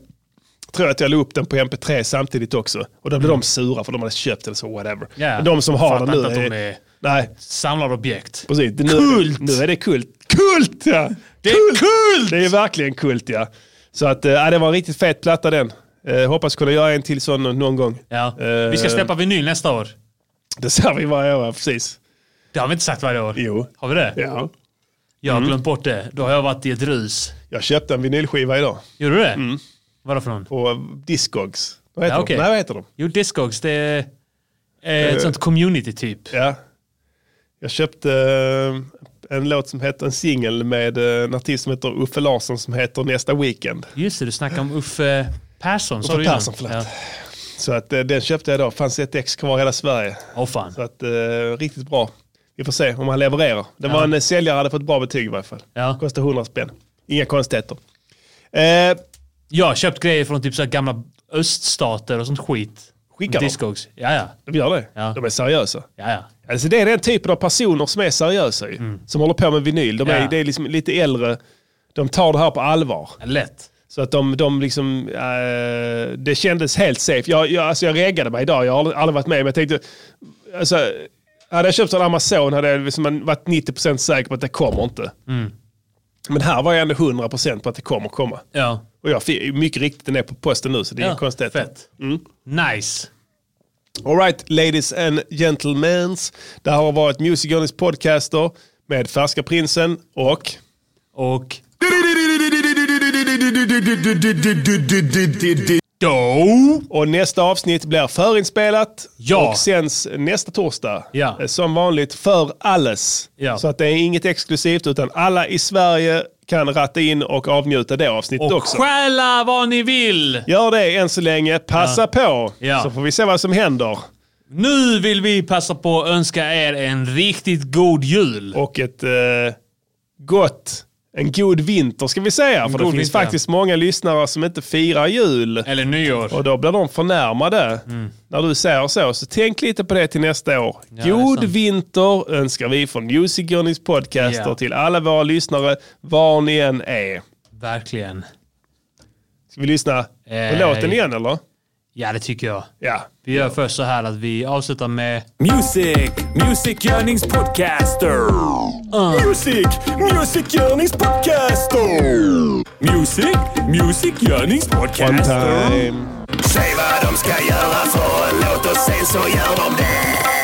S1: tror jag att jag la upp den på MP3 samtidigt också. Och då blev de sura för de hade köpt den så whatever.
S2: Mm. Ja.
S1: Men de som har
S2: Fattar
S1: den nu
S2: inte att de
S1: är-
S2: är-
S1: Nej,
S2: Samlar objekt.
S1: precis. Nu,
S2: Kult!
S1: Nu är det kult. Kult ja! Det är kult! Det är verkligen kult ja. Så att, eh, ja, det var en riktigt fet platta den. Eh, hoppas kunna göra en till sån någon gång.
S2: Ja.
S1: Eh.
S2: Vi ska släppa vinyl nästa år. [LAUGHS]
S1: Det sa vi varje år, precis.
S2: Det har vi inte sagt varje år.
S1: Jo.
S2: Har vi det?
S1: Ja.
S2: Jag har
S1: Mm.
S2: glömt bort det. Då har jag varit i ett rus.
S1: Jag köpte en vinylskiva idag.
S2: Gjorde du det?
S1: Mm.
S2: Vadå för någon?
S1: På Discogs. Vad heter
S2: ja,
S1: de?
S2: okej.
S1: Nej, vad heter de?
S2: Jo, Discogs. Det är eh,
S1: Eh,
S2: ett sånt community typ.
S1: Ja. Jag köpte eh, en låt som heter, en singel med eh, en artist som heter Uffe Larsson som heter Nästa Weekend.
S2: Just det, du snackade om Uffe Persson. sa
S1: Uffe
S2: du innan.
S1: Persson, förlåt.
S2: Ja.
S1: Så att eh, den köpte jag idag. Fanns ett ex kvar i hela Sverige.
S2: Åh fan.
S1: Så att eh, riktigt bra. Vi får se om han levererar. Det var
S2: Ja.
S1: en eh, säljare, hade fått bra betyg i varje fall.
S2: Ja.
S1: Kostade 100 spänn. Inga konstigheter. Eh,
S2: jag har köpt grejer från typ så här gamla öststater och sånt skit.
S1: Skickar de?
S2: Discogs. Ja, ja.
S1: De gör det? De är seriösa?
S2: Ja, ja.
S1: Alltså det är den typen av personer som är seriösa ju. Som håller på med vinyl. De är,
S2: Mm. Ja.
S1: Det är liksom lite äldre. De tar det här på allvar.
S2: Lätt.
S1: Så att de, de liksom, eh, det kändes helt safe. Jag, jag, alltså jag reggade mig idag, jag har aldrig- aldrig varit med, men jag tänkte, alltså, hade jag köpt en Amazon hade jag liksom varit 90% säker på att det kommer inte.
S2: Mm.
S1: Men här var jag ändå 100% på att det kommer komma.
S2: Ja.
S1: Och jag fick, mycket riktigt, den är på posten nu så det är
S2: Ja,
S1: inga konstigheter.
S2: fett. Nice.
S1: All right, ladies and gentlemen. Det här har varit Music Journeys podcaster med Färska Prinsen och...
S2: Och...
S1: Och nästa avsnitt blir förinspelat
S2: Ja.
S1: och sänds nästa torsdag.
S2: Ja.
S1: Eh, Som vanligt för alles.
S2: Ja.
S1: Så att det är inget exklusivt utan alla i Sverige kan ratta in och avnjuta det avsnittet
S2: Och
S1: också.
S2: stjäla vad ni vill!
S1: Gör det än så länge. Passa
S2: Ja.
S1: på
S2: Ja.
S1: så får vi se vad som händer.
S2: Nu vill vi passa på att önska er en riktigt god jul.
S1: Och ett eh, gott, en god vinter ska vi säga. För det
S2: god
S1: finns
S2: vinter, ja.
S1: faktiskt många lyssnare som inte firar jul.
S2: Eller nyår.
S1: Och då blir de förnärmade när du säger så. Så tänk lite på det till nästa år.
S2: Mm. det är
S1: god
S2: sant.
S1: vinter önskar vi från Music Journeys podcaster
S2: Ja.
S1: till alla våra lyssnare, var ni än är.
S2: Verkligen.
S1: Ska vi lyssna på
S2: Eh,
S1: låten igen eller?
S2: Ja, det tycker jag.
S1: Ja.
S2: Vi gör först så här att vi avslutar med...
S11: Music, Music Yearnings Podcaster. Music, Music Yearnings Podcaster. Music, Music Yearnings Podcaster.
S1: Time.
S9: Säg vad de ska göra för en låt och sen så gör de det.